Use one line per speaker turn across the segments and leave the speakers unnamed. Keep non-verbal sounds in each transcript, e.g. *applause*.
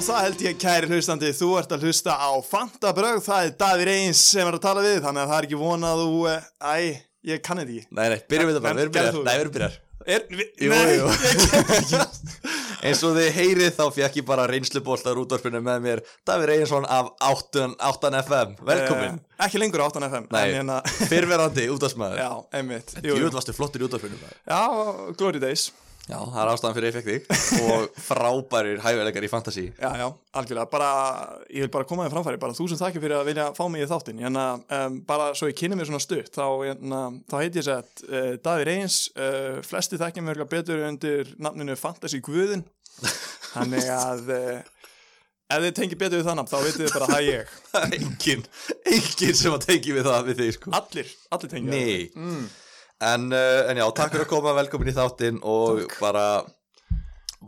Það held ég kæri hlustandi, þú ert að hlusta á Fantabrögg, það er Davíð Reyns sem er að tala við, þannig að það er ekki vonað þú, eh, æ, ég kann þetta ekki.
Nei, nei, byrjum við það bara,
Nei,
við erum byrjar
gerðu þú.
Nei, við erum byrjar
Er, vi,
Jú,
nei,
jú.
ég get ekki það.
*laughs* Eins og þið heyrið þá fekk ég bara reynsluboltar útvarpinu með mér Davíð Reynsson af 8, 8 FM Velkomin
Eh, Ekki lengur á 8 FM.
Nei,
en hérna- *laughs*
fyrverandi útvarpsmaður
Já, einmitt. Jú,
Jú,
jú.
varstu flottur í útvarpinu maður.
Já, Glory Days.
Já, það er ástæðan fyrir ég fekk þig
*laughs*
Og frábærir hæfilegar í fantasy
Já, já, algjörlega, bara, ég vil bara koma þér framfæri, bara þúsund þakki fyrir að vilja fá mig í þáttinn, en um, bara svo ég kynni mér svona stutt, þá, hérna, þá heiti ég sér að uh, Davíð Reyns, uh, flesti þekkja mér örugglega betur undir nafninu Fantasy Guðin, þannig að uh, ef þið tengir betur við það nafn, þá vitið þið bara að það er ég,
Það er enginn, enginn sem að tengja við það við þig sko
allir, allir tengja það.
Nei en, uh, en já, takk fyrir að koma, velkomin í þáttinn Og bara,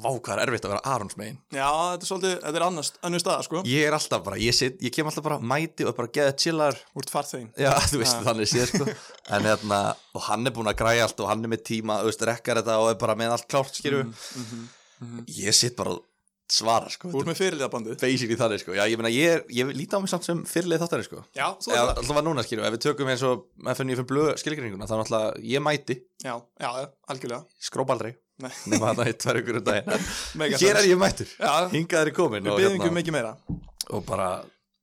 vá hvað er erfitt að vera Arons megin
Já, þetta er svolítið, þetta er annars, önnur staða, sko,
Ég er alltaf bara, ég, sit, ég kem alltaf bara mæti og bara geða chillar
úr farþegin.
Já, *laughs* þú veist,
Ha.
þannig séð sko En hérna, og hann er búin að græja allt og hann er með tíma, þú veist, rekkar þetta og er bara með allt klárt, skilju
Mm, mhm,
Ég sitt bara og svara, sko
Úr með fyrirliðabandið.
Basically þannig, sko Já, ég meina, ég, er- ég líti á mig samt sem fyrirlið þáttanir, sko
Já, þú er
Eða,
það.
Alltaf var núna, skilju, ef við tökum eins og FNF blöð skilgringuna, þá er alltaf, ég mæti
Já, já, já, algjörlega.
skróp aldrei
Nei.
nema þarna eitt tvær ykkur um daginn En
*laughs* Mega
hér
sens.
er ég hérna. mættur,
Já.
hingað er ég komin
Við
og,
byggjum ekki um mikið meira.
og bara,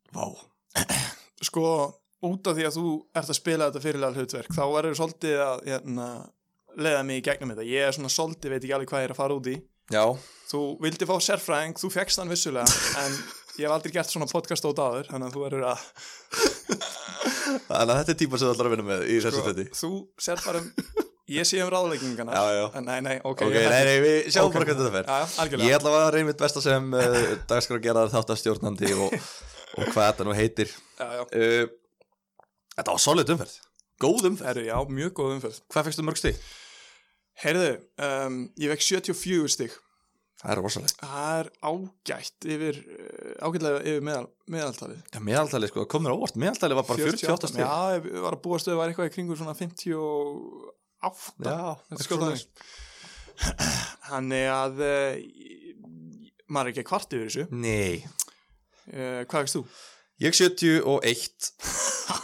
vá
sko út af því að þú ert að spila þetta fyrirlega hlutverk þá verður svolítið að hérna, leiða mig í gegnum þetta ég er svona svolítið, veit ekki alveg hvað ég er að fara út í
Já,
þú vildi fá sérfræðing, þú fegst hann vissulega en ég hef aldrei gert svona podcast út áður þannig að þú verður að
þannig að þetta er tíma sem þú ætlar að vinna með í þessu
sko,
þetta
þú sér bara um ég sé um ráðleggingana
Já, já.
nei, nei, ok,
Ok,
ég-
nei, nei, við sjáum
Ok.
bara hvernig þetta fer
Já, já, algjörlega.
Ég ætla að reyna mitt besta sem uh, dagskrá geraðar þáttastjórnandi og, og hvað þetta nú *laughs* heitir
já, já.
uh, Þetta var solid umferð Góð umferð
Herru, já, mjög góð umferð
Hvað fegstu mörg stig?
heyrðu, um, ég vekk 74 stig
Það er rosalegt
það er ágætt yfir eh, ágætlega yfir meðal, meðaltalið
Já, meðaltalið sko, komur á óvart Meðaltalið var bara 48 stig
Já, ég var að búast að það var eitthvað í kringur svona 58
já
Þetta er sko það Þannig að eh, maður er ekki að kvart yfir þessu
Nei,
uh, Hvað veist þú? *laughs*
Ég 71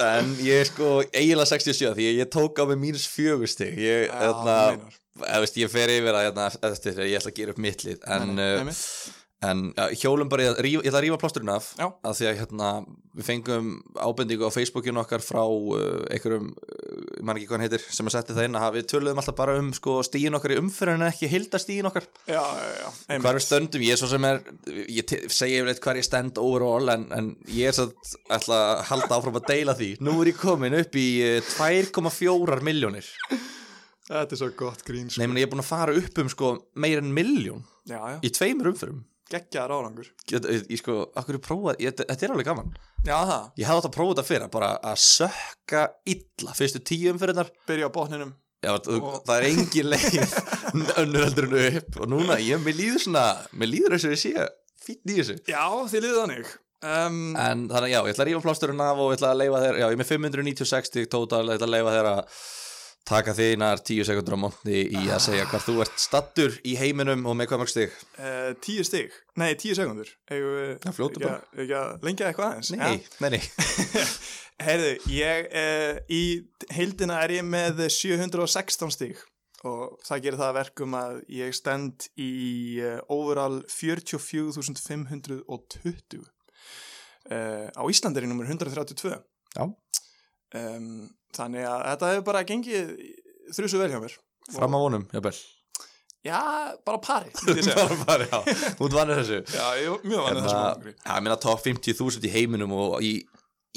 En ég er sko eiginlega 67 því ég tók á mig mínus fjögur stig Ég,
Já,
hérna,
þú meinar.
eða veist, ég fer yfir að hérna, eftir, þegar ég ætla að gera upp mittlið En,
Nei, nei,
uh,
nei,
en ja, hjólum bara, í að rífa- ég ætla að rífa plásturinn af
Já.
Af því að hérna, við fengum ábendingu á Facebookinu okkar frá uh, einhverjum, uh, ég man ekki hvað hann heitir sem að setti það inn að hafa- við töluðum alltaf bara um sko, stíin okkar í umferðinu en ekki hilda stíin okkar
Já, já, já einmitt.
Hvar við stöndum, ég er svo sem er ég te- segi yfirleitt hvar ég stend overall en, en ég er satt ætla að halda áfram að deila því Nú er ég komin upp í eh, 2,4 miljónir
Þetta er svo gott grín sko.
Nei, meni, ég er búin að fara upp um sko meir en miljón
Já, já,
í tveimur umfyrum
geggjaðar árangur
Ég, ég, ég sko, akkur er prófað, ég, þetta er alveg gaman
Já, það,
Ég hefði átt að prófa þetta fyrir bara að sökka illa fyrstu tíu umfyrinnar
byrja á botninum
Já, þú,
Og-
það er engin leið önnur heldur en upp og núna, ég, mér líður svona mér líður þessu að sé fýtt í þessu
Já, þið liðið þannig um,
En þannig að já, ég ætla að rífa plásturinn af og ég ætla að leifa þér, já, ég er með 596 stig total, ég ætla að leifa þér að taka þínar 10 sekundur á mótni í að segja hvað þú ert stattur í heiminum og með hvað mörg stig.
uh, Tíu stig, nei, tíu sekundur
Já, fljótu bara.
Ekki að lengja eitthvað aðeins
Nei,
Já.
nei, nei.
*laughs* Heyrðu, ég uh, í heildina er ég með 716 stíg og það gerir það að verkum að ég stend í uh, overall 44.520 uh, Eh, á Íslandi er ég nummer 132
Já.
um, þannig að þetta hefur bara gengið þrjusu vel hjá mér
Fram á vonum, jafnvel.
já, bara
*laughs*
pari myndi *laughs* ég segja.
Bara, Hérna- bara, já, hún vannir þessu.
já, ég er mjög vanið
En
þessum
það,
árangri.
ég meina top 50.000 í heiminum og í,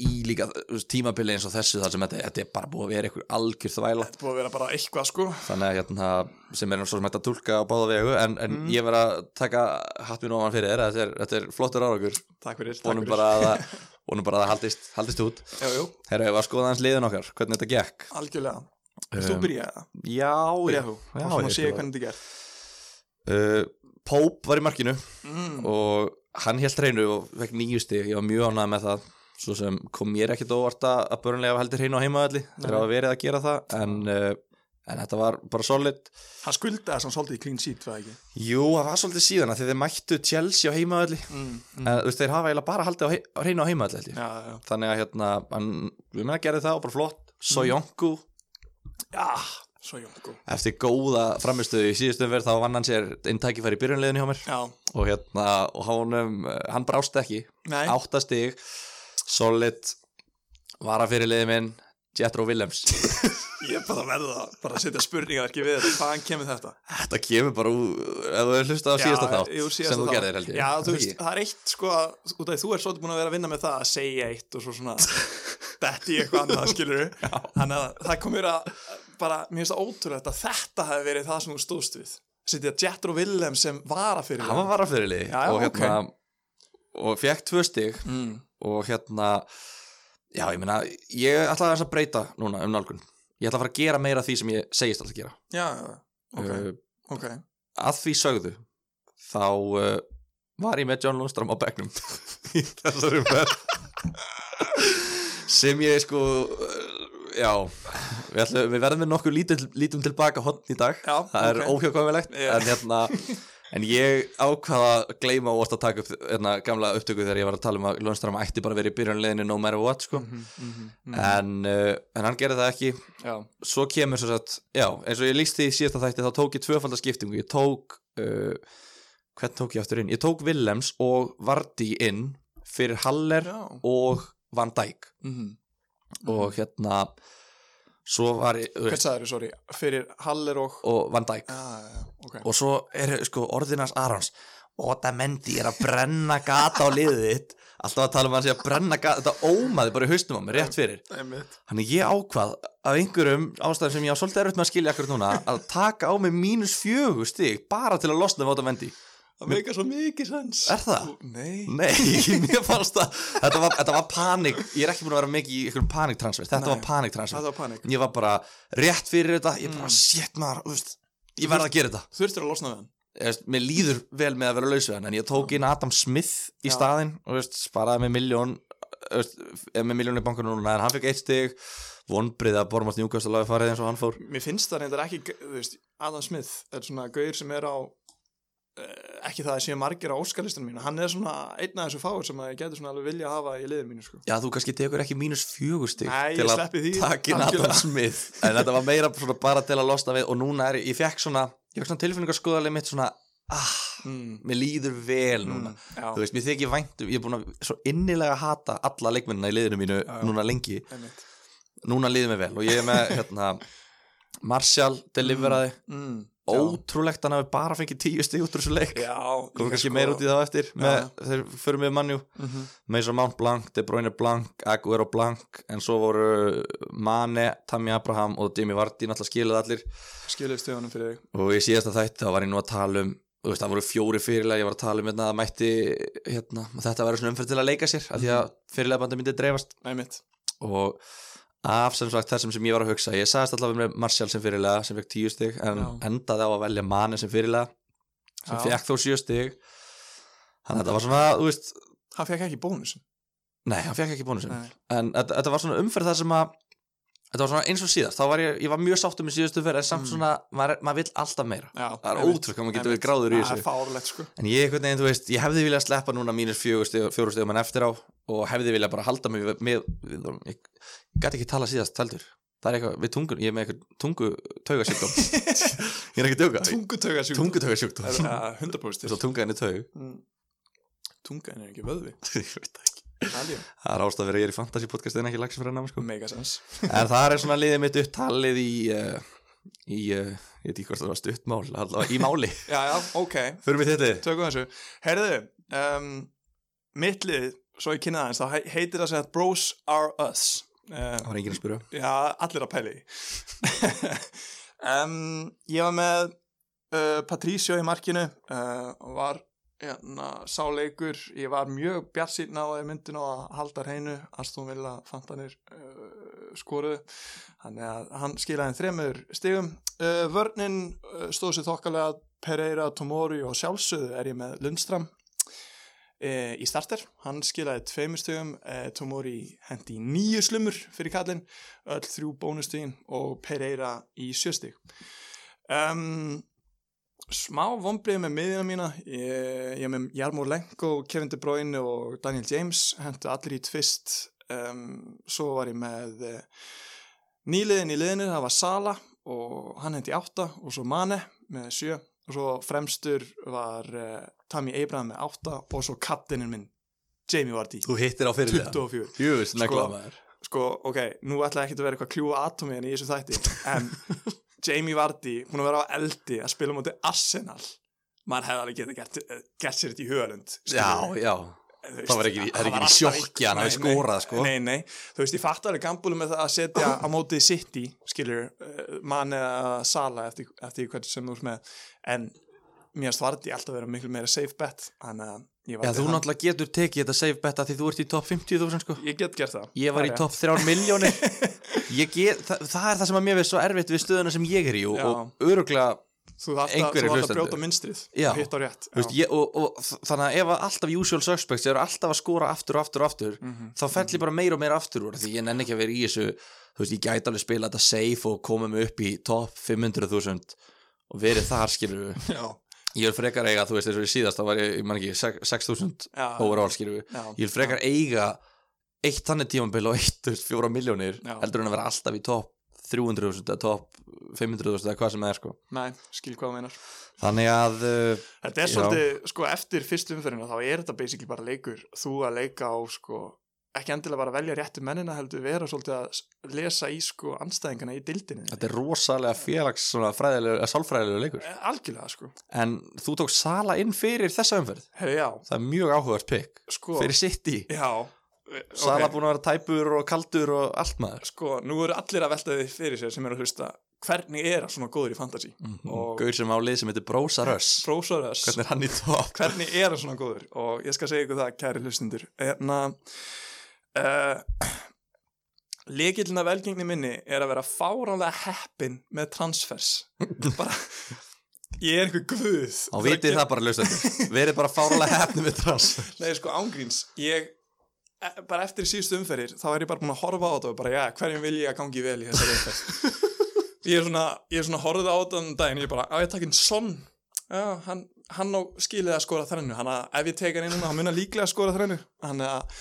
í líka þú veist, tímabili eins og þessu þar sem þetta, þetta er bara búið að vera einhver algjör þvæla.
þetta búið að vera bara eitthvað sko
þannig að hérna, sem er svo sem hægt að tólka á báða vegu en, en
Mhm.
ég verð að taka hatt minn ofan fyrir þér þetta er, þetta er flottur árakur
takk fyrir, takk
vonum
fyrir.
bara að það, vonum bara að það haldist, haldist út
Jú, jú,
Herra, ég var að skoða hans liðin okkar, hvernig þetta gekk
algjörlega þú byrjaði það,
Já,
byrjaði þú
já,
og svona
ég sko-
séu
ætla-
hvernig þetta gerð
uh, Pope var í markinu
mm.
og hann held reynu og vekk nýjusti ég var mjög ánægð með það svo sem kom mér ekkit óvart að að börnlega heldur hreinu á heimaðalli
Nei,
þegar
nei.
að verið að gera það en uh, en þetta var bara solid
hann skuldaði sem svolítið í clean sheet var það ekki
Jú, það var svolítið síðan að þeir mættu Chelsea á heimaðalli mm.
mm,
veist, þeir hafa eiginlega bara haldið á, hei, á reyna á heimaðalli
já, já, já.
þannig að hérna, hann, við meina gerði það og bara flott,
Mm.
Soyonku
já, svo jónku
eftir góða framistöðu í síðustum verð þá vann hann sér einn tækifæri í byrjunliðinu hjá mér
já,
og hérna, og honum, eh, hann brást ekki
nei,
áttastig, solid varafyrirliði minn Jethro
*laughs*
Willems
ég er bara að verða bara að setja spurningaverki við þetta hvaðan kemur þetta
Þetta kemur bara úr, ef þú hlusta á síðasta
Já,
þátt
jú, síðasta
sem þú
þátt.
gerðir held ég
já, þú
Er það
veist,
ekki?
það er eitt sko að, út af því þú er svolítið búin að vera að vinna með það að segja eitt og svo
*laughs*
svona detti í eitthvað annað, skilur þannig að það komur að bara, mér finnst það ótrúlegt að þetta hafi verið það sem þú stóðst við setja Jethro Willem sem vara fyrir
Hann var varafyrirliði
Já, já,
og hérna og fekk tvö stig
mm.
og hérna já, ég meina, ég ætla aðeins að breyta núna um nálgun, ég ætla að fara að gera meira af því sem ég segist alltaf að gera
já, já, ok,
uh,
ok
að því sögðu þá uh, var ég með John Lundström á begnum *laughs* í þessari verð sem ég sko uh, já við, ætlum, við verðum við nokkuð lítum, lítum tilbaka hotn í dag,
Já,
það er
ok.
óhjákvæmilegt
Já.
en hérna en ég ákvaða að gleyma og að taka upp hérna, gamla upptöku þegar ég var að tala um að Lundström ætti bara að vera í byrjunleginni no matter what sko.
Mhm, mhm, mhm.
en, uh, en hann gerði það ekki
Já,
svo kemur svo að, já, eins og ég lísti í síðasta þætti þá tók ég tvöfaldaskiptingu, ég tók uh, hvern tók ég aftur inn? Ég tók Willems og Vardy inn fyrir Haller
já.
og Van Dijk
Mhm.
og hérna svo var ég,
Hvern sagður, sorry, fyrir Haller og
og Van Dijk
Já, já, já, ok
og svo er sko orðinans Arons Otamendi er að brenna gata á liðið þitt alltaf að tala um að hann sé að brenna gata þetta ómaði bara í haustum á mér, rétt fyrir
Einmitt.
Þannig ég ákvað af einhverjum ástæðum sem ég á svolítið erfitt með að skilja akkur núna að taka á mig mínus fjögur stig bara til að losna við átt að vendi.
Það meika svo mikið sens
Er það?
Nei
Nei, *laughs* mér fannst það, þetta var, þetta var panik, ég er ekki búin að vera mikið í einhverjum paniktransfer, þetta
Nei.
var paniktransfer.
Það var Mm. panik
Ég var bara rétt fyrir þetta, ég bara, shit maður, þú veist, ég verð að gera þetta.
Þurftur að losna við hann
Ég veist, Mér líður vel með að vera laus við hann, en ég tók inn Adam Smith í
Já.
staðinn og þú veist, sparaði með miljón, þú veist, er með miljón í bankunum núna, en hann fekk eitt stig, vonbrið að Bormast Njúkast að laga farið eins og hann fór.
Mér finnst það reyndar ekki, þú veist, Adam Smith er svona gauður sem er á eh, ekki það að séu margir á óskalistunum mínu hann er svona einn af þessu fáur sem að ég getur svona alveg vilja að hafa í liðið mínu sko.
Já, þú kannski tekur ekki mínus fjögustig
Nei,
til
ég
að
sleppi því
taki Nathan
algjörlega.
Smith en þetta var meira svona bara til að losna við og núna er, ég fekk svona, ég fekk svona tilfinningarskoðarlega mitt svona, ah,
mm,
mér líður vel núna
mm, Já,
þú veist, mér þykir væntum, ég er búin að svo innilega hata alla leikmennina í liðinu mínu
já.
núna lengi,
einmitt
núna líður mér vel og ég er
*laughs*
með, hérna Marshall deliveraði,
mm,
ótrúlegt hann hafi bara fengið tíu stig út úr þessu leik,
Já sko,
komum kannski meir út í það á eftir með, þeir förum við mannjú
mm -hmm.
Mason Mount blank, De Bruyne blank, Aguero blank en svo voru Mane, Tammy Abraham og Jimmy Vardy náttúrulega skilið allir
Skiljast þjóðanum fyrir þig
og í síðasta þætti þá var ég nú að tala um þú veist, það voru fjóri fyrirlega, ég var að tala um hérna, að það mætti hérna, að þetta væri svona umferð til að leika sér af því að
Mhm.
fyrirlega bandið myndi dreifast
Einmitt
og af sem sagt þessum sem ég var að hugsa ég sagðist allavega með Martial sem fyrirlega sem fekk tíu stig en
Já.
endaði á að velja Mane sem fyrirlega sem
Já.
fekk þó sjö stig þannig að þetta var svona, þú veist
Hann fekk ekki bónus
nei, hann fekk ekki bónusinn
Nei.
en þetta, þetta var svona umferð þar sem að þetta var svona eins og síðast, þá var ég, ég var mjög sáttum í síðustu umferð en
Mm.
samt svona, maður, maður vill alltaf meira
Já,
það er
einmitt.
ótrúk að maður getur
Einmitt.
verið gráður í
Það er
þessu
fárlegt sko
en ég einhvern veginn, þú veist, ég hefði viljað sleppa núna mínus fjögur stig- fjóru stegum en eftir á og hefði viljað bara halda mig við, með, við ég, ég gæti ekki tala síðast tældur það er eitthvað, við tungun, ég er með eitthvað tungu *laughs* taugasjúkdóm ég er ekki að djóka,
Tungutauga sjúk
tungu taugasjúkdóm
Hundarbústir
þess að tunga henni taug
Tungan er ekki vöðvi
*laughs* ég veit það ekki.
Algjör
það er ástæð fyrir ég er í fantasy podcast en ekki lagsifræðina sko.
Megasens
En það er svona liðið mitt upptalið í, uh, í uh, ég veit ekki hvort það var stuttmál, allavega í *laughs* máli.
Já, já, ok
Fyrir mig þetta.
Tökum þessu Herðu um, Mittlið Svo ég kynna það eins þá heitir það sem að Bros are us
Það
um,
var enginn að spyrja.
Já, allir að pæli *laughs* um, Ég var með uh, Patricio í markinu uh, og var hérna, sáleikur ég var mjög bjarsinn á að myndin á að halda hreinu Aston Villa fantanir uh, skoruðu þannig að hann skilaði þeim þremur stigum uh, vörnin uh, stóð sér þokkalega Pereira, Tomori og sjálfsöðu er ég með Lundstram e, í starter, hann skilaði tveimur stöðum, e, Tomori hendi nýju slumur fyrir kallinn, öll þrjú bónustöðin og Pereira í sjöstig. Um, smá vonbrið með miðina mína, ég, ég er með Jarmo Lenko, Kevin De Bruyne og Daniel James, hendu allir í tvist, um, svo var ég með e, nýliðin í liðinu, það var Sala og hann hendi átta og svo Mane með sjö og svo fremstur var uh, Tammy Abraham með 8 og svo kaptinin minn Jamie Vardy
Þú hittir á fyrirlega
24
Jú,
Sko.
snakla maður
sko ok, nú ætla ekki að vera eitthvað kljúa atomi en í þessu þætti en
*laughs*
Jamie Vardy, hún er að vera á eldi að spila mútið Arsenal maður hefði alveg getið gert, eh, gert sér þetta í sko. höfund
Já, já Það var ekki, það er ekki í sjokki að hann hafi skorað sko.
Nei, nei, þú veist, ég fatt alveg gambulum með það að setja
*laughs*
á mótið City, skilur, uh, mann eða Sala eftir, eftir hvernig sem þú ert með, en mér finnst Vardi alltaf vera miklu meira safe bet, þannig að ég
Já,
valdi
þú
hann.
náttúrulega getur tekið þetta save betta því þú ert í top 50.000 sko
Ég get gert það.
Ég var
Það
í
er
topp 3 miljónir *laughs* Ég get, það, það er það sem að mér veist svo erfitt við stöðuna sem ég er í og,
Já.
og öruglega,
rétt. Þú þarft að,
einhverjir
þú þarft að
hlustendur.
brjóta minnstrið
Já.
og hitta á rétt.
þú veist, ég, og, og þ- þannig að ef að alltaf usual suspects eru alltaf að skora aftur og aftur og aftur
Mhm.
þá fell ég bara meira og meira aftur úr því ég nenni ekki að vera í þessu, þú veist, ég gæti alveg spila þetta safe og koma mig upp í topp 500.000 og verið þar skilur við,
Já.
ég vil frekar eiga þú veist, eins og ég síðast, þá var ég, ég man ekki 6.000
Já.
overall skilur við,
Ah, Já.
ég vil frekar eiga eitt þannig tímambil og eitt þú veist, fjóra miljónir
Já.
heldur en að vera alltaf í topp 300.000 eða topp 500.000 eða hvað sem það er sko
Nei, skil hvað þú meinar.
þannig að uh,
Þetta er
Já.
svolítið, sko, eftir fyrstu umferðina þá er þetta basically bara leikur. Þú að leika á, sko, ekki endilega bara að velja réttu mennina heldur vera svolítið að s- lesa í, sko, anstæðingana í dildinni.
þetta er rosalega félags svona fræðilegu, eða sálfræðilegu leikur
Eh, Algjörlega, sko.
en þú tók Sala inn fyrir þessa umferð
Herri, já,
það er mjög áhugavert pick
sko.
fyrir City,
Já. eh,
Sala
ok.
búin að vera tæpur og kaldur og allt maður
Sko, nú eru allir að velta því fyrir sér sem eru að hlusta hvernig er að svona góður í fantasy. Og-
og Mm, gaur sem á lið sem heitir Brosa Mhm. Röss
Prósaður þess.
hvernig er hann í topp
hvernig er hann svona góður og ég skal segja ykkur það, kæri hlustundur hérna uh, leikillina velgengni minni er að vera fáránlega heppin með transfers bara, ég er einhver guð
þá vitið það bara lögstöndur verið bara fáralega hefnum við transfer
nei sko ángríns ég, e- bara eftir síðustu umferðir þá er ég bara búin að horfa á þetta og bara já, hverjum vil ég að gangi vel í þessari umferð ég er svona, ég er svona horfið á þetta um daginn ég er bara, á ég takin sonn Já, hann, hann á skilið að skora þrennu hann að ef ég teka hann inn núna, hann mun að líklega að skora þrennu hann að,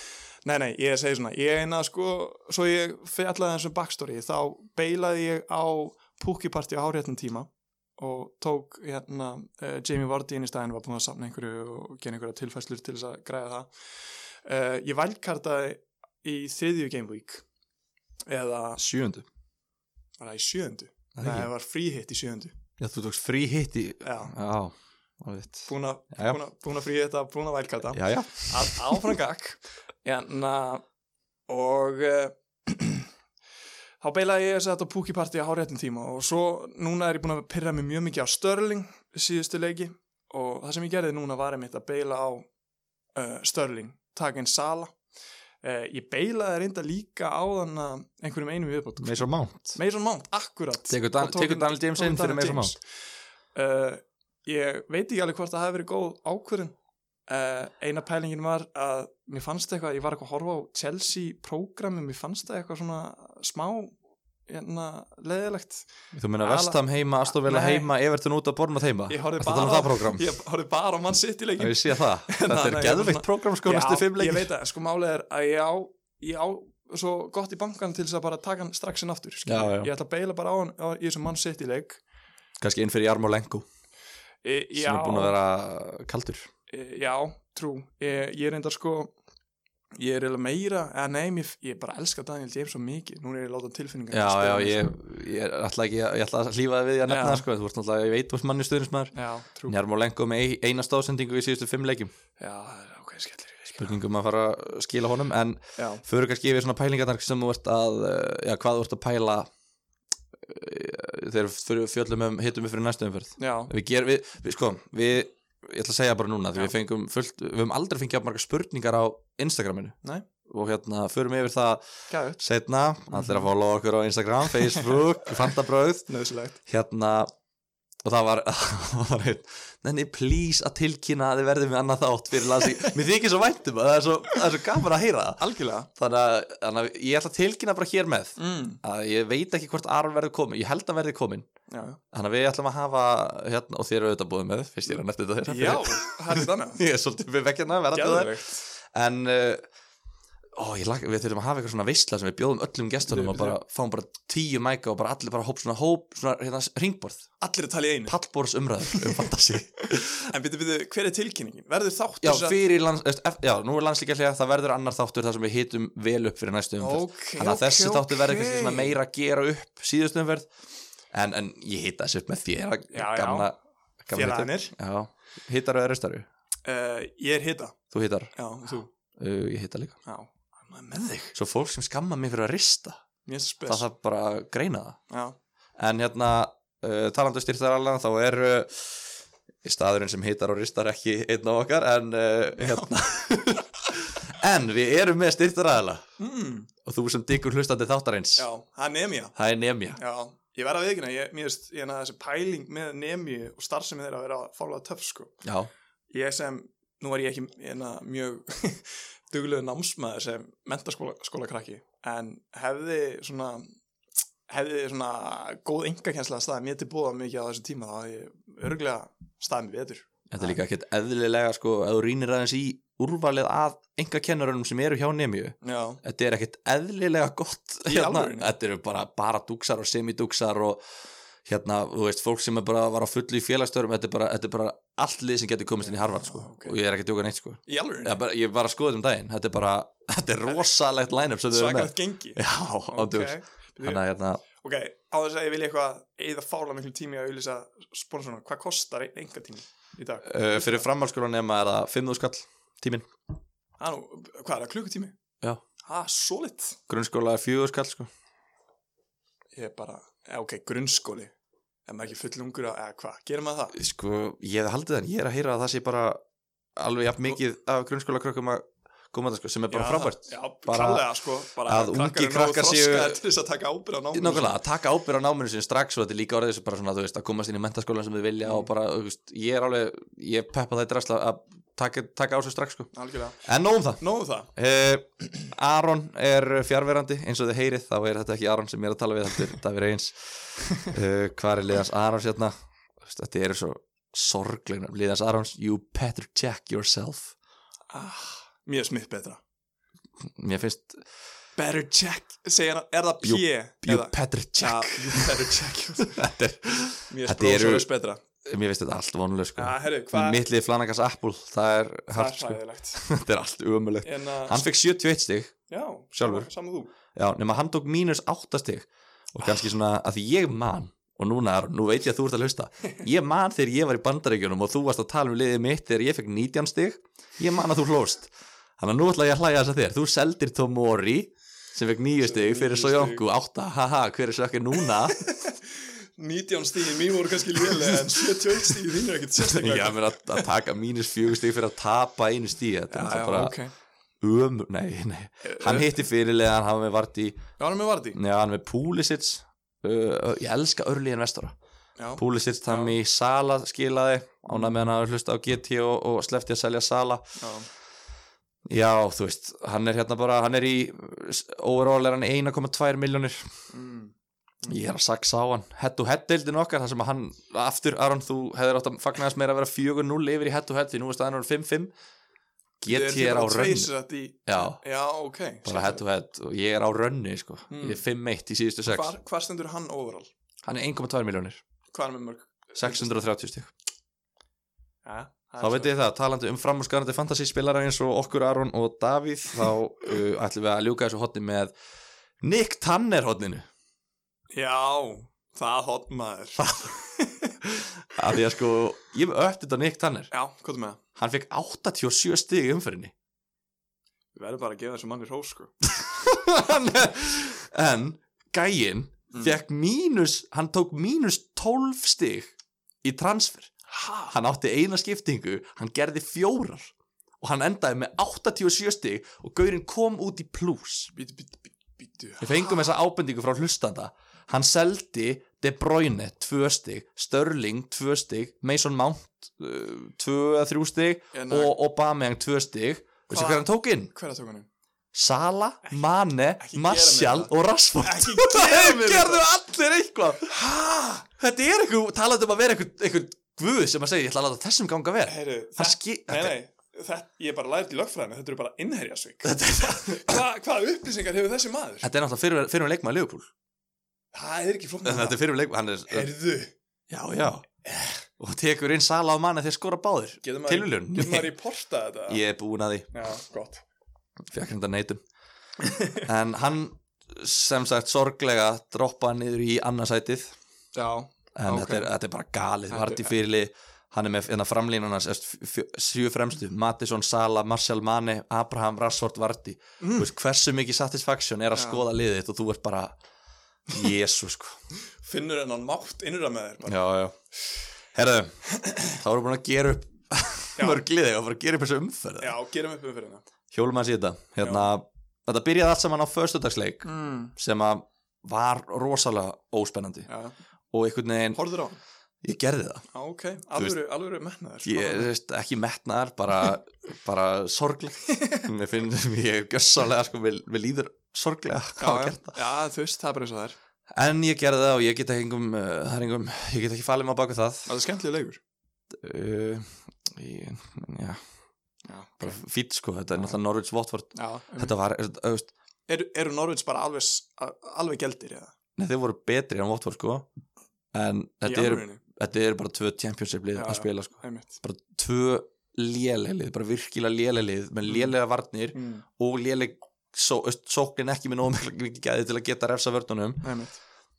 nei nei, ég segi svona ég eina sko, svo ég fjallaði þessum backstory, þá beilaði ég á púkiparti á háréttum tíma og tók hérna uh, Jamie Vardy inn í staðin, var búin að samna einhverju og gera einhverja tilfæslur til þess að græða það uh, ég vælkartaði í þriðju game week eða,
sjöndu
var það í sjöndu
Það
nei,
er ekki.
það var fríhitt í sjöndu
Já, þú tókst frí hitt í
Já.
Já, alveg
búin að
Já, já.
búin að- búin að fríhitta, búin að vælkarta
Já, já
að áfrangak en að Hérna, og uh, *clears throat* þá beilaði ég þess að þetta púkiparti á háréttum tíma og svo núna er ég búin að pyrra mig mjög mikið á Störling síðustu leiki og það sem ég gerði núna var einmitt að beila á uh, Störling, taka inn Sala uh, ég beilaði reynda líka á þann að einhverjum einum í viðbót
Með svo mánt
Mason Mount, akkurat
Tekur Dan-
Og tók
tekur
inn-
Daniel James
tók
inn fyrir
Daniel
Mason
James. Uh, ég veit ekki alveg hvort það hefði verið góð ákvörðin uh, eina pælingin var að mér fannst eitthvað, ég var eitthvað að horfa á Chelsea prógrami, mér fannst það eitthvað svona smá hérna, leðilegt
Þú meina
Ala-
Vestam heima, Astofvela
Nei.
heima, Everton út að Bornað heima
ég horfði
Ertu að
bara,
tala um það program
*laughs* ég horfði bara á mann sitt í leikin
Ég sé
*laughs*
það Þetta
Nei,
er
nei, ég var
geðveikt
svona-
program sko næstu fimm
ég
leikir
veit það, sko málið er að ég á, ég á svo gott í bankan til þess að bara taka hann strax inn aftur skilur.
Já, já.
ég ætla að beila bara á hann á, í þessum mann sitt í leik
Kanski inn fyrir Jarmo Lengu
e,
sem er búin að vera kaldur
Eh, Já, trú Ég, ég er reyndar sko Ég er eiginlega meira, eða nei, mér, ég bara elska Daniel James svo mikið, núna er ég látað tilfinningar
Já, já, ég, ég er alltaf ekki Ég ætla að hlífa það við því að
Já.
nefna það sko Þú ert náttúrulega, ég veit, þú ert manni stuðnismæður
Já, trú Já,
Jarmo Lengu með ein- eina stóðsendingu í síðustu fimm leikim
það er ok, skellir við
Spurningum að fara að skila honum En
sko. Já,
Föru kannski yfir svona pælingarnar sem þú ert að, eh, já, hvað þú ert að pæla eh, þegar fyrir fjöllum um hittum við fyrir næstu umferð.
já,
Við gerum, við, við, sko, við, ég ætla að segja bara núna, því
Já.
við fengum fullt, við höfum aldrei fengið að marga spurningar á Instagraminu.
Nei. Mhm.
Og hérna, förum yfir það
gæðu
setna,
*laughs*
allir að followa okkur á Instagram, Facebook, Fantabröð,
Nöðsilegt
hérna, og það var, *laughs* það var einn, nenni please að tilkynna að þið verðið með annað þátt fyrir landsleik mér þykir svo væntum að það er svo, það er svo gaman að heyra það
algjörlega
þannig að, þannig að ég ætla að tilkynna bara hér með
mm.
að ég veit ekki hvort Aron verður komin ég held að verði komin
já,
þannig að við ætlum að hafa hérna og þér eru auðvitað búið með fyrst ég er að nefna þetta
já,
þeirra
það er þannig
*laughs* ég er svolítið við vekkjana
Geðveikt.
en uh, ó, ég lak, við þurfum að hafa eitthvað svona veistla sem við bjóðum öllum gestunum og bara fáum bara tíu mæka og bara allir bara hóp svona hóp svona hérna ringborð
allir að tala í einu
pallborðs umræður *laughs* um fantasi
en byrju, byrju, hver er tilkynningin? verður þáttur
já,
sem-
fyrir lands, eftir, ef- já, nú er landslíkja hlega það verður annar þáttur þar sem við hitum vel upp fyrir næstu umferð
Ok,
þannig að
ok,
þessi þáttur verður
ok.
kannski svona meira að gera upp síðustu umferð en, en ég hita þessi upp með þér
Já, já.
gamla, gamla
Félagarnir.
já, hittar og erustaru
Eh, ég er hita
þú hittar,
já, þú
uh, ég hitta líka
já, maður er með þig
svo fólk sem skamma mig fyrir að rista
mér er
það
spes
þarf bara að greina það
já,
en hérna uh, talandu styrtaralega þá er uh, staðurinn sem hittar og ristar ekki einn á okkar en uh, *laughs* hérna en við erum með styrtaralega
mm.
og þú sem diggur hlustandi þáttarins
já, það er nemja
það er nefnja
já, ég verð að veikina ég, mér veist, ég hana þessi pæling með nemi og starfsemi þeirra að vera fálega töff sko
já,
ég sem, nú er ég ekki hana, mjög *laughs* duglegu námsmaður sem mentaskóla skóla krakki en hefði svona hefði svona góð engakensla staðið mér til búða mikið á þessu tíma þá hefði ég örgulega staðið mér betur
þetta er líka ekkert eðlilega sko að þú rýnir aðeins í úrvalið að enga kennarunum sem eru hjá nefnju
já,
þetta er ekkert eðlilega gott hérna.
Í alvörunni?
þetta eru bara, bara duksar og semidúksar og hérna, þú veist, fólk sem er bara var á fullu í félagstörum, þetta er bara, þetta er bara allt lið sem getur komist inn í Harvard, sko
Já, ok.
og ég er ekki að djóka neitt, sko
í alveg
ég, bara, ég var að skoða þetta um daginn, þetta er bara *laughs* þetta er rosalegt line-up sem þau eru með
svakalegt gengi
já, okay.
okay.
þannig að hérna,
ok, á þess að ég vilja eitthvað eða fála miklu tími að auðlýsa sponsorna, hvað kostar ein, enga tími í dag?
uh, fyrir framhalskólan nema er það 5.000 skall tíminn,
Það er Ah, nú, hvað er það, klukkutími?
Já.
Það er solid
grunnskóla er 4.000 skall, sko
Ég er bara, eh, ok, grunnskóli Er maður ekki fullungur að, eða hvað, gerir maður það?
sko, ég hef haldið þann, ég er að heyra að það sé bara alveg jafn mikið af grunnskóla að koma þetta, sko, sem er bara frábært
Já,
Bara
klálega sko bara
að ungir
eru nógu
krakkar séu-
þroskaðir Til þess að taka ábyrð á náminu
Nákvæmlega, að taka ábyrð á náminu sinni strax og þetta er líka orðið þessu bara svona, þú veist, að komast inn í mentaskólan sem þið vilja og bara, þú veist, ég er alveg, ég peppa það í drasla að taka, taka á þessu strax, sko.
Algjörlega
En nóg um það.
Nóðu það
Uh, Aron er fjárverandi, eins og þið heyrið, þá er þetta ekki Aron sem ég er að tala við, þetta er Davir Eins. Uh, hvað er liðans Arons hérna? Þú veist, Þetta eru svo sorglegna, liðans Arons, you better check yourself.
ah, Mjög smitt betra
Mér finnst,
Better check Segir hann, er það
You-
P? E
you
eða-
better
Já,
check.
You better check
Þetta er,
Mjög
Þetta
sprósur
eru-
er betra
mér finnst þetta allt vonuleg, sko.
Já, herru, hvað
Mitt lið Flanagas Apple, það er
Það er
hart, sko.
hræðilegt
þetta er allt umulegt
En að,
hann fekk 71 stig,
já,
sjálfur.
Saman þú
já, nema hann tók mínus 8 stig og kannski svona að því ég man og núna, Aron, nú veit ég að þú ert að hlusta ég man þegar ég var í bandaríkjunum og þú varst að tala um liðið mitt þegar ég fekk 19 stig ég man að þú hlóst þannig að nú ætla ég að hlæja þess að þér, þú seldir Tomori sem fekk 9 stig
Níu
fyrir
stig.
Sojongu 8, haha, hver er sökkir núna
19 stíðin mín voru kannski lélega en 71 stíðin þín er ekkert sérstaklega
ég meina að, að taka mínus 4 stig fyrir að tapa einu stíð þetta er náttúrulega bara
ok
ömur, nei, nei hann hitti fyrirlegan, hann var með vart
Já, hann er með Vardí
Já, hann er með Pulisic uh, Ég elska örlíðin vestora
Já,
Pulisic þann í Sala skilaði ánað með hann að hlusta á GT og, og slefti að selja Sala
já,
Já, þú veist, hann er hérna bara hann er í, overall er hann 1,2 miljónir
mm,
Ég er að saksa á hann Head to head deildin okkar, þar sem að hann aftur, Aron, þú hefðir átt að fagnaðast meira að vera 4-0 yfir í head to head því nú er staðan orðin 5-5 GT er á rönni
hérna í...
Já,
Já, ok
bara head to head og ég er á rönni, sko
Mm.
Ég er 5-1 í síðustu 6
Hvar, hvar stendur hann overall?
Hann er 1,2 miljónir,
Hvað er hann með mörg?
630 stík
Ja,
Þá veit ég það, talandi um framúrskarandi fantasíspilara eins og okkur Aron og Davíð þá uh, ætlum við að ljúka þessu hotni með Nick Tanner hotninu
Já, það hot maður Já,
af því að sko, ég hef öft þetta Nick Tanner
hvað er með það?
hann fekk 87 stig í umferðinni *laughs*
Við verðum bara að gefa þessu manni rós, sko
en gæinn
Mm.
fekk mínus, hann tók mínus 12 stig í transfer
Ha?
hann átti eina skiptingu, hann gerði fjórar og hann endaði með 87 stig og gaurinn kom út í pluss
Bítu, bítu, bítu, bítu
Við fengum þessa ábendingu frá hlustanda hann seldi De Bruyne tvö stig, Störling tvö stig, Mason Mount uh, tvö að þrjú stig
En að-
og Aubameyang tvö stig veistu
Hvað-
hvað hann tók inn?
Hver að Hérna, tók hann inn?
Sala, Mane,
ekki gera mér
Martial
það.
og Rashford
Ekki
*laughs*
gera
Það
mér
gerðu allir eitthvað Hæ? Þetta er eitthvað, talandi um að vera eitthvað, eitthvað guð sem að segja, ég ætla að láta þessum ganga vera
Heyru,
Það
þetta,
skil,
nei,
þetta,
nei, þetta, ég er bara lært í lögfræðinu, þetta eru bara innherjasvík.
þetta, þetta,
Hva, hvaða upplýsingar hefur þessi maður?
þetta er náttúrulega fyrir, fyrir um leikmaði Leopold
Það er ekki flóknir.
Þetta er fyrir um leikmaði, hann er,
Herðu,
já, já Og tekur inn Sala og Mane þegar skora báðir
getur maður,
Tilviljun
getur maður í porta þetta?
Ég er búin að því
Já, gott.
fekk hérna *laughs* neytun en hann sem sagt sorglega droppa niður í annarsætið
Já,
en
Ok.
þetta, er, þetta er bara galið
Þetta-
Hardy Fyrli, hann er með hérna framlínuna sjö fremstu, Mattisson, Sala Marshall Mane, Abraham, Rashford, Vardy
Mm.
mm. veist, hversu mikið satisfaction er að
Já.
skoða liðið þitt og þú ert bara jésu sko
finnur hennan mátt innra með þér bara.
já, *laughs* já. herðu, þá erum við búin að gera upp
Já.
*laughs* mörg liðið og fara að gera upp þessu umferð
Já, gerum upp um fyrir hennar.
hjólum að þetta hérna, þetta byrjaði allt saman á föstudagsleik
Mm.
sem að var rosalega óspennandi
Já,
og einhvern veginn,
horður á. hann?
ég gerði það
Já, ok, alvöru, alvöru sko. mennaður.
ég veist, ekki metnaðar, bara,
*laughs*
bara sorgleg mér finn, ég gjössalega sko, mér, mér líður sorglega að hafa gert það
Já, þú veist, það er bara eins og það er.
en ég gerði það og ég get ekki engum, uh, það er engum ég get ekki falið maður baku það
Það er skemmtileg leikur.
uh, ég, já,
Já,
bara fýtt sko, þetta er náttúrulega Norwich Watford
Já, um,
þetta var, þú veist,
eru, eru Norvins bara alveg, s- a- alveg gældir eða?
nei, þeir voru betri en Watford sko en
Í
þetta eru
alvörunni?
þetta eru bara tvö championship lið
Já,
að
já.
spila sko
Einmitt.
bara tvö léleglið, bara virkilega léleglið með lélega varnir
Mm.
og léleg só, öst- sóknin ekki með nóg mikið gæði til að geta refsa vörnunum
Einmitt.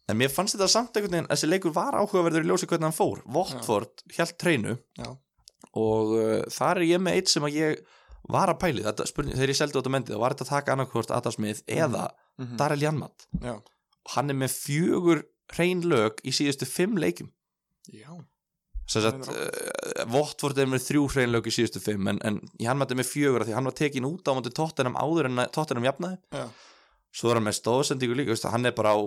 en mér fannst þetta samt einhvern veginn þessi leikur var áhugaverður í ljósi hvernig hann fór Votford hjælt treinu
Já.
og uh, þar er ég með eitt sem að ég var að pæli þetta, spurning, þegar ég seldi út á mendið og var þetta að taka annarkvort Adam Smith eða
Mm
Darrell Janmat
Já.
og hann er með fjögur hrein lög í síðustu fimm leikum
Já.
sem sagt,
Það er
uh, Votford er með þrjú hreinlaug í síðustu fimm en, en hann mætti með fjögur af því hann var tekin út á móti tóttunum áður en tóttunum jafnaði
Já.
svo er hann með stóðsendingu líka veist, hann er bara á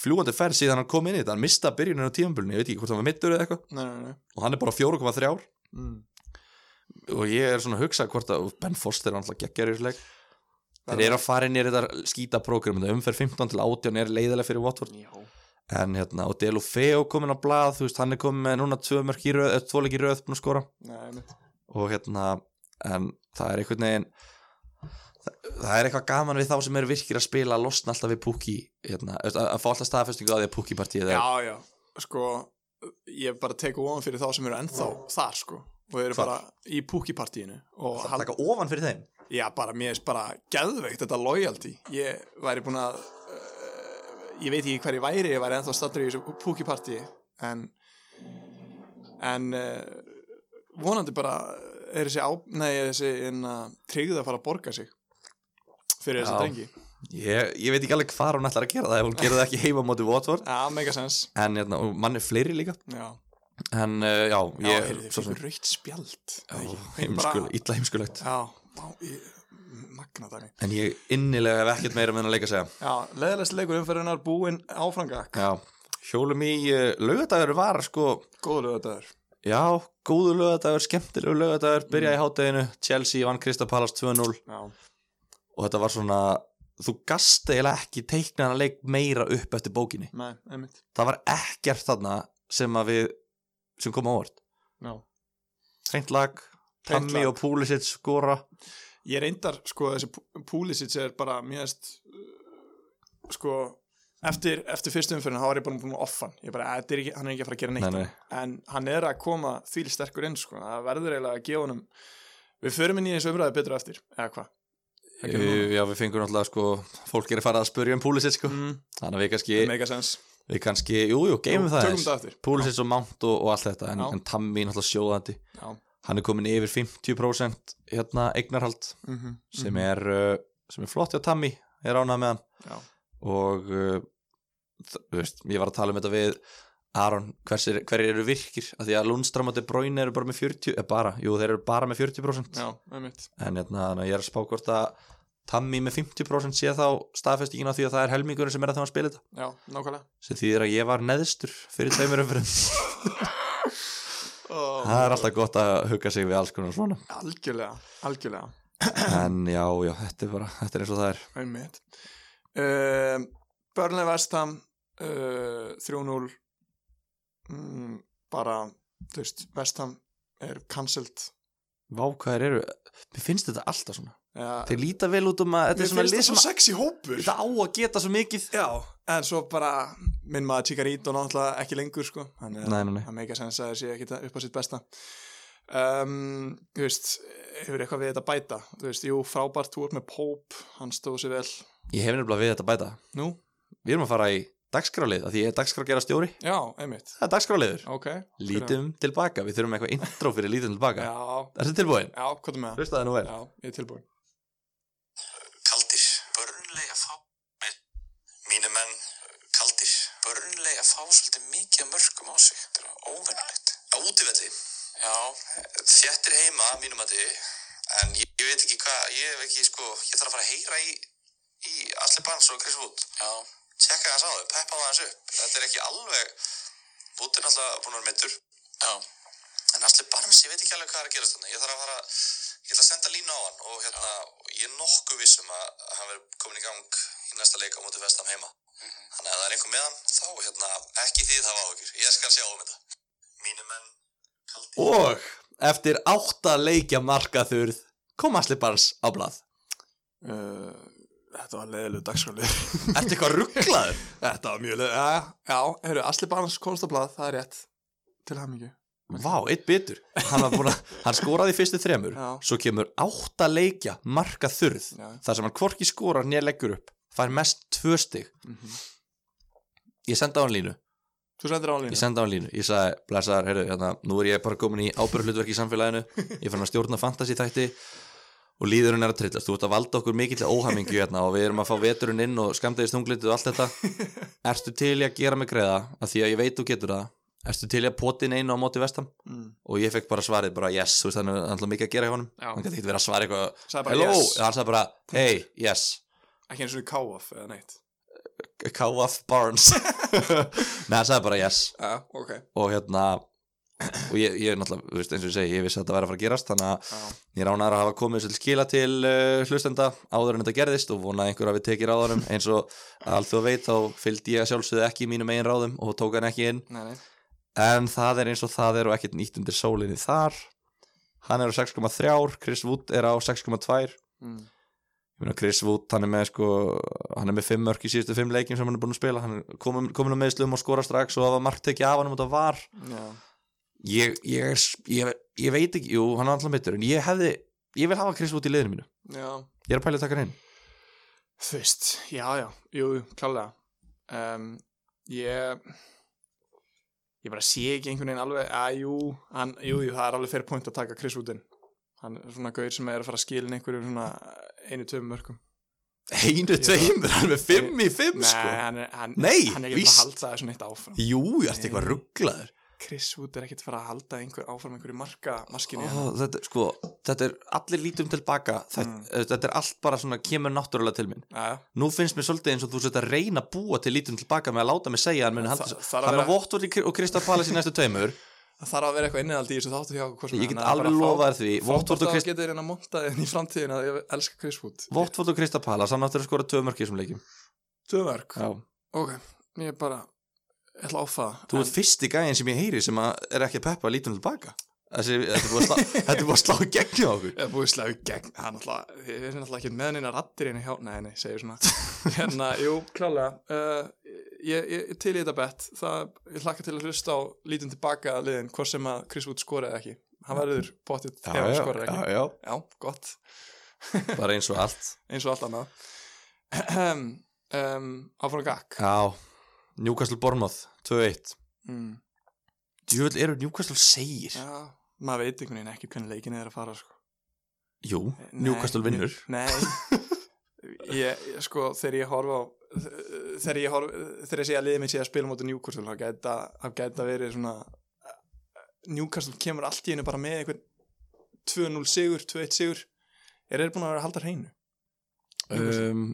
fljúandi ferð síðan hann kom inn í þetta hann mista byrjunum á tímanbölinu, ég veit ekki hvort hann var mittur eða eitthvað
Nei, nei, nei.
og hann er bara á 4,3 ár
Mm.
og ég er svona að hugsa hvort að Ben Foster er alltaf geggjari í þessu leik
Það
þeir eru að fara inn í þetta skítaprógram þetta umferð 15 til 18 er leiðilega fyrir Votford
Já.
en hérna, og Delu Feo komin á blað þú veist, hann er komin með núna tvö mörk í röð, tvö leik í röð búin að skora
Nei, einmitt.
og hérna en það er einhvern veginn það, það er eitthvað gaman við þá sem eru virkir að spila að losna alltaf við púki hérna, þú veist, að, að fá alltaf staðfestingu að því að púkipartíð er
Já, já. Sko, ég bara teku ofan fyrir þá sem eru ennþá þar, sko. Og eru
Hvar?
bara í púkipartíinu. Og
að taka ofan fyrir þeim
Já, bara, mér er bara geðveikt þetta loyalty. Ég væri búin að, uh, ég veit ekki hver ég væri, ég væri ennþá stattur í þessu púkiparti, en, en uh, vonandi bara er þessi, á, nei, er þessi inna, tryggð að fara að borga sig fyrir
Já.
þessi drengi.
ég, ég veit ekki alveg hvað hún ætlar að gera það ef hún gerir það ekki heima á móti Votvort
Já, mega sens.
en hérna, og mann er fleiri líka
Já,
en uh, já,
já,
ég
heyrðu, þið
svo sem-
fyrir raukt spjald.
Já,
Nei, ég-
heimskul,
bara-
illa heimskulegt
Já, bá, ég, magna dæmi.
en ég innilega hef ekkert meira með hann að leika að segja
Já, leðilegst leikur umferðunar búinn áfrangak.
já, hjólum í uh, lögadagur var sko
Góður lögadagur.
Já, góðu lögadagur, skemmtilegu lögadagur byrjaði í hátteginu, Chelsea vann Krista Palace 2-0
Já.
og þetta var svona þú gast eiginlega ekki teiknaðan leik meira upp eftir bókinni
Nei, einmitt.
það var ekkert þarna sem að við sem kom á orð
Já.
hreint lag,
Hreint
Tammy
lag.
og Pulisic skora
Ég reyndar, sko, þessi Pú- Pulisic er bara, mér veist, uh, sko, eftir, eftir fyrstu umfyrin, þá var ég bara búin að offa hann. Ég bara, "Æ, þetta er ekki, hann er ekki að fara að gera neitt.
nei, nei.
En hann er að koma því sterkur inn, sko, það verður eiginlega að gefa honum, við förum inn í þessu umræðu betur á eftir, eða hvað? Það gerum við
Uh, já, við fengum náttúrulega sko fólk er að fara að spurja um Pulisic sko.
Mm,
þannig að við kannski,
það meika sens.
við kannski jú, jú, geymum það
Tökum
aðeins.
þetta aftur.
Pulisic og Mount og, og allt þetta en,
Já.
en Tammy náttúrulega sjóðandi
Já.
hann er komin yfir 50% hérna eignarhald
Mhm,
sem
mhm.
er, uh, sem er flott hjá Tammy ég ránað með hann
Já.
og uh, þ- þú veist, ég var að tala um þetta við Aron, hversir, hverjir eru virkir af því að Lundstram og De Bruyne eru bara með 40 eh, bara, jú, þeir eru bara með 40%
Já, einmitt.
en hérna, þannig að ég er að spá hvort að Tammy með 50% sé þá staðfestingin á því að það er helmingurinn sem er að það að spila þetta
já, nákvæmlega
sem þýðir að ég var neðstur fyrir tveimur umfyrir
*laughs* oh,
það er alltaf gott að hugga sig við alls konar svona
algjörlega, algjörlega
en já, já, þetta er bara, þetta er eins og það er
einmitt um, Burnley Vestam uh, 3-0 mm, bara þú veist, Vestam er cancelled
vákvæðir eru, mér finnst þetta alltaf svona
ja,
þeir líta vel út um að þetta er svona lið sem að-
sexy hópur
þetta á að geta svo mikið
já, en svo bara minn maður Chicarito náttúrulega ekki lengur sko hann er
nei, nei, nei,
það meika sens að það sé ekki upp á sitt besta um, þú veist hefur eitthvað við þetta að bæta þú veist, jú, frábært, þú ert með Pope hann stóð sér vel
ég hef nefnilega við þetta að bæta
nú,
við erum að fara í dagskrálið, af því ég er dagskrágera stjóri
já, einmitt,
það er dagskráliður,
ok um
lítum tilbaka við þurfum eitthvað intro fyrir lítum tilbaka
já,
er þetta tilbúin?
já, hvað er með það?
Hlusta það nú vel
já, ég er tilbúin
Kaldir Börnlega fá með- Mínu menn eh, Kaldir Börnlega fá svolítið mikið af mörgum á sig Þetta er óvennulegt Á útivelli Já, þjættir heima mínum að þið En ég, ég veit ekki hvað Ég hef ekki sko Ég þarf að fara að heyra í Í Asli Barnes og Chris Wood Já Tjekka þess á þau Peppa það aðeins upp Þetta er ekki alveg Wood er náttúrulega búin að vera meittur Já En Asli Barnes, ég veit ekki alveg hvað er að gerast þannig Ég þarf að fara Ég ætla að senda línu á hann og hérna, og ég er nokkuð vissum að hann verður komin í gang í næsta leik á móti vestam heima. Þannig að ef það er einhver með hann, þá hérna, ekki þið hafa áhugir. Ég skal sjá um þetta. Mínu menn, kaldi.
og eftir átta leikja markaþurð kom Asli Barnes á blað
uh, þetta var leiðilegu dagskáli
Ertu eitthvað
*laughs*
rugglaður?
þetta var mjög leiðilegu, já, *laughs* já, hefur Asli Barnes konstablað, það er rétt til hamingju
Vá, eitt bitur Hann, var búinn að, hann skoraði í fyrstu þremur
Já.
Svo kemur átta leikja markaþurð
Já.
Þar sem hann hvorki skorar nér leggur upp Fær mest tvö stig
Mhm.
Ég sendi á hann línu
þú sendir á hann
Ég
línu
sendi á hann línu Ég sagði, blessaðar, heyrðu, hérna, nú er ég bara komin í ábyrðhlutverk í samfélaginu Ég fann að stjórna fantasy þætti Og líðurinn er að trillast Þú ert að valda okkur mikill óhamingju hérna Og við erum að fá veturinn inn og skamdegist unglitið og allt
*laughs*
þetta Ertu til í að gera mig greiða Af því að ég veit þú getur það Ertu til í að potin einu á móti vestam
Mm.
Og ég fekk bara svarið bara yes Þú veist hann er alltaf mikið að gera hjá honum
Já.
Hann gæti ekki verið að svara eitthvað
Sagði bara
Hello,
yes.
hann sagði bara hey, yes
ekki eins og í káaf eða neitt
K.F. Barnes Nei, hann sagði bara yes
já, ok,
og hérna og ég, ég er náttúrulega, þú veist, eins og ég segi, ég vissi að þetta væri að fara að gerast þannig að
já,
ég ránar að hafa komið þessu til skila til uh, hlustenda áður en þetta gerðist og vonaði einhver að við tekir ráðanum eins og allt þú veit þá fylgdi ég að sjálfsögðu ekki mínum eigin ráðum og tók hann ekki inn
nei, nei
en það er eins og það er og ekkert nýtt undir sólinni þar hann er á 6,3 Chris Wood er á 6,2 ég
mm.
meina Chris Wood, hann er með sko hann er með 5 mörk í síðustu 5 leikjum sem hann er búin að spila hann er komin, komin á meðslum og skora strax og það var margt ekki af hann um þetta var
já,
ég, ég, er, ég, ég veit ekki, jú, hann er alltaf mittur en ég hefði, ég vil hafa Chris út í liðinu mínu
já
ég er að pæla að taka hann inn
Þú veist, já, já, jú, jú, klálega um, Ég Ég bara sé ekki einhvern veginn alveg að jú, hann, jú, jú, það er alveg fyrir point að taka Chris út inn Hann er svona gaur sem er að fara að skilin einhverjum svona einu töfum mörgum
einu, tveimur, hann er með fimm í fimm
Nei,
sko.
hann er, hann,
Nei,
hann er ekki
víst.
að halda þessu neitt áfram
jú, ég ert eitthvað rugglaður
Chris Wood er ekkert að fara að halda einhver áfram einhverju marka maskinu
Ó, þetta, sko, þetta er allir lítum tilbaka þetta,
Mm.
þetta er allt bara svona kemur náttúrulega til minn
Já,
nú finnst mér svolítið eins og þú sett að reyna að búa til lítum tilbaka með að láta mig segja að hann muni halda
Það-
þessu.
það er að
hann
vera-
á Votvort og Kristaf Palas í næstu
*laughs*
tveimur
það þarf að vera eitthvað innihaldi í þessu þáttu hjá okkur hvort sem
ég
er,
get
en það er bara
alveg
fá-
lofað þér því
Frábært
Votvort og
að
Krist-
geta reyna að monta þenni í framtíðin að ég elska Chris Wood
Votvort og Kristaf Palas hann áttur að skora tvö mörk í þessum leikjum
Töðverk
já
Ok, ég er bara ég ætla að áfa það.
Þú ert fyrsti gæðin sem ég heyri sem að er ekki að peppa lítum tilbaka Þessi, þetta er búið að
*laughs*
slá, þetta er búið að slá gegn hjá okkur
Ég er búið slæðu gegn hann alltaf, ég er alltaf ekki með neina rattir hérna hjá, nei, nei, segir
*laughs*
svona hérna, jú, klálega uh, ég, ég, ég til í þetta bett það, ég hlakka til að hlusta á lítum tilbaka liðin, hvort sem að Chris Wood skoraði ekki hann verður bóttið ef hann skoraði ekki
já,
já, gott,
bara eins og allt
eins og allt annað um, áfram gakk
Já, Newcastle Bournemouth 2-1
mm,
Djúvel eru Newcastle segir
já, maður veit einhvern veginn ekki hvernig leikin er að fara sko.
Jú,
Nei,
Newcastle
mér-
vinnur
Nei
*laughs*
ég, ég- sko, þegar ég horfa á þegar ég horfa þegar ég sé að liðið mitt sé að spila móti Newcastle þá gæta, þá gæta verið svona Newcastle kemur allt í hennu bara með einhvern 2-0 sigur, 2-1 sigur er þeir búin að vera að halda hreinu
um,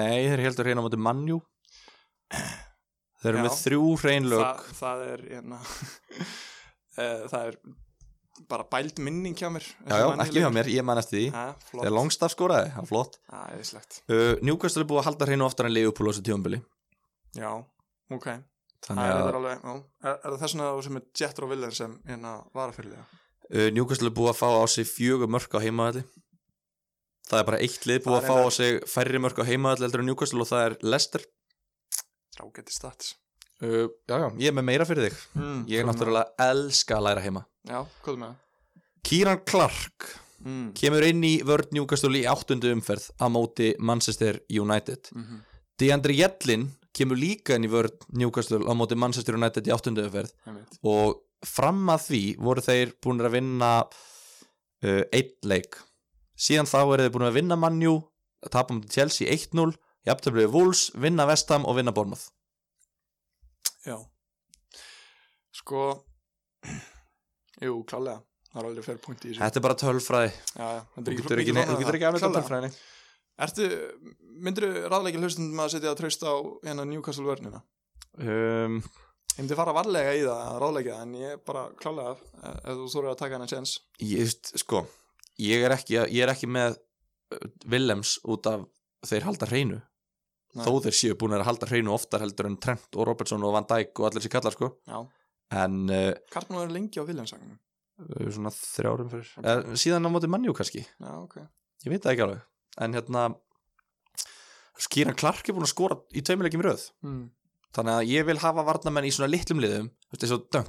Nei, þeir heldur hreina á móti mannjú Þeir eru
Já.
með þrjú hreinlög
það, það er hérna, *laughs* eh, það er bara bæld minning hjá mér
Já, já, ekki hjá mér, ég mannast því
ha, flott,
Þegar Longstaff skoraði, hann flott
ha, eðislegt
uh, Newcastle er búið að halda hreinu oftar en Leopold á þessu tjómbili
já, ok það
Þannig
er,
að
reyndar alveg, já. er, er það þess vegna þú sem er Jetro Villen sem hérna var að fyrir það
uh, Newcastle er búið að fá á sig fjögur mörk á heimaðalli Það er bara eitt lið
Það
búið að
er
fá á
reyndar-
sig færri mörk á heimaðalli heldur en Newcastle og það er Leicester
ágæti stats
uh, Já, já, ég er með meira fyrir þig
mm,
Ég er náttúrulega elska að læra heima
já, hvað er með
Kieran Clark
það mm.
kemur inn í vörð Newcastle í áttundu umferð á móti Manchester United
mm -hmm.
Deandre Jellin kemur líka inn í vörð Newcastle á móti Manchester United í áttundu umferð og fram að því voru þeir búin að vinna uh, einn leik síðan þá eru þeir búin að vinna mannjú tapa mútið Chelsea 1-0 jafntöflið Wolves, vinna Vestam og vinna Bournemouth
já sko jú, klálega það er alveg fyrir punkt í þessu
Þetta er bara tölfræði
já, já, þetta
Þú
er
getur ekki,
mikið flóknara
ne- þú
en
getur
það.
ekki afnætt
Klárlega.
tölfræðinni
Ertu, myndir þú ráðleika hlustundum að setja traust á hérna Newcastle vörnina?
um,
Ég myndi fara varlega í það að ráðleika það en ég er bara klálega eh, ef þú þórir að taka hennar sjens.
ég, veist, sko, ég, er ekki, ég er ekki með uh, Willems út af þeir halda hreinu
Nei.
þó þeir séu búin að halda hreinu oftar heldur en Trent og Robertson og Van Dijk og allir sér kallar sko
Já.
en uh,
Karpnú er lengi á Viljansagnum.
svona þrjárum fyrir okay. síðan á móti mannjú kannski,
Já, ok.
ég veit það ekki alveg en hérna Kieran Clark er búin að skora í tveimilegjum röð
Mm.
þannig að ég vil hafa varnamenn í svona litlum liðum þú veist, eins og döng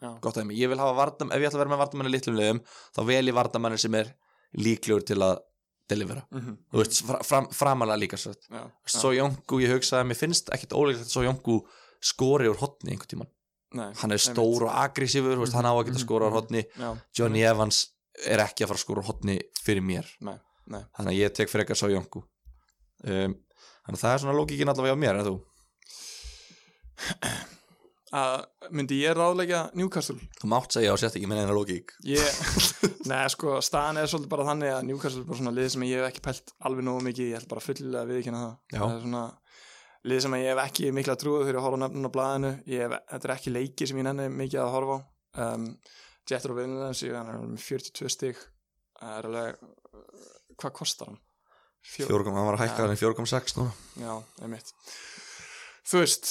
Já.
gott að ég vil hafa varnamenn, ef ég ætla að vera með varnamenn í litlum liðum þá vel ég varnamenn sem er líklegur til að delivera
Mm -hmm.
þú veist, fra, fram, framalega líka svo
Já.
svo Jónku, ég hugsaði að mér finnst ekkit ólíklegt að svo Jónku skori úr hotni einhvern tíman,
Nei.
hann er
einmitt.
stór og aggressífur, þú veist, hann á að geta
Mhm,
skora úr
mhm.
hotni
Já.
Johnny Evans er ekki að fara að skora úr hotni fyrir mér,
Nei, nei.
þannig að ég tek frekar svo Jónku um, þannig að það er svona lókikin allavega á mér, en þú
Uh, myndi ég ráðleika Newcastle?
þú mátt segja og sett ekki með eina lókik
Ég, *laughs* nei, sko, staðan er svolítið bara þannig að Newcastle er bara svona lið sem ég hef ekki pælt alveg nógu mikið, í, ég held bara fyllilega að viðkynna það.
Já.
Það er svona lið sem ég hef ekki mikla trúið fyrir að horfa á nöfnun á blaðinu, ég hef, þetta er ekki leiki sem ég nenni mikið að horfa á. Um, Jettur og Viljans, ég hann er með 42 stig, það er alveg, hvað kostar hann? Fjó-
Fjórkom, hann var að hækka hann í 4,6 núna
Já, einmitt. Þú veist,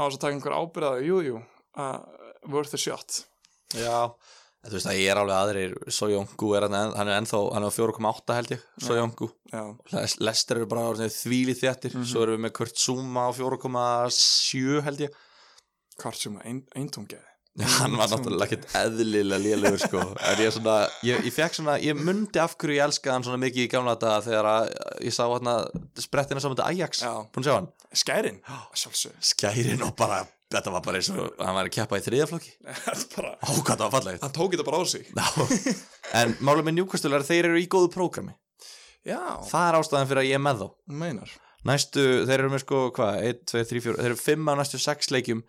á þess að taka einhver ábyrðaði, jú, jú, uh, worth a shot.
Já Þú veist að ég er alveg aðrir Sojóngu er hann, hann er ennþá, hann er á 4,8 held ég Sojóngu,
Já,
Lester eru bara orðnir þvílið þjættir,
Mhm.
svo erum við með Kurt Zuma á 4,7 held ég
hvort sem að ein, eintungiði.
*laughs* Hann var náttúrulega ekkert eðlilega lélugur sko, en ég svona ég, ég fekk svona, ég mundi af hverju ég elskaði hann svona mikið í gamla daga þegar að ég sá hann að sprettina saman til Ajax
Já.
Búin að sjá hann? *gasps*
Skærin, *laughs* sjálfsög
Skærin og bara, þetta var bara eins og hann var að keppa í þriðaflokki
bara,
Ó, hvað það var fallegt
Hann tók þetta bara á sig
Já, en málum með Newcastle er að þeir eru í góðu prógrami
Já,
Það er ástæðan fyrir að ég er með þá
hún meinar
Næstu, þeir eru með sko, hvað, 1, 2, 3, 4 Þeir eru 5 af næstu 6 leikjum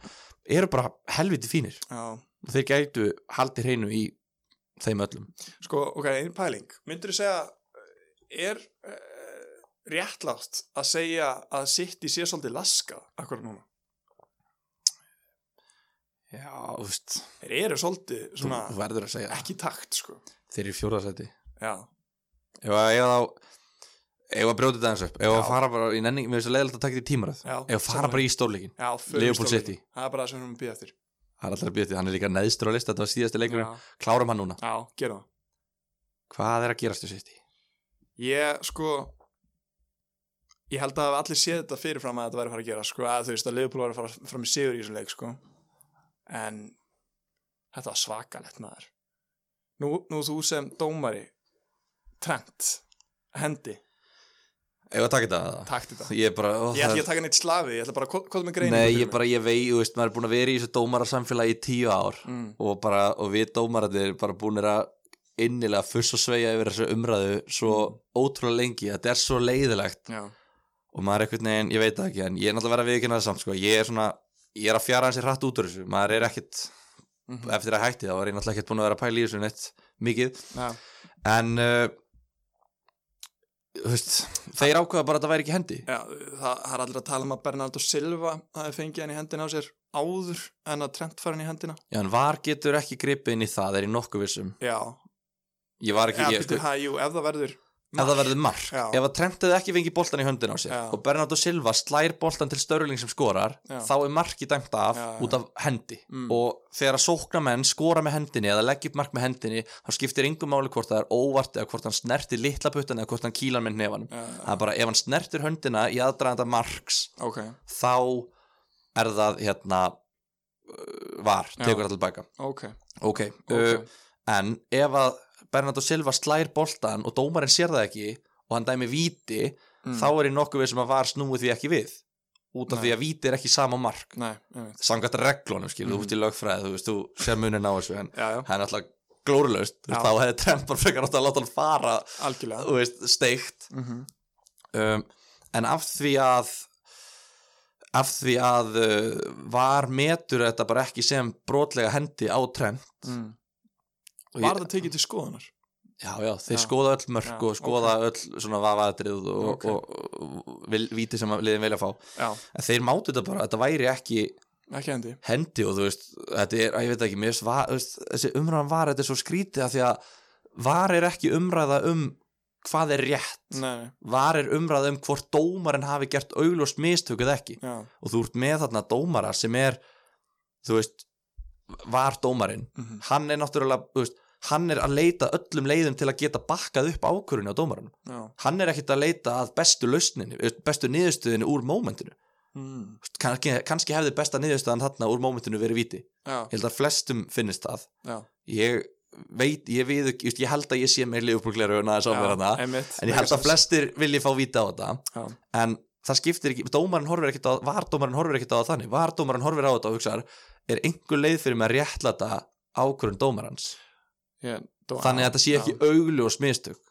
Eru bara helviti fínir
Já.
Þeir gætu haldið hreinu í þeim öllum
Sko, ok, einn pæling Myndur þú segja er uh, réttlátt að segja að City sé svolítið laskað akkur núna?
Já, þú veist
Þeir eru svolítið
Þú
svona
þú verður að segja það.
ekki í takt, sko
Þeir eru í fjórðasæti
Já,
Ef að ég þá Ef að brjóta þetta eins upp Ef að
Já.
fara bara í nenning Mér finnst að leiðilegt að taka þetta í tímaröð
Já,
Ef að fara
sammála.
bara í stórleikin
já förum
Liverpool
stórleikin.
City.
Það er bara það sem við erum að býða eftir
Það er alltaf að býta Hann er líka neðstur á lista Þetta var síðasti leikur
Já,
Klárum hann núna
já gerum það
Hvað er að gerast þessi
Ég, sko Ég held að allir séð þetta fyrirfram að þetta væri að fara að gera sko, að þú veist að Liverpool var að fara fram í sigur í þessum leik sko. en þetta var svakalett maður nú, nú þú sem dómari Trent hendi,
Ef að taka þetta
takt þetta
Ég er bara ó,
ég ætla
það-
ekki að taka neitt slafi, ég ætla bara að ko- koma með greinu
Nei, ég bara, ég vei, þú veist, maður er búin að vera í þessu dómarasamfélagi í tíu ár
mm,
og bara, og við dómararnir bara búin að innilega fuss og sveia yfir þessu umræðu svo
Mm.
ótrúlega lengi, þetta er svo leiðilegt
já,
og maður er einhvern veginn, ég veit það ekki, en ég er náttúrulega að vera að viðkynna það samt, sko, ég er svona ég er að fjara hans í hratt út úr þessu, maður er ekkit
Mhm.
eftir að hætti þá er ég náttúrulega ekkert búin að vera að pæla í þessu neitt mikið,
já,
en uh, eh, þú veist, þeir ákveða bara að það væri ekki hendi
Já, það, það er allir að tala um að Bernardo Silva hafi fengið hann í hendina á sér áður en að Trent fara hann í hendina
Já, en var getur ekki gripið inn í það er í nokkuð vissum
Já,
Ég var ekki,
eða
ég,
býttu,
sko,
hæ, jú, ef það verður
ef það verður mark
Já.
Ef að Trent hefði ekki fengið boltan í höndin á sér
Já.
og Bernardo Silva slær boltan til Störling sem skorar
Já.
þá er marki dæmt af
Já, já.
út af hendi
Mm.
og þegar að sókna menn skora með hendinni eða leggja upp mark með hendinni þá skiptir yngum máli hvort það er óvart eða hvort hann snertir litla puttan eða hvort hann kýlar með nefanum
Já,
Það er bara ef hann snertir höndina í aðdraðanda marks
ok,
þá er það hérna uh, var,
Já.
tekur það tilbaka
ok,
ok,
okay.
Uh, en ef að Bernardo Silva slær boltan og dómarinn sér það ekki og hann dæmi víti
Mm.
þá er í nokkuð við sem að var snúið því ekki við út
Nei.
af því að víti er ekki sama mark
Nei, einmitt
samkvæmt reglunum skilur,
Mhm.
þú ert í lögfræði þú veist, þú sér munin á þessu en
Já, já,
það er náttúrulega glórulaust þú veist,
Já.
þá hefði trempar frekar átt að láta hann fara
algjörlega
þú veist, steikt
mm -hmm.
um, en af því að af því að uh, var metur þetta bara ekki sem brotlega hendi á trend
mm.
Og
Var
ég-
það tekið til skoðunar?
já, já, þeir
Já.
skoða öll mörk
Já,
og skoða öll svona vafaðatrið og,
Ok.
og, og, og vil, víti sem að liðin vilja fá
Já,
en þeir mátu þetta bara, þetta væri ekki
ekki hendi
hendi og þú veist, þetta er, að ég veit ekki mér, finnst va- þú veist, þessi umræðan var, þetta er svo skrítið af því að var er ekki umræða um hvað er rétt
Nei, nei,
var er umræða um hvort dómarinn hafi gert augljóst mistök eða ekki
já,
og þú ert með þarna dómara sem er þú veist, var dómarinn
Mhm.
hann er náttúrulega, þú veist hann er að leita öllum leiðum til að geta bakkað upp ákvörunni á dómarann
já
hann er ekkit að leita að bestu lausninni þú veist, bestu niðurstöðinu úr mómentinu
mm.
Þú veist, kannski, kannski hefði besta niðurstöðan þarna úr mómentinu verið viti ég
Já,
held að flestum finnist það
já,
ég veit, ég við, ég, veist, ég held að ég sé meir liðupúrgleru en aðeins á mér
já,
hana
einmitt
en ég held að flestir vilji fá vita á þetta
Já,
en það skiptir ekki, dómarinn horfir ekkit á vardómarinn horfir ekkit á það þannig, vardómarinn horfir á þetta og hugsar, er einhver leið fyrir mig að réttlæta ákvörðun dómarans
ég, dó,
þannig að þetta sé ekki
já.
augljós mistök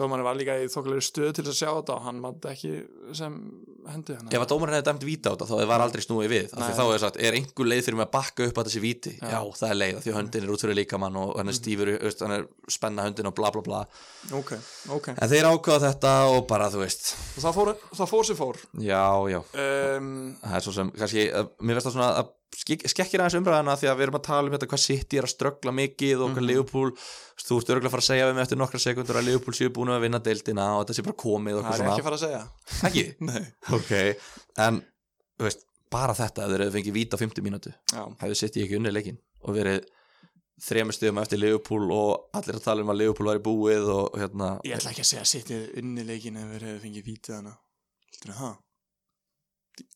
Dómarinn var líka í þokkulegur stöð til þess að sjá þetta og hann maður ekki sem hendi hann
ef að dómarinn hefði dæmt víta á þetta, þá hefði var aldrei snúið við af
Nei.
því þá hefði sagt, er einhver leið fyrir mig að bakka upp að þetta sé víti,
Já.
já, það er leið af því að höndin er út fyrir líkamann og hann er stífur þú veist, hann er spenna höndin og bla bla bla
Ok, ok
en þeir ákvaða þetta og bara, þú veist
Og það fór, það fór sem fór
já, já,
um,
það er svo sem kannski, uh, mér veist það svona að skek- skekkir aðeins umræðana því að við erum að tala um þetta hvað City er að ströggla mikið og hvað Liverpool þú ert örgulega að fara að segja við mig eftir nokkra sekundur að Liverpool séu búin að vinna deildina og þetta sé bara komið og
Það
eitthvað
er ekki að
svona
fara að segja
ekki,
Nei
ok en, þú veist, bara þetta ef þeir hefðu fengið víta á 50 mínútu
Já,
hefðu City ekki unnið leikinn og verið þremur stöðum eftir Liverpool og allir að tala um að Liverpool væri búið og hérna, *laughs*
ég ætla ekki að segja að sittið unni leikin ef þeir hefðu fengið vítið hana Heldur það?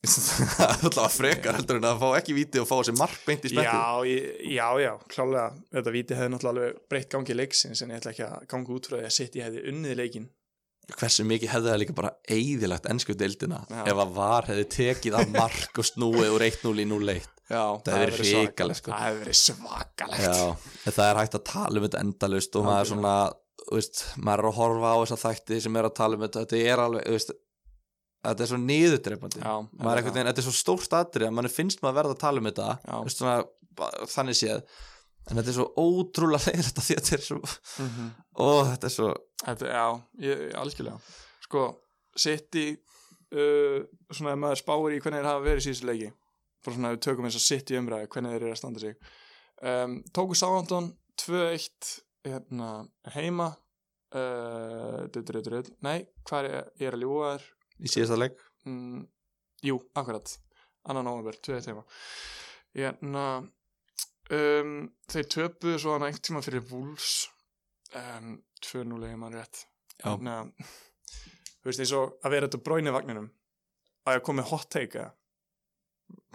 það er alltaf frekar heldur en að fá ekki víti og fá þessi mark beint í smettu
Já, ég- já, já, klálega Þetta vítið hefði náttúrulega alveg breytt gangi leiksins en ég ætla ekki að ganga út frá því að sittið hefði unnið leikin
hversu mikið hefði það líka bara eðilagt ennsku deildina
Já.
ef að var hefði tekið af mark og snúið úr 1-0 í 0-1
Já, það
hefði
hefði
verið
svakalegt.
hrikalegt, sko.
Það hefði verið svakalegt
Já, en það er hægt að tala um þetta endalaust og
Algjörlega.
maður er svona þú veist, maður er að horfa á þessa þætti sem er að tala um þetta, þetta er alveg þú veist, þetta er svo niðurdreifandi
Já,
maður er einhvern veginn, þetta er svo stórt atrið að mann finnst maður verða að tala um þetta
Já.
þú veist, svona, ba- þannig séð en þetta er svo ótrúlega *laughs* leiðilegt af því að þetta er svo,
Mhm.
ó, þetta er svo
Þetta, já, ég, algjörlega Sko, City uh, svona ef maður spáir í hvernig þeir hafa verið síðustu leiki bara svona ef við tökum þess að City umræði hvernig þeir eru að standa sig um, Tóku Sáhandon 2-1 hérna, heima uh, dutt, dutt, dutt, Nei, hvað er ég er að ljúga þér
í síðasta leik *laughs*
mm, Jú, akkurat annan ámur, 2-1 heima Hérna um, Þeir töpuðu svo hann einhvern tíma fyrir Wolves um, 2-0 heima rétt
Já.
Ná, Þú veist eins og að vera þetta bróinu vagninum að ég kom með hot take eða?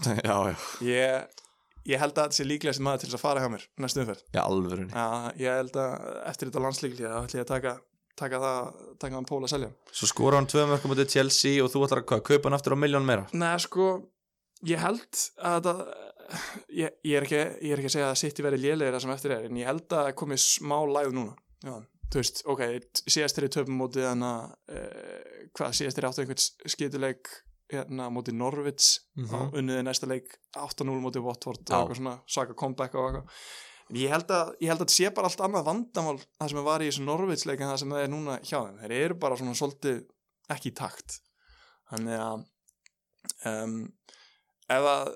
já, já,
ég, ég held að þetta sé líklega sem maður til þess að fara hjá mér næstu umferð
já, alvörunni
Já, ég held að eftir þetta landslíkli þá ætla ég að taka, taka það taka hann pól að selja
Svo skora hann tvö mörgum út í Chelsea og þú ætlar að hvað, kaupa hann aftur á miljón meira
Nei, sko, ég held að þetta ég, ég, er ekki, ég er ekki að segja að City verið lélegir það sem eftir er, en ég held að það komið smá læð núna Já, þú veist, ok, síðast er í töpum móti þannig að eh, hvað, síðast er áttu einhvern skituleik hérna móti Norvits mm
Mhm.
-hmm. unniði næsta leik 8-0 móti Watford og
Já.
eitthvað svona, saka comeback og eitthvað ég held að ég held að þetta sé bara allt annað vandamál það sem var í þessu Norveitsleik en það sem það er núna hjá þeim þeir eru bara svona svolítið ekki í takt þannig að um, ef að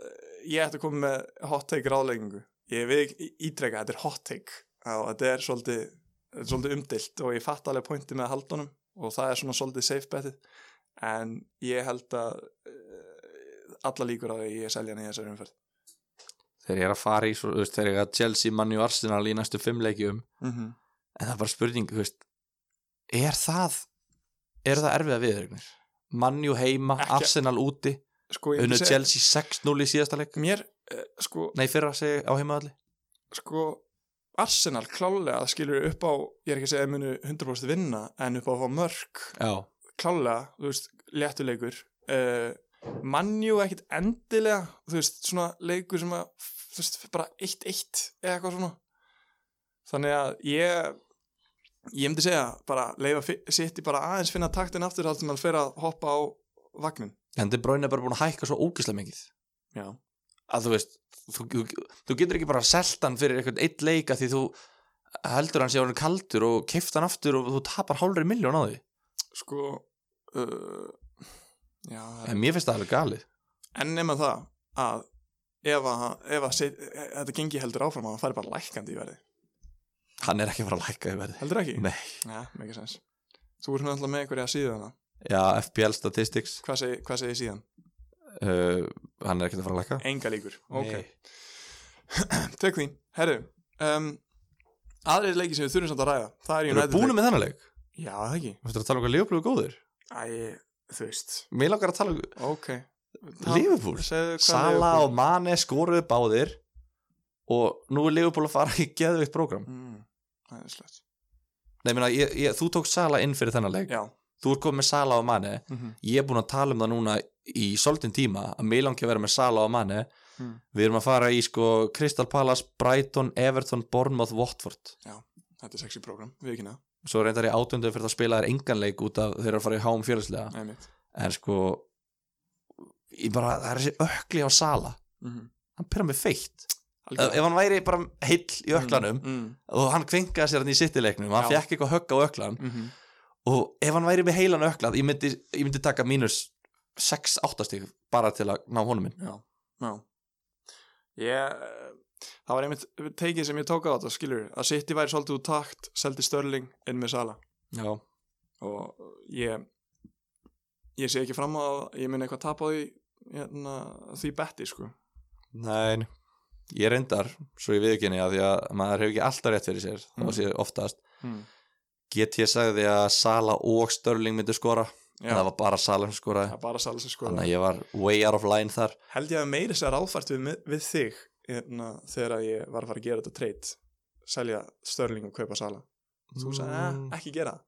ég ætti að koma með hot take ráðleggingu ég við ítreka, þetta er hot take og þetta er svolítið, þetta er svolítið umdilt og ég fatt alveg pointi með haldunum og það er svona svolítið safe betið en ég held að eh, alla líkur á því að ég selja hann í þessari umferð
þeir eru að fara í, svo, þú veist, þeir eru að Chelsea, Manni og Arsenal í næstu fimm leikjum
mm -hmm.
en það er bara spurning, þú veist er það er það erfiða viðregnir? Manni og heima,
Ekki-
Arsenal úti
sko, ég
unnu
myndi segja-
Chelsea 6-0 í síðasta leik
mér, eh, sko,
nei, fyrra segi ég, á heimaðalli
sko Arsenal klálega skilur upp á ég er ekki að segja að þeir munu 100% vinna en upp á að fá mörg
já,
klálega, þú veist, léttuleikur uh, mannjú ekkit endilega, þú veist, svona leikur sem að, þú veist, bara 1-1 eða eitthvað svona þannig að ég ég myndi segja, bara leifa sitt í bara aðeins finna taktin aftur þar sem hann fer að hoppa á vagnin
en De Bruyne er bara búin að hækka svo ógislega mikið
já,
að þú veist, þú, þú, þú getur ekki bara selt hann fyrir eitthvað eitt leika því þú heldur hann sé hann kaldur og keift hann aftur og þú tapar hálfri miljón á því
sko uh, já, það er
en mér finnst það alveg galið
en nema það að ef, að, ef að set, e, þetta gengi heldur áfram að hann fari bara lækandi í verði
hann er ekki að fara að lækka í verði
heldur ekki?
nei,
Já, mikið sens Þú ert náttúrulega með einhverja síðan
já, FPL Statistics
hvað, seg, hvað segir síðan?
uh, hann er ekki að fara að lækka
Enga líkur
Nei.
okay. Tök því, herru um, Aðrið leiki sem við þurfum samt að ræða Það er
Erum við
United
búin með þennan leik?
Já, það ekki
Þú ættir að tala um hvað Liverpool er góður?
Æ, þú veist
Mér langar að tala um
Ok
Liverpool?
Segðu hvað
Sala
um Liverpool-
og Mane skoruðu báðir og nú er Liverpool að fara í geðveikt prógram
mm, Það er slett
Nei, ég meina, ég, ég, þú tók Sala inn fyrir þennan leik
Já
Þú ert komið með Sala og Mane
mm -hmm.
ég er búin að tala um það núna í svolítinn tíma að mig langi að vera með Sala og Mane
Mm.
við erum að fara í sko Crystal Palace, Brighton, Everton, Bournemouth, Watford
Þetta er sexy program, við ekki ná
svo reyndar ég átöndu fyrir að spila þér engan leik út af þeirra að fara í háum fjöluslega
Einmitt
en sko ég bara, það er þessi ökli á Sala
mm
hann pyrra mig feitt ef,
-hmm.
ef hann væri bara heill í öklanum
mm,
og hann kvinkaði sér hann í sittileiknum hann
Já.
fekk eitthvað högg á öklan
mm, mm -hmm.
og ef hann væri með heilan öklað ég myndi, ég myndi taka mínus 6-8 stík bara til að ná honum minn
Já, já. Ég, eh, það var einmitt tekið sem ég tók á þetta, skilur, að City væri svolítið úr takt, seldi Störling inn með Sala
Já.
og ég, ég sé ekki fram á, ég minn eitthvað tapa því, hérna, því betti, sko.
Nein, ég reyndar svo ég viðkynni að því að maður hefur ekki alltaf rétt fyrir sér
Mm.
þá sé oftast
Hmm.
get ég sagði að Sala og Störling myndi skora en
Já,
það var bara Sala sem skoraði
það er bara Sala sem sko.
þannig að ég var way out of line þar
Held ég að meiri sér áfært við, við þig hérna, þegar að ég var að fara að gera þetta treyt, selja Störling og kaupa Sala. Þú sagði, mm.
Mm.
ekki gera það.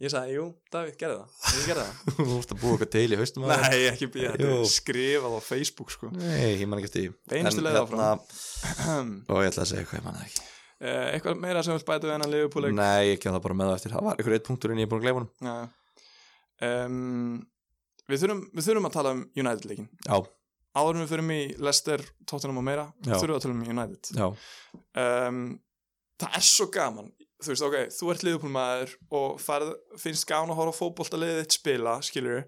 Ég sagði, jú, Davíð, gerði það. Ég gerði það.
*laughs* *laughs* Þú vorst að búa eitthvað til í haustum að
Nei, ekki býja þetta
Jú.
er skrifað á Facebook sko
Nei, ég man ekki eftir því
Beinustu leið áfram.
og ég ætla að segja eitthvað, ég man það ekki
Eh, Eitthvað meira sem vil bæta við hennan liðupúleik
Nei, ég kem það bara með það eftir, það var einhver eitt punktur en ég er búin að gleyma honum
um, við, þurfum, við þurfum að tala um United-leikin
Já,
Áður en við förum í Leicester, Tottenham og meira
Já.
þurfum við að tala um United
já,
um, Það er svo gaman Þú veist, ok, þú ert liðupúlmaður og farð, finnst gaman að horfa á fótboltaliðið þitt spila, skilur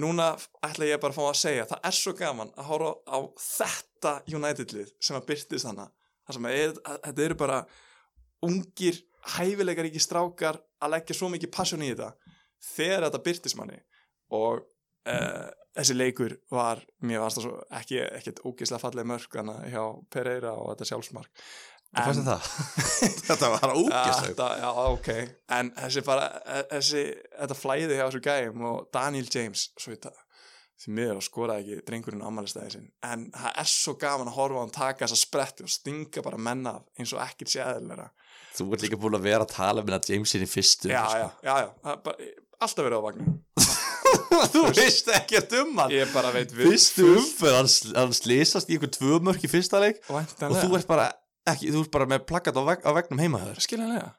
Núna ætla ég bara að fá að segja það er svo gaman að horfa á þetta United-lið sem að byrtist hana það sem að, er, að þetta eru bara ungir, hæfilegar ekki strákar að leggja svo mikið passion í þetta þegar þetta byrtist manni og uh, þessi leikur var, mér varst það svo ekki ekkert ógeðslega falleg mörg hana hjá Pereira og þetta sjálfsmark
hvað fannst
*laughs*
þér það? Þetta var ógeðslega
Þetta, já, ok En þessi bara, e, þessi, þetta flæði hjá þessu gæm og Daniel James svo þetta, því miður að skora ekki drengurinn ámælistæði sinn, en það er svo gaman að horfa á hann taka þessa spretti og stinga bara menna af eins og ekkert sé eðlilega
Þú ert líka búin að vera að tala um með að Jamesin í fyrstu
Já,
sko.
já, *laughs* já, já, það er bara, alltaf verið á vagnin
þú veist ekkert um hann
Ég bara veit við
fyrstu umferð, hann, sl- hann slýsast í einhver tvö mörk í fyrsta leik og þú
Væntanlega,
ert bara ekki, þú ert bara með plakkat á, veg, á vegnum heima hjá þér
skiljanlega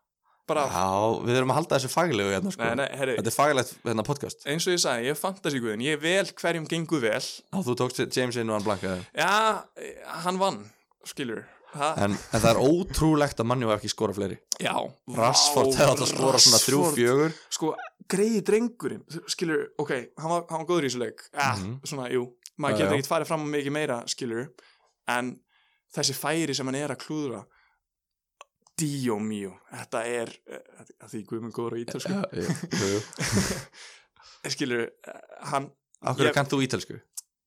Bara,
já, við erum að halda þessu faglegu hérna, sko.
nei, nei, herri,
þetta er faglegt hérna podcast
eins og ég sagði, ég er fantasíkuðin Ég vel hverjum gengur vel
og þú tókst James inn og hann blankaði
Já, hann vann, skilur Ha?
en, en það er ótrúlegt að manni og ekki skora fleiri
Já,
Rashford
vá,
hefði átt að skora svona
Rashford.
3-4
Sko, greiði drengurinn Skilur, ok, hann var, hann var góður í þessu leik ah,
Mhm.
Svona, jú, maður
Já,
getur
já.
ekkert farið fram á mikið meira Skilur, en þessi færi sem hann er að klúðra Díó mío Þetta er, eh, að því guðminn góður á
sko.
ítölsku Skilur, eh, hann
Akkur
Ég-
kannt þú ítelsku?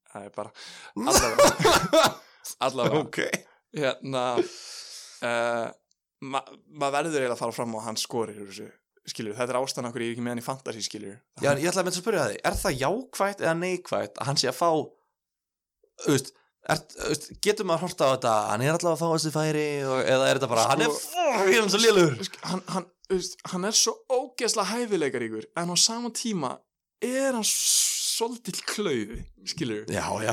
Það er bara Allavega
*laughs*
Allavega Hérna uh, ma Maður verður eiginlega að fara fram á að hann skorir úr þessu Skilur, þetta er ástæðan okkur ég er ekki með hann í fantasy skilur
Já, en ég ætlaði með þess að spyrja það Er það jákvætt eða neikvætt að hann sé að fá Þú veist Er, þú veist, getur maður horta á þetta hann er allavega að fá þessi færi og, eða er þetta bara,
Sko-
hann er fór, ég er svo lélur
Sk- hann, hann, þú veist, hann er svo ógeðslega hæfileikaríkur en á sama tíma er hann s- svolítill klauði skilur
já, já,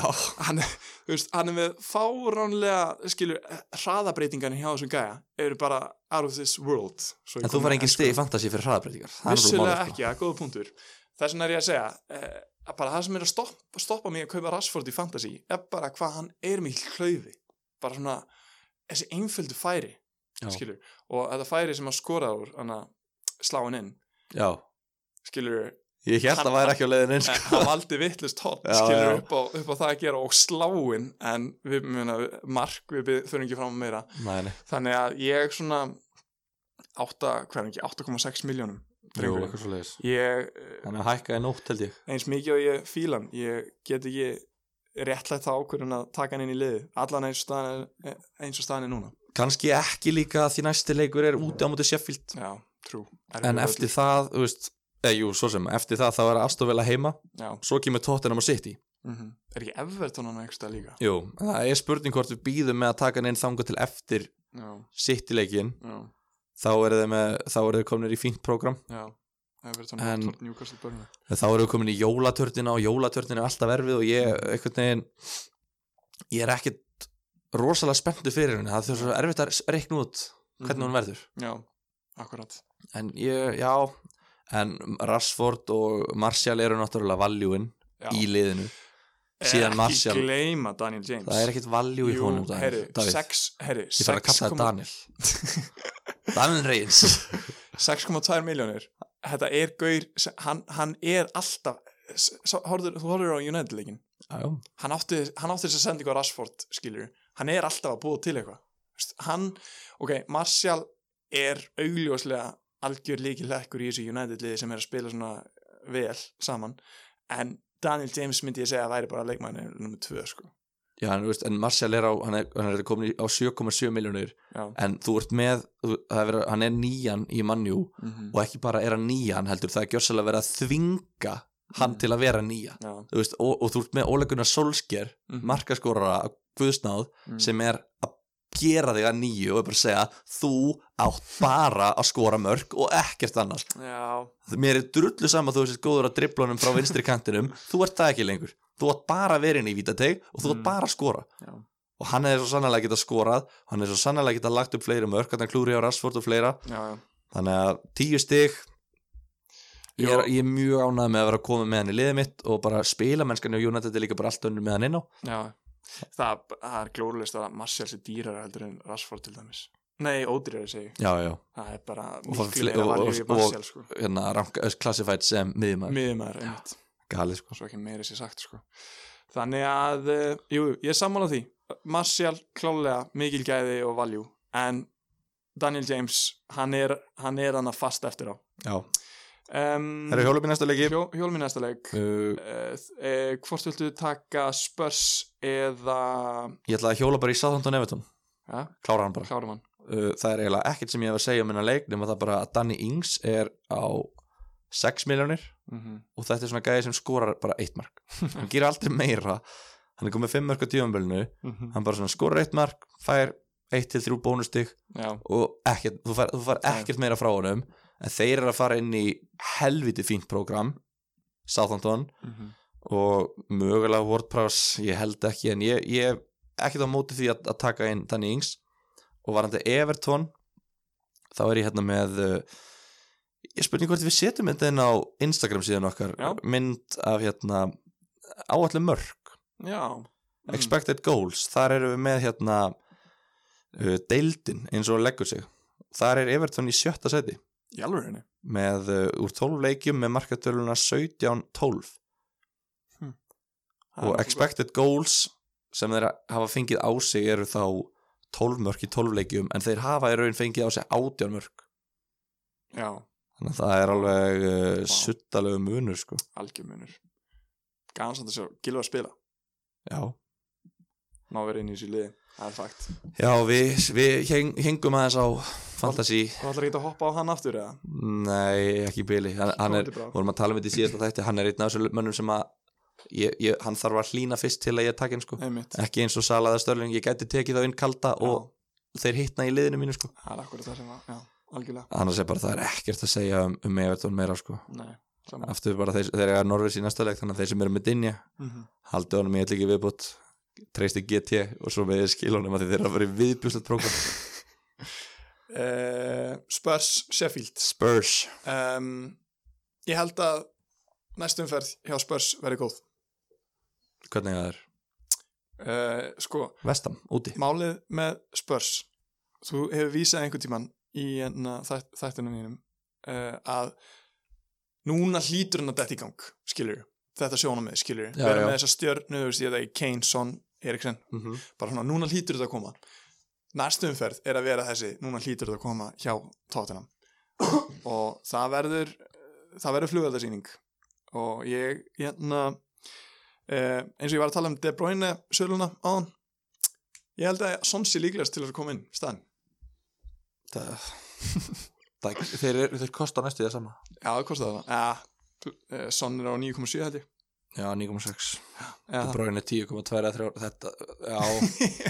hann, er- þú veist, hann er með fáránlega skilur hraðabreitingarnir hjá þessum gæja eru bara out of this world svo ég
en
komi
þú var
með
engin
ensku.
stið í fantasi fyrir hraðabreitingar Það er nú
vissulega
málið, sko.
ekki, það er góða punktur þess vegna er ég að segja eh, að bara það sem er að stoppa, stoppa mig að kaupa Rashford í fantasy er bara hvað hann er mikil klauði bara svona þessi einföldu færi
Já.
skilur, og þetta færi sem að skora úr hana, sláin inn
já,
skilur,
ég held að væri ekki á sko. leiðin eins
eh,
*laughs*
hann valdi vittlust tótt
Já,
skilur
já.
upp á, upp á það að gera og sláin en við muna, mark við bið- þurfum ekki fram að meira
Nei, nei,
þannig að ég svona 8, hvað er hann ekki, 8,6 miljónum
jú,
drengur,
eitthvað svo leiðis
ég eh,
Hann er hækkað í nótt held ég
eins mikið og ég fíla hann ég get ekki réttlætt það ákvörðun að taka hann inn í liði allan eins og staðan er, eh, eins og staðan er núna
Kanski ekki líka því næsti leikur er úti á móti Sheffield
já, trú
En eftir það, þú veist eða, Jú, svo sem, eftir það þá er afstofvela heima
já,
Svo kemur Tottenham og City
mm er ekki Everton hann ekki stað líka
Jú, en það er spurning hvort við býðum með að taka hann inn þangað til eftir
já,
City-leikin
já,
Þá eru þau, með, þá eru þau kominir í fínt prógram
já Everton,
En-
Watford, Newcastle, Burnley
Þá eru þau komin í jólatörnina og jólatörnina er alltaf erfið og ég, einhvern veginn Ég er ekkert rosalega spenntu fyrir henni Það er svo erfitt að reikna út hvernig hún verður
Mhm. já, akkurat
En ég, já En Rashford og Martial eru náttúrulega valjúin
já. Eh,
í liðinu síðan Martial.
ekki gleyma Daniel James
Það er ekkert valjú í
Jú,
honum Davíð.
herri,
Davíð.
sex- herri,
Ég þarf að kalla það
6,2
Daniel
*laughs*
Daniel Reyns
6,2 miljónir þetta er gaur, sem- hann, hann er alltaf s- sá- horfður- þú horfður á United-leikin
*laughs* Já,
hann átti, hann átti þess að senda ykkur Rashford skilur, hann er alltaf að búa til eitthvað Þú veist, hann, ok, Martial er augljóslega algjör líki lekkur í þessu United liði sem er að spila svona eh, vel saman en Daniel James myndi ég segja að væri bara leikmæni nummer 2 sko
Já, en, þú veist, en Martial er á hann er, hann er komin í- á 7,7 miljónir
Já.
en þú ert með þú- það er, verið- hann er nýjan í mannjú
mm -hmm.
og ekki bara er hann nýjan heldur það er gjössalega verið að þvinga hann
Mm.
til að vera nýja
Já,
Þú veist, og, og þú ert með ólegunar solsker
Mhm.
markaskorara af Guðsnáð
Mm.
sem er að gera þig að nýju og er bara að segja þú átt bara að skora mörg og ekkert annars
já,
mér er drullu saman þú sést góður á driblunum frá vinstri
*laughs*
kantinum þú ert það ekki lengur, þú átt bara að vera inn í vítateg og þú átt
Mm.
bara að skora
Já.
og hann er svo sannlega getað skorað hann er svo sannlega getað lagt upp fleiri mörk hann klúri á Rashford og fleira
já, já.
þannig að tíu stig ég er,
Jó.
ég er mjög ánægð með að vera að koma með hann í liðið mitt og bara spila mennskan og United er líka bara allt önnur með hann inn á
já. Það, það er glórulegst að Martial sé dýrar heldur en Rashford til dæmis nei, ódýrari segi, ég.
já, já,
það er bara
Og það
miklu
fle-
meira
og-
valjú í
og-
Martial sko
hérna ranka, classified sem miðjumæður,
miðumæður, einmitt
galið sko
svo ekki meira sér sagt sko. þannig að, eh, jú, ég er sammála því Martial klálega mikil gæði og valjú, en Daniel James, hann er hann er hann að fast eftir á
já,
um,
það eru hjólum í næsta leiki
hjó, hjólmi næsta leik uh,
Uh,
uh, hvort viltu taka Spurs eða
ég ætla að hjóla bara í Southampton Everton
ja,
klára hann bara
klárum hann
uh, það er eiginlega ekkert sem ég hef að segja um hennar leik nema það bara að Danny Ings er á 6 miljónir
mm -hmm.
og þetta er svona gæði sem skorar bara eitt mark hann gerir aldrei meira hann er komið 5 mark á tífambölinu hann bara svona skorar eitt mark, fær 1-3 bónustig
já,
og ekkert, þú fær, þú fær
Nei.
ekkert meira frá honum en þeir eru að fara inn í helviti fínt prógram Southampton
mm -hmm.
og mögulega WordPress ég held ekki en ég, ég hef ekkert á móti því að, að taka inn Danny Ings og varandi Everton þá er ég hérna með uh, ég spurning hvort við setjum þetta inn á Instagram síðan okkar
Já.
mynd af hérna áallu mörg
já Mm.
expected goals, þar erum við með hérna uh, deildin eins og hann leggur sig þar er Everton í sjötta seti
í alveg henni
með, uh, úr 12 leikjum með markatöluna 17-12 og expected goals sem þeir hafa fengið á sig eru þá 12 mörg í 12 leikjum en þeir hafa í raun fengið á sig 18 mörg
já,
þannig að það er alveg uh,
Vá.
suttalegu munur sko
algjörmunur gaman samt að sjá Gilva að spila
já,
ná verið inn í þessu liði það er fakt
já við, við heng, hengum aðeins á fantasy
þú ætlar ekki að hoppa á hann aftur eða
nei, ekki Billy hann, hann er,
Komandi bráð.
vorum að tala um þetta í síðasta þætti hann er einn af þessu mönnum sem að ég, ég, hann þarf að hlína fyrst til að ég taki hann sko
einmitt
ekki eins og salaða störling, ég gæti tekið þá inn kalda og þeir hittna í liðinu mínu sko
það er akkurat það sem var já, algjörlega
annars er bara það er ekkert að segja um, um Everton meira sko
nei, saman
aftur bara þeir, þeir eru Norvis í næsta leik þannig að þeir sem eru með Dinja
mm
haldi honum í eitthvað ekki viðbútt treysti GT og svo með skilunum að þeir eru að vera í viðbjúslet prógram
Eh, Spurs Sheffield
Spurs
um, ég held að næstumferð hjá Spurs verði góð
hvernig það er
uh, sko,
Vestam úti
málið með Spurs þú hefur vísað einhvern tíman í hérna þætt, þættunum mínum uh, að núna hlýtur hann að detta í gang skilur, þetta sjónum með skilur
Já,
vera
já.
með þessa stjörnu, þú veist ég þetta í Kane, Son, Eriksen,
mm -hmm.
bara svona núna hlýtur þetta að koma næstu umferð er að vera þessi núna hlýtur þetta að koma hjá Tottenham og það verður það verður flugöldarsýning og ég hérna eh, eins og ég var að tala um De Bruyne söluna áðan ég held að Sons er líklegast til að koma inn í staðinn,
það, *laughs* það, þeir, eru- þeir kosta næstu í það sama
já það kostar það ja, eh, Son er á 9,7 held ég
já 9.6
ja,
Bráin er 10.23 þetta já *laughs*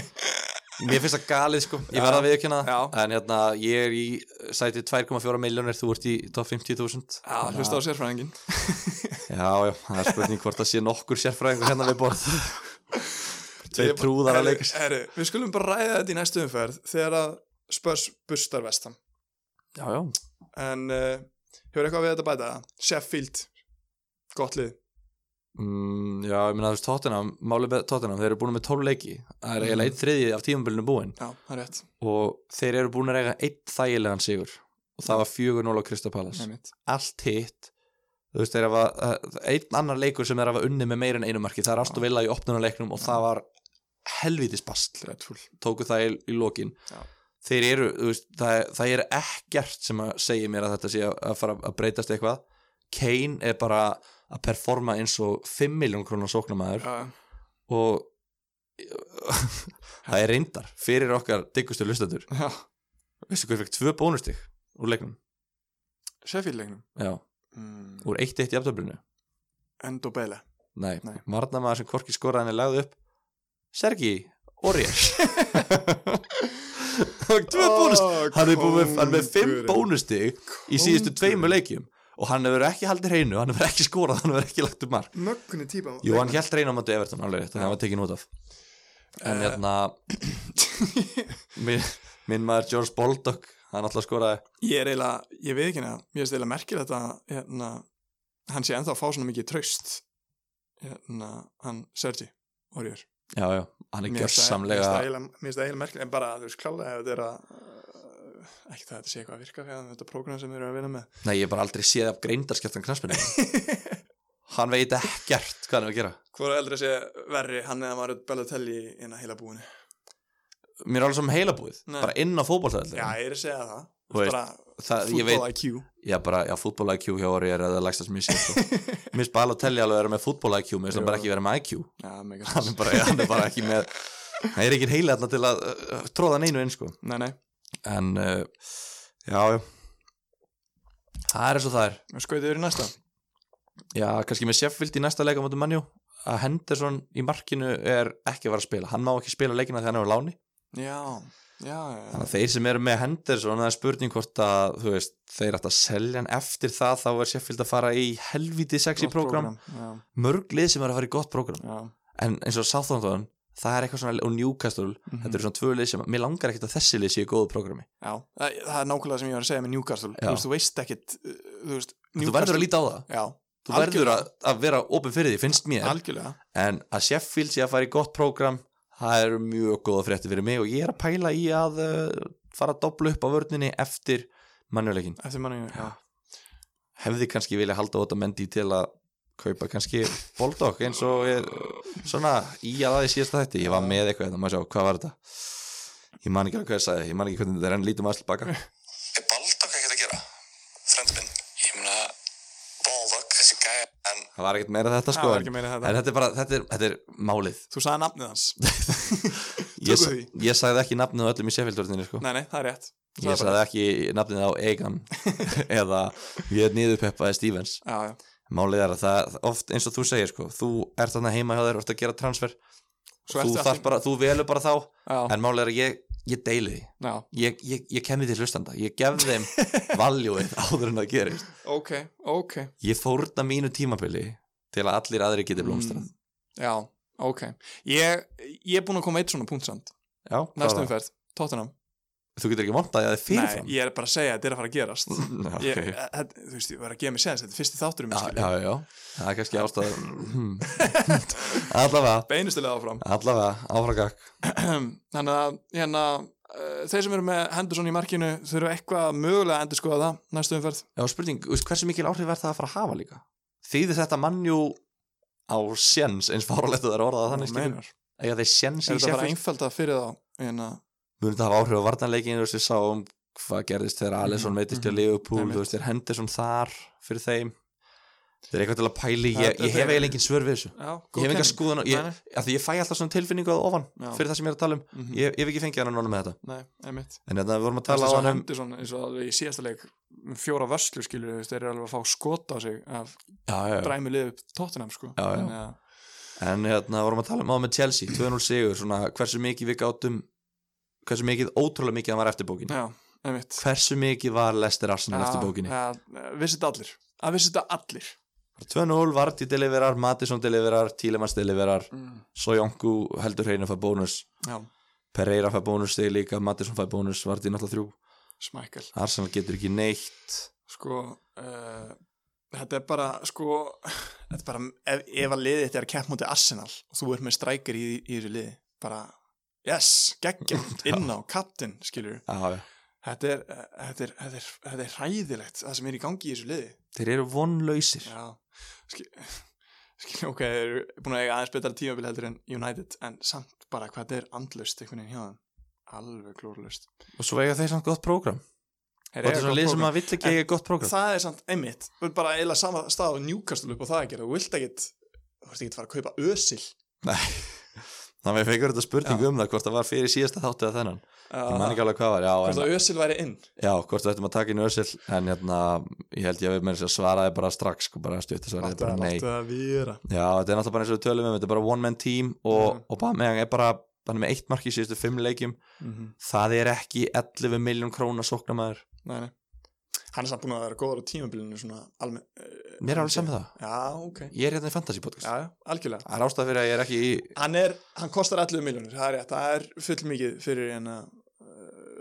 mér finnst það galið sko ég verða að viðkjöna
Já.
en hérna ég er í sæti 2.4 miljónir þú ert í top 50.000
ja, hlusta á sérfræðingin
Já, já, það er spurning hvort það sé nokkur sérfræðingur hérna við *laughs* borð Tveir
Ég-
trúðar að
Herru,
leika sér
herru, við skulum bara ræða þetta í næstu umferð þegar að Spurs bustar vestam
Já, já,
en uh, hefur eitthvað við þetta að bæta Sheffield, gott lið
mm, já, ég meina þú veist Tottenham, málið með Tottenham, þeir eru búin með 12 leiki Það er eiginlega einn þriði af tímabilinu búin
já, það er rétt,
og þeir eru búin að eiga einn þægilegan sigur og það var 4-0 á Crystal Palace
nefnitt
Allt hitt þú veist, þeir hafa eh, einn annar leikur sem þeir hafa unni með meira en einu marki, það er aftur vilja í opnunarleiknum og það var helvítis bast
dreadful,
tóku það í, í lokin
Já.
þeir eru, þú veist, það, það er ekkert sem að segja mér að þetta sé að, að fara að breytast eitthvað Kane er bara að performa eins og 5 miljón krónar sóknamaður
uh,
og *laughs* það er reyndar fyrir okkar diggustu lustendur
já,
veistu hvað ég fekk tvö bónustig úr leiknum
Sheffield leiknum
já,
mm.
úr 1-1 í aftöflinu
Endo Bele
nei,
Nei.
varnamaður sem Korki skoraðan er lagð upp Sergi
*laughs*
Orjes það er tvö bónustig hann er búið með, hann er með fimm bónustig í síðustu tveimur leikjum og hann hefur ekki haldið hreinu, hann hefur ekki skorað hann hefur ekki lagt upp mark
möggunni típa
Jú, hann held hreinu á möndu Everton alveg rétt, þannig að hann var tekin út af en
Eh.
hérna
*laughs*
minn, minn maður George Baldock hann alltaf skoraði
ég er eiginlega, ég veit ekki neða mér finnst eiginlega merkilegt að hérna, hann sé ennþá að fá svona mikið traust hérna, hann Sergi Orjör
já, já, hann er gjörsamlega
Mér finnst það eiginlega merkilegt en bara, þú veist, klálega ef þetta er að uh, ekki það að þetta sé eitthvað að virka fyrir þetta prógram sem við erum að vinna með
nei, ég hef bara aldrei séð af greindarskjæftan knarspinu
*laughs*
hann veit ekkert hvað hann er að gera
Hvora eldri sé verri, hann eða maður Bellatelli inn að heila búinu
mér er alveg sem heilabúið,
Nei.
bara inn á fótballtæðli
Já, ég er að segja það
Þú veist,
Bara
það, ég veit
fútbol IQ
Já, bara, já, fútból IQ hjá orði er að það lægstast mér sér sko.
*laughs*
Mér finnst bara að telja alveg að vera með fútból IQ Mér finnst hann
Jú.
bara ekki vera með IQ
Já, mega
Hann
sens.
er bara, hann er bara ekki með Það er ekki heila þarna til að uh, tróða neinu inn sko.
Nei, nei,
En, uh, já, já Það er eins og það er
við skoðum yfir í næsta
Já, kannski með Sheffield í næsta leika mútu mannjú að Henderson í markinu er ekki að vera að spila Hann má ekki spila leikina þegar hann er á láni
Já, já, já
Þannig að þeir sem eru með Henderson það er spurning hvort að, þú veist, þeir ætti að selja hann eftir það, þá er Sheffield að fara í helviti sexy
Gott
program
Já,
mörg lið sem eru að fara í gott prógram
já,
en eins og Southampton, það er eitthvað svona og Newcastle,
Mhm.
þetta eru svona tvö lið sem mér langar ekkert að þessi lið séu í góðu prógrami
já Það það er nákvæmlega sem ég var að segja með Newcastle
Já.
Þú veist, þú veist ekkit uh, Þú veist,
þú verður að líta á það,
Já,
þú verður að, að vera opið fyrir því, finnst mér
Algjörlega
en að Sheffield sé að fara í gott prógram það eru mjög góða frétti fyrir mig og ég er að pæla í að uh, fara að dobla upp á vörninni eftir mannuleikin
eftir manni já.
hefði kannski vilja halda óta mendi til að kaupa kannski boldokk eins og er svona í að aðeins síðasta þætti ég var með eitthvað, það maður sjá, hvað var þetta ég man ekki alveg hvað ég sagði, ég man ekki hvernig þetta er en lítum aðsl baka
Er Baldak ekkert að gera? Frendi minn Ég meina Baldak, þessi gæja En
það var ekkert meira þetta
Það
sko
var
en-
ekki meira þetta.
en þetta er bara, þetta er, þetta er málið
þú sagði nafnið hans
*laughs* ég,
Tökum
sa- ég sagði ekki nafnið á öllum í Sheffield-vörðinni sko.
nei, nei, það er rétt Það
ég
er bara
sagði ekki nafnið á
*laughs*
Egan eða ég er niðurpeppaði Stevens
rétt. já, já.
málið er að það oft eins og þú segir sko, þú ert þarna heima hjá þér, ert að gera transfer
Svo
þú,
ertu
þarft
allt í-
bara, þú velur bara þá
Já,
en málið er að ég, ég deili því
já,
ég, ég, ég kemði til hlustanda, ég gef
*laughs*
þeim valjúið áður en það gerist
ok, ok
ég fórna mínu tímabili til að allir aðri geti blómstrað
Mm. já, ok ég, ég er búin að koma eitt svona punkt samt
Já, hvað
næstu
var það?
umferð, Tottenham
þú getur ekki vantað að þið
nei,
fyrirfram
ég er bara að segja að þetta er að fara að gerast
Mm, *laughs* já,
ég,
*laughs* ok.
að, þú veist, ég var að gefa mér séðans þetta er fyrsti þáttur um
já,
mig skilur.
já, já, það er kannski ástæður Hmm. *laughs* allavega
beinustilega áfram *clears throat*
allavega, áfragak
þannig að hérna, uh, þeir sem eru með Henderson í markinu þurfa eitthvað mögulega að endur skoða það næstu umferð
Já, spurning, þú veist, hversu mikil áhrif er það að fara að hafa líka? Þýðir þetta mannjú á sjens, eins fáralegt að það er orðað þannig skilur?
er
Eða þeir sjens í
þetta bara
sérfjöld?
einföld að fyrir þá hérna,
Mjög þetta hafa áhrif á varnarleikinu, þú veist, við sáum hvað gerðist þegar Alisson
Mhm,
veitist til
mhm.
Leopold,
Einmitt.
þú veist, þeir Henderson þar fyrir þeim. Þeir eru eitthvað til að pæli,
Það-
ég,
þetta
ég hef
er-
eiginlega engin svör við þessu.
já,
Ég hef engan skoðan, á- ég,
Nei,
af því ég fæ alltaf svona tilfinningu að ofan
Já.
fyrir það sem ég er að tala um.
mm
Ég, ég hef ekki fengið hann að með þetta.
nei, einmitt
En þetta við vorum að
Það
tala á hann um,
Henderson eins og alveg í síðasta leik um fjóra vörslu skilur þú veist, þeir eru alveg að fá skota á sig af
já, já, já.
dræmi liðu tóttunum sko
Já, já.
Þannig að,
En hérna vorum að tala um á með Chelsea 2-0 sigur, svona hversu mikið við gátum hversu mikið, ótrúlega mikið það var eftir bókin
já, einmitt
hversu mikið var Lester Arsenal eftir bókinni
að vissi þetta allir að vissi þetta allir
2-0, Varti deliverar, Matisson deliverar Tílemans deliverar,
mm.
Sojongu heldur hreinu fær bónus,
já,
Pereira fær bónus þegar líka, Matisson fær bónus, Varti náttúrulega þrjú,
smækkel
Arsenal getur ekki neitt
sko uh, þetta er bara sko *laughs* þetta er bara, ef, ef að liði þetta er að kempa mútið Arsenal og þú ert með strækir í, í þessu liði bara, yes, geggjum
*laughs*
inn á, kaptinn, skilur
Já, já.
þetta er, eh, þetta, er, þetta, er, þetta er hræðilegt það sem er í gangi í þessu liði
Þeir eru vonlausir
já, skil, *laughs* skil ok, þeir eru búin að eiga aðeins betra tímabil heldur en United, en samt bara hvað þetta er andlust einhvern veginn hjá þeim alveg klórlust
og svo eiga þeir samt gott prógram
Þeir eiga
og þetta er svona
gott
lið sem
prógram.
að vill ekki eiga gott prógram
það er samt einmitt þú ert bara eiginlega sama stað á Newcastle upp á það að gera þú vilt ekkit þú vilt ekkit fara að kaupa ösil
*laughs* þannig að við fengur þetta spurningu
Já.
um það hvort það var fyrir síðasta þáttu eða þennan ég man
uh,
ekki alveg hvað var, já, en
hvort að ösil væri inn
Já, hvort við ættum að taka inn Özil en hérna, ég held ég að við með þess að svaraði bara strax sko, bara stutt að svaraði bara nei
láttu það vera
Já, þetta er náttúrulega bara eins og við tölum um þetta er bara one man team og,
Mhm.
og bara er bara hann er með eitt mark í síðustu fimm leikjum
mm -hmm.
það er ekki 11 miljón króna sóknamaður,
nei, nei. hann er samt búin að vera góður á tímabilinu svona almen uh,
mér er alveg saman það
já, ok
ég er hérna í fantasy podcast
já, já, algjörlega
það er ástæð fyrir að ég er ekki í
hann er, hann kostar 11 miljónur það er rétt, það er full mikið fyrir hérna uh,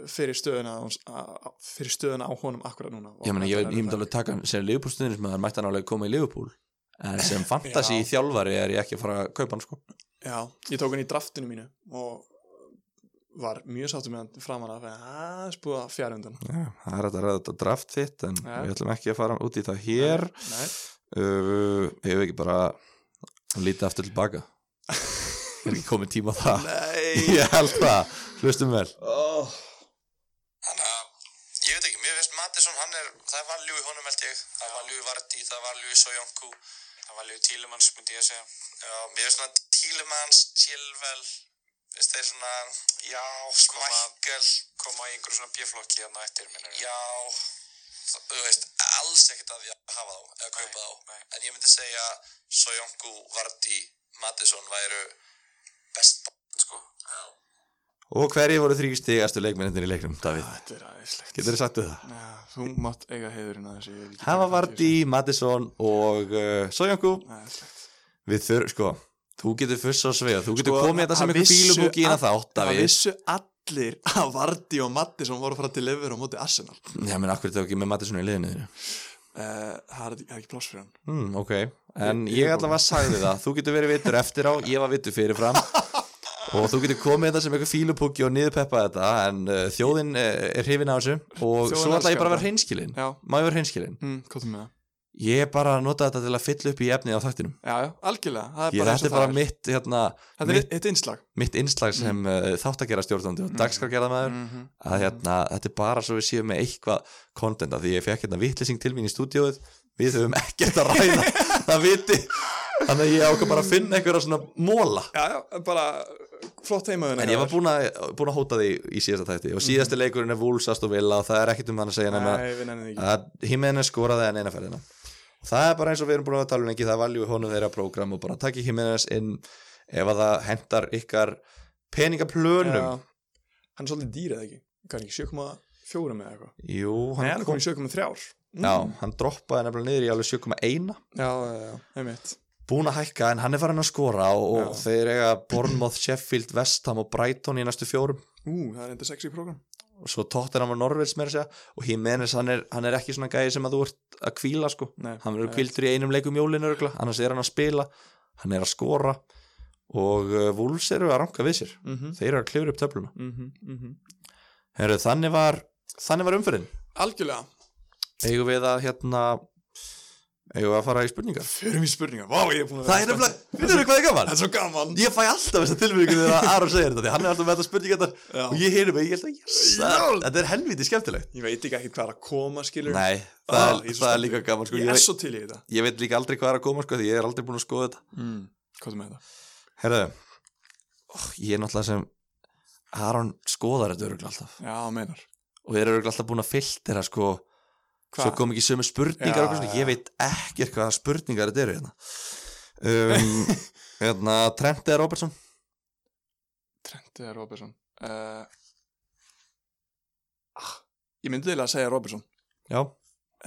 fyrir stöðuna á hans- á- á- fyrir stöðuna á honum akkurat núna
ég meina, ég, ég myndi alveg taka hann sem Liverpool maður mætti hann alveg koma í Liverpool en sem fantasy
*laughs* Já.
þjálfari er ég ekki að fara að kaupa hann sko
Já, ég tók hann í draftinu mínu og var mjög sáttur með hann framan af en aðeins búið að fjara undan
Já, það er hægt að ræða þetta draft þitt en
Já.
við ætlum ekki að fara út í það hér
Nei,
uh, hefur ekki bara lítið aftur
*laughs*
tilbaka er ekki komið tíma á það
Nei.
ég held það, hlustum vel
Oh.
Þannig að Ég veit ekki, mér finnst Mattisson, hann er Það er valjú í honum held ég Það er valjú í Vardí, það er valjú í Sojónku Það er valjú í Tílemanns, myndi ég að segja Já, mér finnst svona Tílemanns, Chilvel Veist þeir svona Já, sko, smækkel Koma í einhverju svona bjöflokki hann á eftir minnur Já það- Þú veist, alls ekkert að ég hafa þá eða kaupa þá, en ég myndi segja Sojónku, Vardí, Mattisson væru best sko, já
og hverju voru þrjú stigastu leikmennir í leiknum, Davíð?
Þetta er aðeinslegt
getur þið sagt við það?
Já, þú mátt eiga heiðurinn að þessu ég vil ekki
Hafa
taka þátt
Vardí, Mattisson og uh, Sojanku
þessu. Æðislegt.
við þurr, sko, þú getur fuss á svega þú getur
Sko,
komið þetta sem
það
einhver
vissu
bílubúki
all-
innan þátt,
Það
Davíð
vissu allir að Vardí og Matti sem voru að fara til lifur á móti Arsenal
já, menn, akkur er þetta ekki með Mattisson í liðinu þínu?
uh, Það er ekki- það er ekki pláss fyrir hann
Hmm, ok, en
Ég-
ég
ég-
*laughs* allavega sagði það Þú getur verið vittur eftir á, ég var vittur fyrirfram og þú getur komið þetta sem eitthvað fílupúki og niðurpeppa þetta en uh, þjóðin uh, er hrifin á þessu og
Þjóðin
svo ætla ég bara að
elskar
vera hreinskilin
Já,
má ég vera hreinskilin
mm, hvað þú með það?
ég bara nota þetta til að fylla upp í efnið á þættinum
Já, já, algjörlega, það er
ég,
bara
þetta er
það
bara mitt, hérna,
Þetta er eitt- eitt innslag
mitt innslag sem mm. uh, þáttagerra stjórnandi
Mm.
og dagskargerðamæður
Mhm.
að hérna, þetta er bara svo við séum með eitthvað content að því ég fekk hérna vittlýsing til mín í stúdíóið við höfum ekkert
*laughs*
að ræða það viti þannig að ég ákvað bara að finna einhverja svona móla
Já, já, bara flott heimaðun
en ég var búin að, búin að hóta því í síðasta tætti og síðasti leikurinn er Wolves Aston Villa og það er ekkert um hann að segja nema
Nei, við nennum því ekki
að Jimenez skoraði en einaferðina og það er bara eins og við erum búin að tala um lengi það valjú honum þeirra prógram og bara takki Jimenez inn ef að það hentar ykkar peningaplönum
Já. Hann er svolítið dýr eða ekki Hvað er ekki, 7,4 með eitthvað
Jú,
Nei,
hann
hann er komin í 7,3 Mm.
Já, hann droppaði nefnilega niður í alveg 7,1
Já, já, já, einmitt
búin að hækka en hann er farin að skora og, og
Já.
þeir eiga Bournemouth, Sheffield, Vestham og Brighton í næstu fjórum
Ú, það er enda sexy program
og svo Tottenham og Norvils meira að segja og Jimenez hann er, hann er ekki svona gæði sem að þú ert að kvíla sko
Nei,
hann verður
nei.
kvíldur í einum leikum jólinu örgla annars er hann að spila, hann er að skora og uh, Wolves eru að ranka við sér
Mhm,
þeir eru að klifra upp töfluna
mhm, mhm.
Heru, þannig var, þannig var umferðin
Algjörlega
eigum við að hérna eigum við að fara í spurningar
Förum í spurningar, vá, ég er búin að
það er nefnilega, finnur þú hvað er gaman?
Það er svo gaman
ég fæ alltaf þessa tilbyggjum þegar Aron segir þetta því hann er alltaf með þetta spurningar
Já.
og ég heyri mig, ég held að yes, það- þetta er helviti skemmtilegt
Ég veit ekki ekki hvað er að koma, skilur
Nei, það,
Ah, ég
er,
er svo
það er
spenntur.
líka gaman sko.
Ég
ég,
er
veit,
svo til í þetta
ég veit líka aldrei hvað er að koma sko, því ég er aldrei búin að skoða þetta
mm. Hvað er með þetta?
Herðu, ó, Oh, ég er náttúrulega sem Aron skoðar þetta öruglega alltaf
Já, meinar
og er öruglega alltaf búin að filtera sko, svo kom ekki sömu spurningar
Já,
og eitthvað svona.
já.
ég veit ekkert hvaða spurningar þetta eru hérna um,
*laughs*
hérna, Trent eða Robertson
Trent eða Robertson uh, ah, Ég myndi eiginlega að segja Robertson
já,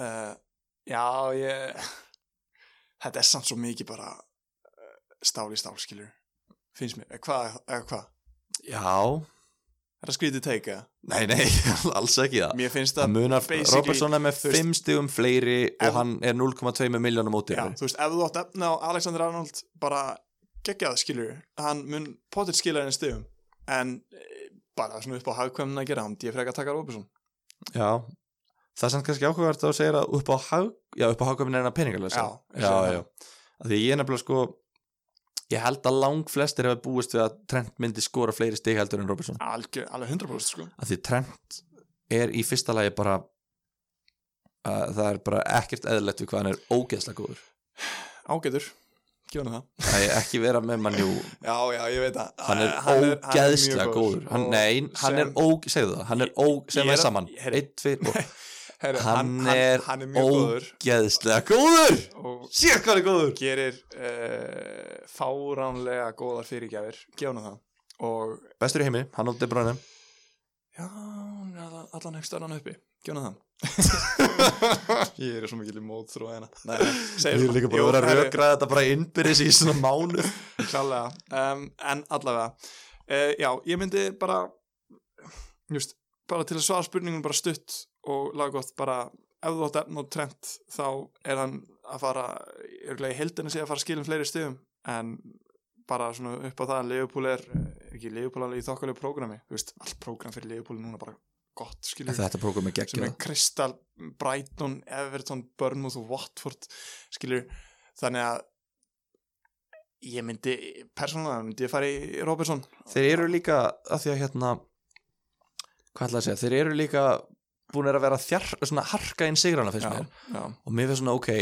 uh, Já, ég *laughs* Þetta er samt svo mikið bara uh, stál í stál, skilur finnst mér, Eh, hvað, eða hvað
já,
Er það skrítið teika?
nei, nei, *laughs* alls ekki það
Mér finnst
það
það,
munar
basically,
Robertson er með
þú veist-
5 stigum fleiri
Ef-
og hann er 0,2 miljónum út
já, þú veist, ef þú átt efna á Alexander Arnold bara geggjað, skilur hann mun potið skilja henni stöðum en eh, bara svona upp á hagkvæmna að gera hann, ég frekar að taka Robertson
já það er samt kannski áhugavert að þú segir að upp á hag já, upp á hagkvæmin er hann peningarlega
Já, hérna. ég
já,
segi
já, Af því ég er nefnilega sko ég held að lang flestir hefur búist við að Trent myndi skora fleiri stig heldur en Robertson
algjör, alveg 100% sko
af því Trent er í fyrsta lagi bara uh, það er bara ekkert eðlilegt við hvað hann er ógeðslega góður
ágætur, gjóna það
það er ekki vera með mannjú
Já, já, ég veit það
hann er
*laughs* hann er
ógeðslega
mjög
góður hann,
Og
nei, hann
sem-
er óg, segðu það hann er óg,
Ég
segðu
er
það
að-
saman
ég- heyrðu.
einn,
*laughs*
tveir, og
heyrðu,
hann er
hann er mjög góður
ógeðslega góður
og
sér hvað hann er góður
gerir uh, fáránlega góðar fyrirgjafir gjóna það og
bestur í heimi, hann og De Bruyne
já, hann er allan, allan ekki stöðan uppi gjóna
*laughs*
það ég er svo mikil í mótþró hérna Nei, nei,
ég
segir
er
svona.
líka
Jú,
bara að vera að
heyrðu,
rökraða þetta bara innbyrðis í svona mánu
Klálega, um, en allavega uh, Já, ég myndi bara just, bara til að svara spurningun bara stutt og laggótt bara ef þú átt efn og trend þá er hann að fara örgulega í heldinu sé að fara að skilja um fleiri stöðum en bara svona upp á það að Leopold er, er ekki Leopold alveg í þokkalegu prógrami, þú veist, allt prógram fyrir Leopold er núna bara gott, skilur
*laughs* þetta prógum er
sem
geggjað
er Crystal, Brighton, Everton, Bournemouth og Watford skilur, þannig að ég myndi persónulega myndi ég fara í Robertson
þeir eru líka, að því að hérna hvað ætla að segja, þeir eru líka búin að vera þjar, svona harka inn sigrana finnst mér
já,
og mér finnst svona ok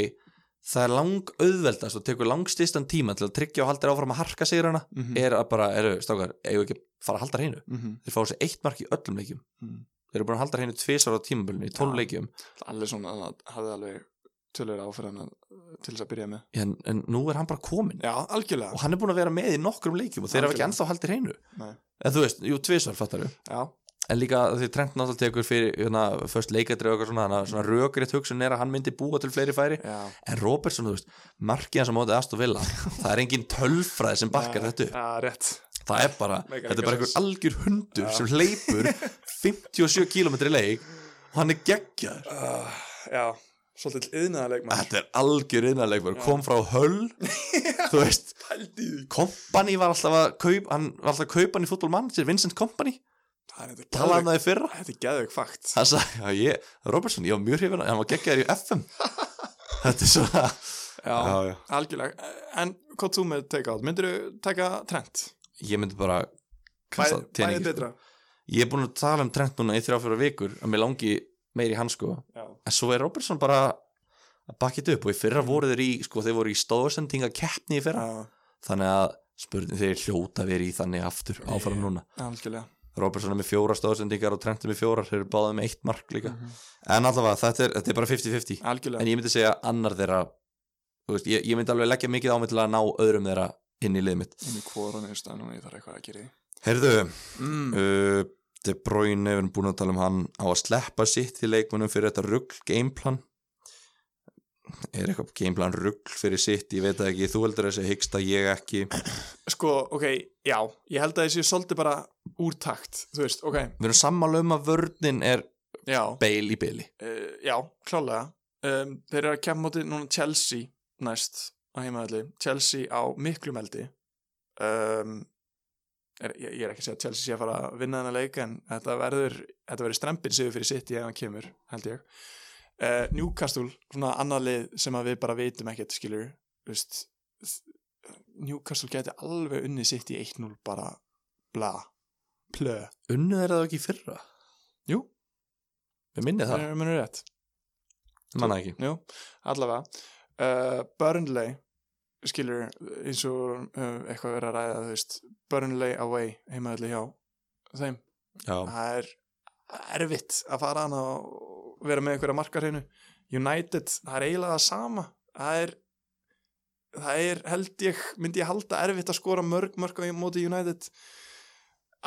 það er lang auðveldast og tekur langstistan tíma til að tryggja og halda áfram að harka sigrana
mm
er að bara, eru, stákar, eigum við ekki að fara að halda hreinu
Mhm.
þeir fá þessi eitt mark í öllum leikjum þeir eru búin að halda hreinu tvisar á tímabölinu í tólf
Já.
leikjum
allir svona hann hafði alveg tölur áferðan að- til þess að byrja með
en, en nú er hann bara komin
já, algjörlega
og hann er búin að vera með í nokkrum leikjum og þeir hafa ekki
Algjörlega.
ennþá haldið hreinu
Nei.
en þú veist, jú, tvisar fattar við
já,
en líka því Trent náttúrulega tekur fyrir hérna, först leikadrið og eitthvað svona, þannig að svona rökriðt hugsun er að hann myndi búa til fleiri færi
já
en Robertson, þú veist, markið hans á móti Aston *laughs* Villa, það er engin tölfræði sem bakkar þetta upp
já, rétt
það er bara,
Meikar
þetta er
engan
bara einhver
sens.
algjör hundur
Já.
sem *laughs* hleypur 57 km leik og hann er geggjar
uh, já, svolítið yðnaðarleikmann
Þetta er algjör innanleikmar, kom frá höll
*laughs*
Þú veist,
Pældi í því.
Kompany var alltaf að kaup Hann var alltaf að kaupa hann í fútbolmann sér Vincent Kompany,
Það er þetta
talaði um
geðveik-
það í fyrra
þetta er geðveik fakt
Hann sagði, já ég, Robertson, ég var mjög hrifin af- Hann var geggjaður í
*laughs*
FM Þetta er svona
Já,
já.
algjörlega En hvað þú með take-out? Myndir þú taka trend?
Ég myndi bara kasta
Bæði
teningi, sko.
betra
Ég er búin að tala um trend núna í þrjá fjóra vikur að mér langi meiri í hann sko
Já.
en svo er Robertson bara að bakka þetta upp og í fyrra voru þeir í sko þeir voru í stóðsendinga keppni í fyrra
Já,
þannig að spurning þeir hljóta verið í þannig aftur áfram núna
algjörlega
Robertson er með fjóra stóðsendingar og Trent er með fjórar þeir eru báðið með eitt mark líka
Mhm.
en allavega þetta er, þetta er bara 50-50 en
Algjörlega,
ég myndi segja annar þeirra þú veist, ég, ég myndi alveg leggja mikið á mig til að ná öðrum þeirra inn í liðið mitt
inn í kvorun í staðan og ég þarf eitthvað að gera í
Herðu,
mm.
uh, De Bruyne við erum búin að tala um hann á að sleppa sitt í leikmunum fyrir þetta rugg gameplan er eitthvað gameplan rugg fyrir sitt, ég veit það ekki þú heldur þessi hyggsta, ég ekki við
Sko, ok, já Ég held að þessi svolítið bara úr takt Þú veist, ok,
erum sammála um að vörnin er
já
beil í beili
uh, Já, klálega um, Þeir eru að kemja móti núna Chelsea næst á heimaðalli Chelsea á miklum eldi um, er, ég, ég er ekki að segja að Chelsea sé að fara að vinna þennan leik en þetta verður, þetta verður strempin sigur fyrir City ef hann kemur, held ég uh, Newcastle, svona annað lið sem að við bara veitum ekkert skilur veist, Newcastle geti alveg unni City 1-0 bara bla, plö
unnuð er það ekki í fyrra
Jú,
við minnið
það
það,
er munur rétt
manna ekki
Jú, allavega uh, Burnley skilur eins og uh, eitthvað verið að ræða þú veist Burnley away heimaðalli hjá þeim
já,
það er erfitt að fara hann og vera með einhverja markar hreinu United, það er eiginlega það sama það er það er held ég, myndi ég halda erfitt að skora mörg mörg á móti United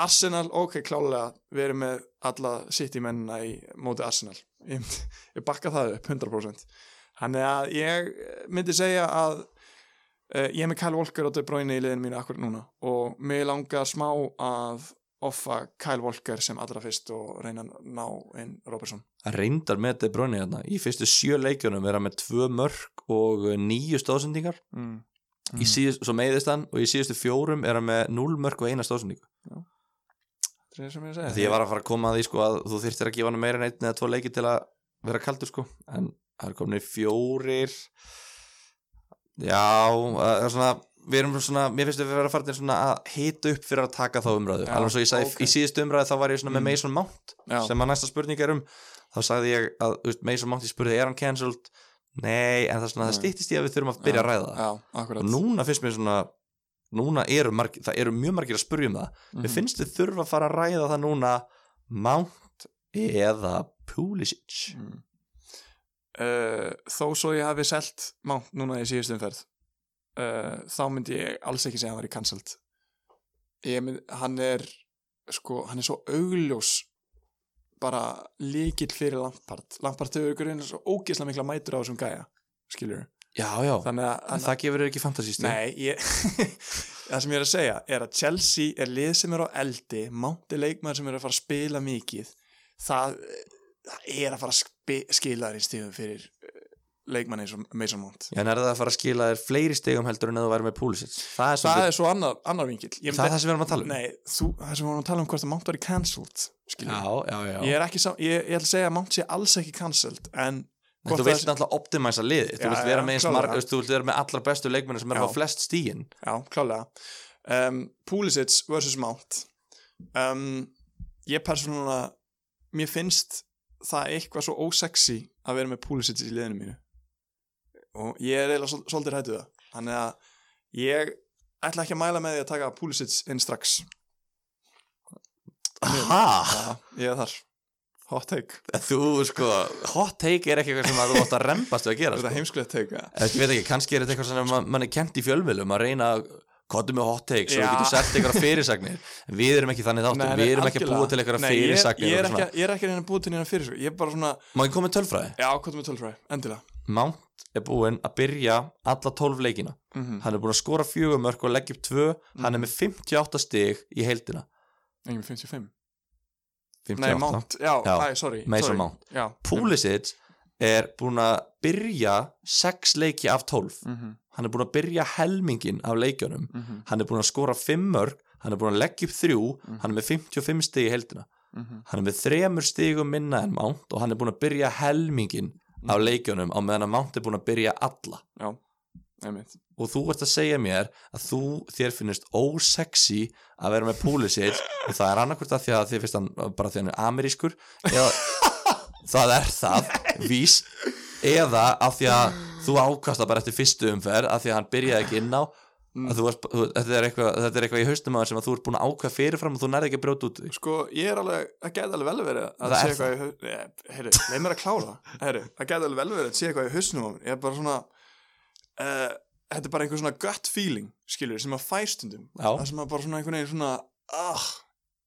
Arsenal, ok, klálega við erum með alla City mennina í móti Arsenal ég, myndi- ég bakka það upp 100% þannig að ég myndi segja að uh, ég er með Kyle Walker og De Bruyne í liðinu mínu akkur núna og mig langar smá að offa Kyle Walker sem allra fyrst og reyna að ná inn Robertson
Hann reyndar með De Bruyne hérna í fyrstu sjö leikjunum er hann með tvö mörk og eh, níu stóðsendingar
mm.
mm. síðust, svo meiðist hann og í síðustu fjórum er hann með núl mörk og eina stóðsendingu
Það er sem ég
Af
segi
Því ég var að fara að koma að því sko að þú þyrftir að gefa hann meira en einn eða tvo leiki til að vera kaldur sko en það er komin fjórir Já, það er svona við erum svona, mér finnst við vera að fara svona að hita upp fyrir að taka þá umræðu
Já,
alveg svo ég sagði
ókei.
í síðustu umræðu þá var ég svona með
Mm.
Mason Mount
Já.
sem að næsta spurning er um þá sagði ég að þú veist, Mason Mount ég spurði er hann cancelled? Nei, en það, er svona, það
Nei.
stýttist ég að við þurfum að byrja að ræða
Mm.
það
Já, akkurat
og núna finnst mér svona núna eru margir, það eru mjög margir að spurja um það
Mhm.
Mér finnst þið þurfa að fara að ræða það núna Mount eða Pulisic
mm. uh, Þó svo ég hafi selt Mount núna í síðustu umferð uh, þá myndi ég alls ekki segja að hann væri cancelled Ég mynd, hann er sko, hann er svo augljós bara líkil fyrir Lampard Lampard hefur ykkur einu svo ógeðslega mikla mætur á þessum gæja skilur
Já, já,
þannig að,
en
þannig
það gefur þér ekki fantasíst
Nei, ég, *laughs* það sem ég er að segja er að Chelsea er lið sem er á eldi Mount er leikmaður sem er að fara að spila mikið það, það er að fara að spi, skila þér í stíðum fyrir eh, leikmann eins og Mason Mount
En er það að fara að skila þér fleiri stegum heldur en að þú væri með Pulisic Það er,
Það
það,
er svo annar, annar vinkil ég,
það, er það sem við erum að tala um
Nei, þú, það sem við vorum að tala um hvort að Mount var í cancelled skilur
Já,
við.
já, já
Ég er ekki sam, ég, ég ætla að segja að Mount sé alls ekki cancelled en
En Þú
hvort
vilt
það,
náttúrulega optimæsa liði Þú
Já,
vilt vera
já,
með eins
klálega.
marg Þú vilt vera með allra bestu leikmennu sem er
Já.
á flest stíin
Já, klálega um, Pulisic vs. Mount um, ég persónulega mér finnst það eitthvað svo ósexy að vera með Pulisic í liðinu mínu og ég er eiginlega svol- svolítið hættu það þannig að ég ætla ekki að mæla með því að taka Pulisic inn strax
Ha?
Já, ég er þar hot take,
Þú, sko, hot take er ekki eitthvað sem að þú átt að rembast við að gera
þetta
sko.
er heimskulegt take eða?
Ég veit ekki, kannski er þetta eitthvað sem man- mann er kent í fjölmjölum að reyna að kottu með hot takes og
Já.
við getum sett eitthvað fyrirsagnir En við erum ekki þannig þáttum,
Nei, nei,
við erum ekki að
algjörlega.
búa til eitthvað
Nei, ég-
fyrirsagnir
ég, er
og eitthvað
ekki að- ég er ekki að reyna að búa til hérna fyrir ég er bara svona,
svona. Má ég koma með tölfræði?
já, hvað er með tölfræði, endilega
Mount er búinn að byrja alla 12 leikina
mm
Hann er búinn að skora fjögumörk og leggja upp tvö Hann er með 58 stig í heildina
engin 55 Nei,
58
Mount, já,
Já,
já. Æ, sorry
Mason
sorry.
Mount.
já.
Pulisic er búin að byrja sex leiki af 12
mm -hmm.
hann er búin að byrja helmingin af leikjunum hann er búin að skora 5 mörg hann er búin að leggja upp 3
Mhm.
hann er með 55 stig í heldina hann er með 3 stigum minna en Mount og hann er búin að byrja helmingin af leikjunum á meðan að Mount er búin að byrja alla
einmitt
og þú ert að segja mér að þú þér finnist ósexy að vera með Pulisic og það er annarkvort að því að þér finnst hann bara því að hann er amerískur
*laughs*
eða það er það, vís eða að því að þú ákast það bara eftir fyrstu umferð að því að hann byrjaði ekki inn á
Mm.
að þú varst, þú, þetta, er eitthvað, þetta er eitthvað í haustum að sem að þú ert búin að ákveða fyrirfram og þú nærði ekki að brjóta út því
Sko, ég er alveg, það gæti alveg vel verið að
Það
sé
er
eitthvað í hausnum, heyrðu, leið mér að
*laughs*
klára það, heyrðu, það gæti alveg vel verið að sé eitthvað í hausnum á mér, ég er bara svona, uh, þetta er bara einhver svona gut feeling, skilur, sem að fær stundum, það
Já,
sem að bara svona einhvern veginn svona, ah,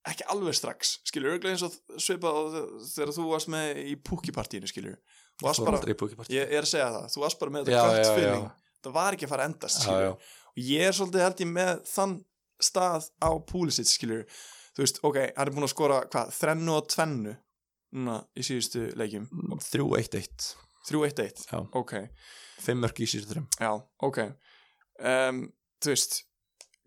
ekki alveg strax, skilur, örglega eins og svipað og þegar þú varst með í púkipartíinu, skilur, þú varst bara,
aldrei í búkipartí
ég er að segja það, þú varst bara með
Já,
þetta
já, já.
gut feeling, það var ekki að fara að endast, skilur, og ég er svolítið held ég með þann stað á Pulisic skilur þú veist, ok, hann er búin að skora hvað, þrennu og tvennu núna í síðustu leikjum
3-1-1
3-1-1,
Já.
ok
5 mörg í síðan þrjum
já, ok um, þú veist,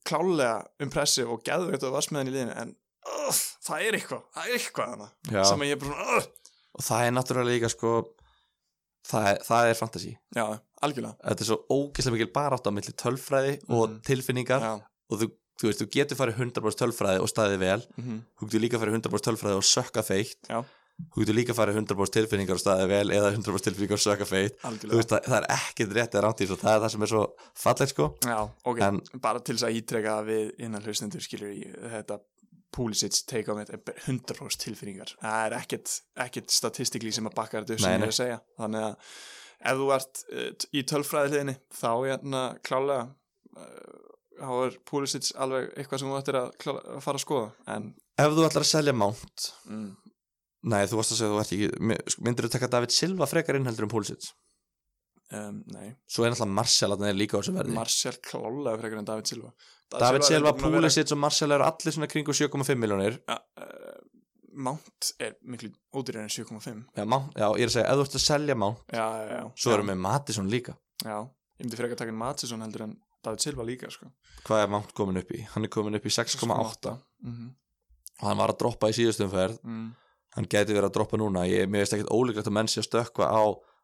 klálega impressive og geðveitt og vassmeðan í liðinu en uh, það er eitthvað, það er eitthvað hana,
Já.
sem að ég er bara svona uh,
og það er náttúrulega líka sko það er, það er fantasy
já, algjörlega
þetta er svo ógeðslega mikil barátt á milli tölfræði og
Mhm.
tilfinningar
já,
og þú, þú veist, þú getur farið 100% tölfræði og staðið vel,
mm
þú getur líka farið 100% tölfræði og sökka feitt
Já.
þú getur líka farið 100% tilfinningar og staðið vel eða 100% tilfinningar og sökka feitt þú
algjörlega
veist, það, það er ekkert rétt eða rámt í þessu og það er það sem er svo fallegt sko
já, ok,
en
bara til þess að ítreka að við innan hlustendur skilur í þetta Pulisic take on it er 100% tilfinningar það er ekkit, ekkit statistikli sem að bakka þetta upp sem
Nei,
ég
nei.
er að segja þannig að ef þú ert eh, t- í tölfræðliðinni þá er hérna klálega eh, þá er Pulisic alveg eitthvað sem þú ættir að, klála, að fara að skoða en
ef þú ætlar að selja mount
mm,
nei, þú varst að segja að þú ert ekki mi- sko, myndirðu taka David Silva frekar innheldur um Pulisic
um, nei,
svo er náttúrulega Martial að er líka á þessu verði
Marcel klálega frekar en David Silva
David Silva,
er búinn að vera-
Pulisic og Martial eru allir svona kringu 7,5 miljónir
Ja, eh, Mount er miklu ódýrið en 7,5
já, Mount- já, ég er að segja, ef þú ert að selja Mount
Já, já, já
svo
Já.
erum við Matisson líka
Já, ég myndi frekar taka inn Matisson heldur en David Silva líka sko.
hvað er Mount komin upp í? hann er komin upp í 6,8
mm
og hann var að droppa í síðustum ferð
-hmm.
hann gæti verið að droppa núna ég, mér veist ekkert ólíklegt að menn sé að stökkva á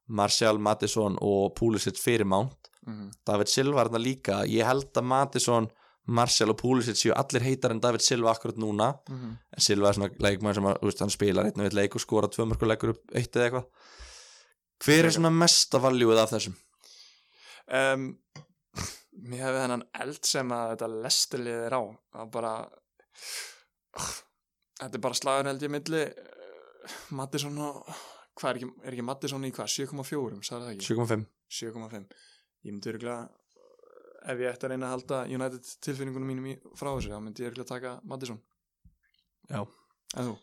Martial, Matisson og Pulisic fyrir Mount
Mm
David Silva er þarna líka ég held að Matisson, Martial og Pulisic séu allir heitar en David Silva akkurat núna
-hmm.
en Silva er svona leikmann sem að, þú veist, hann spilar einn og eitt leik og skora tvö mörg og leggur upp eitt eða eitthvað hver er svona mesta valjúið af þessum?
Um, *laughs* Mér hefði þennan eld sem að þetta lestilið er á að bara Þetta er bara slagur held ég milli uh, Matisson og hvað er ekki, er ekki Matisson í hvað, 7,4 sagði það ekki,
7,5
7,5 Ég myndi örgulega ef ég ætti að reyna að halda United tilfinningunum mínum í, frá þessu, þá myndi ég örgulega taka Matisson
Já.
En þú?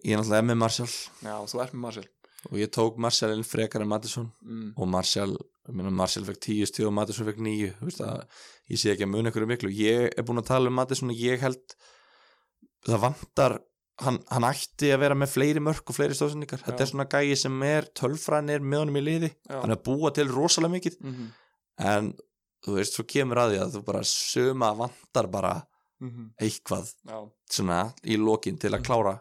ég er náttúrulega með Martial
Já, þú ert með Marcel
og ég tók Martial inn frekar en Matisson
mm.
og Martial, ég meina Martial fekk 10 stíð og Matisson fekk 9 þú veist að, ég sé ekki að muni einhverju miklu ég er búin að tala um Matisson og ég held það vantar hann, hann ætti að vera með fleiri mörk og fleiri stóðsendingar, þetta
Já.
er svona gæi sem er tölfræðin er með honum í liði
Já.
hann er að búa til rosalega mikið
Mm -hmm.
en þú veist, svo kemur að því að þú bara suma vantar bara eitthvað
Mhm. Já,
svona í lokin til að klára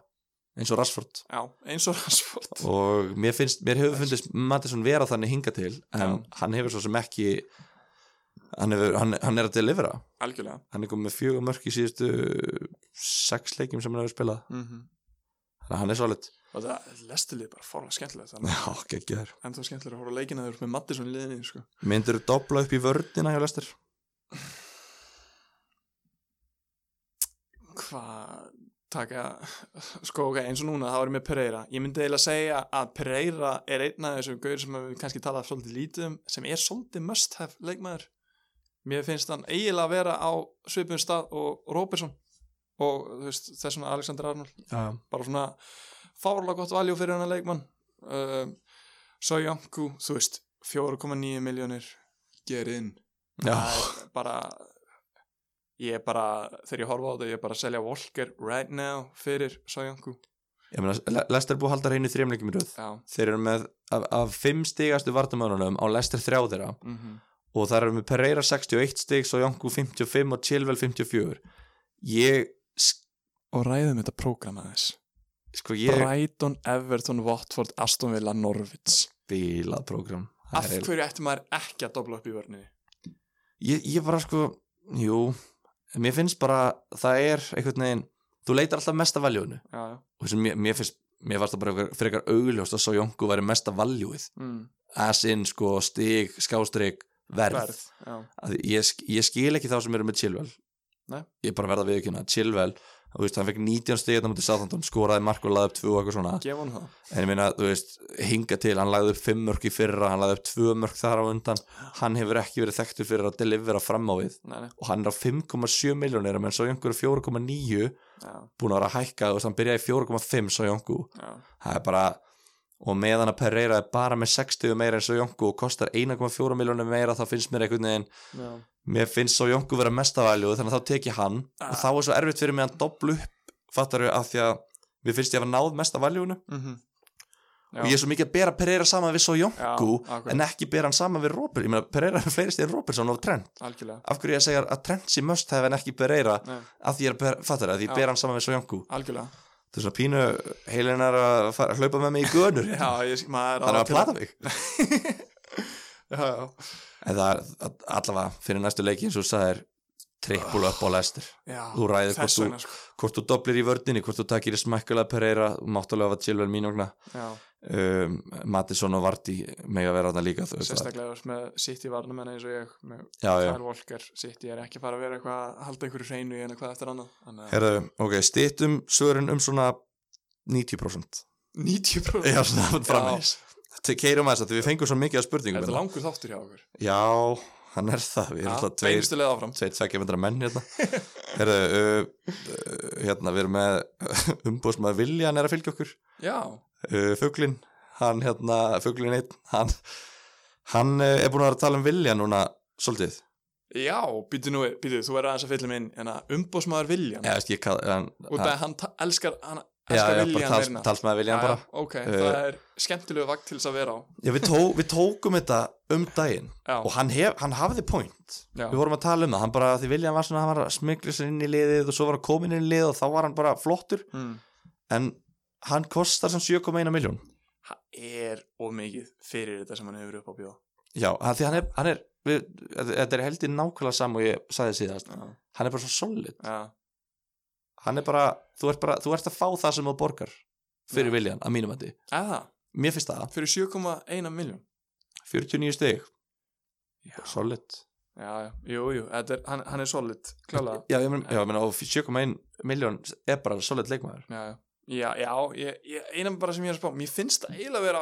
eins og Rashford
já, eins og Rashford
og mér finnst, mér hefur fundist Mattisson vera þannig hinga til en hann hefur svo sem ekki hann, hefur, hann, hann er að delivera
Algjörlega
hann er komið með fjögur mörk í síðustu sex leikjum sem hann hefur spilað
mm -hmm.
þannig að hann er svolít
Og það lestilið bara fórlega skemmtilegt Þannig
Já, geggjör
en þá skemmtilega að hóra leikina þegar þú ert með Mattisson í liðinni sko.
Myndir þú dobla upp í vördina hjá Lester?
Hvað taka Sko ok, eins og núna, þá erum við Pereira Ég myndi eiginlega segja að Pereira er einn af þessum gauður sem við kannski talað svolítið lítið um sem er svolítið must have leikmaður Mér finnst hann eiginlega að vera á svipum stað og Robertson og þú veist, þessum Alexander Arnold
Já,
bara svona fárlega gott valjú fyrir hennar leikmann um, Sojanku, þú veist 4,9 miljónir ger inn
Já.
Það er bara ég er bara, þegar ég horfa á þetta ég er bara að selja Volker right now fyrir Sojanku
Ég meina, Lester er búið að halda reynu þrjumleikum í röð
já,
Þeir eru með, af, af fimm stigastu vartamönunum á Lester þrjá þeirra
mhm,
og það eru með Pereira 61 stig svo Jónku 55 og Chilwell 54 Ég,
og ræðum þetta prógram aðeins
sko ég
Brighton, Everton, Watford, Aston Villa, Norwich
bílað prógram Það
Af
er eiginlega-
hverju ætti maður ekki að dobla upp í vörninni?
ég, ég bara sko, jú mér finnst bara, það er einhvern veginn, þú leitar alltaf mesta valjónu
Já, já
og þessum mér, mér finnst mér varst það bara eitthvað frekar augljóst að Sojónku væri mesta valjúið
mm.
as in sko stig, skástrík, verð,
Verð, já
Að Ég, sk- ég skil ekki þá sem eru með Chilwell
Nei.
ég er bara verða við ekki hérna, Chilwell þú veist, hann fekk 19 stig þetta mútið sáþandum, skoraði mark og laði upp tvö og eitthvað svona
Gefa hann það
en ég meina, þú veist, hinga til hann lagði upp fimm mörk í fyrra, hann lagði upp tvö mörk þar á undan, hann hefur ekki verið þekktur fyrir að delivera fram á við
Nei, nei,
og hann er á 5,7 miljónir menn svo Jónku er 4,9
já,
búin að vera að hækka og hann byrjaði í 4,5 svo Jónku
já
það er bara og meðan að Pereira er bara með 60 meira en svo Jónku og kostar 1,4 miljónir meira þá finnst mér einhvern veginn
Já,
mér finnst svo Jónku vera mestavalju þannig að þá tek ég hann
Ah.
og þá er svo erfitt fyrir mig að doblu upp fattar þau af því að mér finnst ég að hafa náð mestavaljunu
mhm. já.
og ég er svo mikið að bera Pereira saman við svo
Já,
Jónku
akkurat,
en ekki bera hann saman við Robert ég meina Pereira er fleiri stegin Robertson og Trent
algjörlega
af hverju ég að segja að Trent sé must hef en ekki Pereira
Nei,
að því ég er að ber- fattar það, að því
Já.
ég ber hann saman við Sojanku
algjörlega
þetta er svona pínu heilinar að fara að hlaupa með mig í gönur
*laughs* Já, ég, maður
þannig að
ákveða-
plata mig en
Já, já,
það er að- allavega fyrir næstu leiki eins og það er trippul upp á lestir
já
Þú ræðir hvort
Þess
þú-
vegna, sko
hvort þú doblir í vördinni, hvort þú takir í smækkulega Pereira, máttalega að Chilwell mín ogna
Já,
um, Mattisson og Vardí mega vera þarna líka þú veist það.
sérstaklega þú ert með sitt í varnum en eins og ég með
já, já.
Kyle Walker sitt ég er ekki að fara að vera eitthvað að halda einhverju hreinu en eitthvað eftir annað Þannig að
Herðu, ok, stýttum svörin um svona 90%
90%
já, svona
Já.
frammeins keirum að þess að því við fengum svo mikið af spurningum
Er þetta
hérna.
langur þáttur hjá okkur?
já, hann er það við erum alltaf tveir
Beinustu leið áfram
tveir tveggja myndra menn
*laughs*
hérna Heru, uh, uh, hérna við erum með umbúðsmaður Viljan er að fylgja okkur
Já,
uh, Fuglin, hann hérna Fuglin einn, hann hann uh, er búin að vera að tala um Viljan núna svolítið,
já, býtu nú, býtu, þú verður aðeins að fylla mig inn en að umbósmaður Viljan
eða veist ég hvað hann,
og það hann ta- elskar, hann
já,
elskar
já, bara
Viljan
tals,
meirna
talsmaður Viljan bara
Ok,
Uh,
það er skemmtilegu vakt til þess að vera á
já, við, tó, við tókum þetta um daginn
Já,
og hann, hef, hann hafði point
já,
við vorum að tala um það, hann bara, því Viljan var svona hann var að smikla sér inn í liðið og svo var hann komin inn í liðið og þá var hann bara flottur
mm.
en hann kostar sem 7,1 miljón
Það er of mikið fyrir þetta sem hann hefur upp á bjóða
Já, að því hann er, hann er við, þetta er heldur nákvæmlega sam og ég sagði síðast,
Já,
hann er bara svo solid
já,
hann er bara, þú ert bara, þú ert að fá það sem þú borgar fyrir
Já.
viljan, að mínum hætti
eða,
mér finnst það,
fyrir 7,1 miljón
49 stig
Já.
solid
Já, já, jú, jú, þetta er, hann, hann er solid,
*laughs*
klálega
já, ég meina, já, ég meina, og 7,1 miljón er bara solid leikmaður
Já, já, já, já ég, ég, einam bara sem ég er að spá Mér finnst það eiginlega vera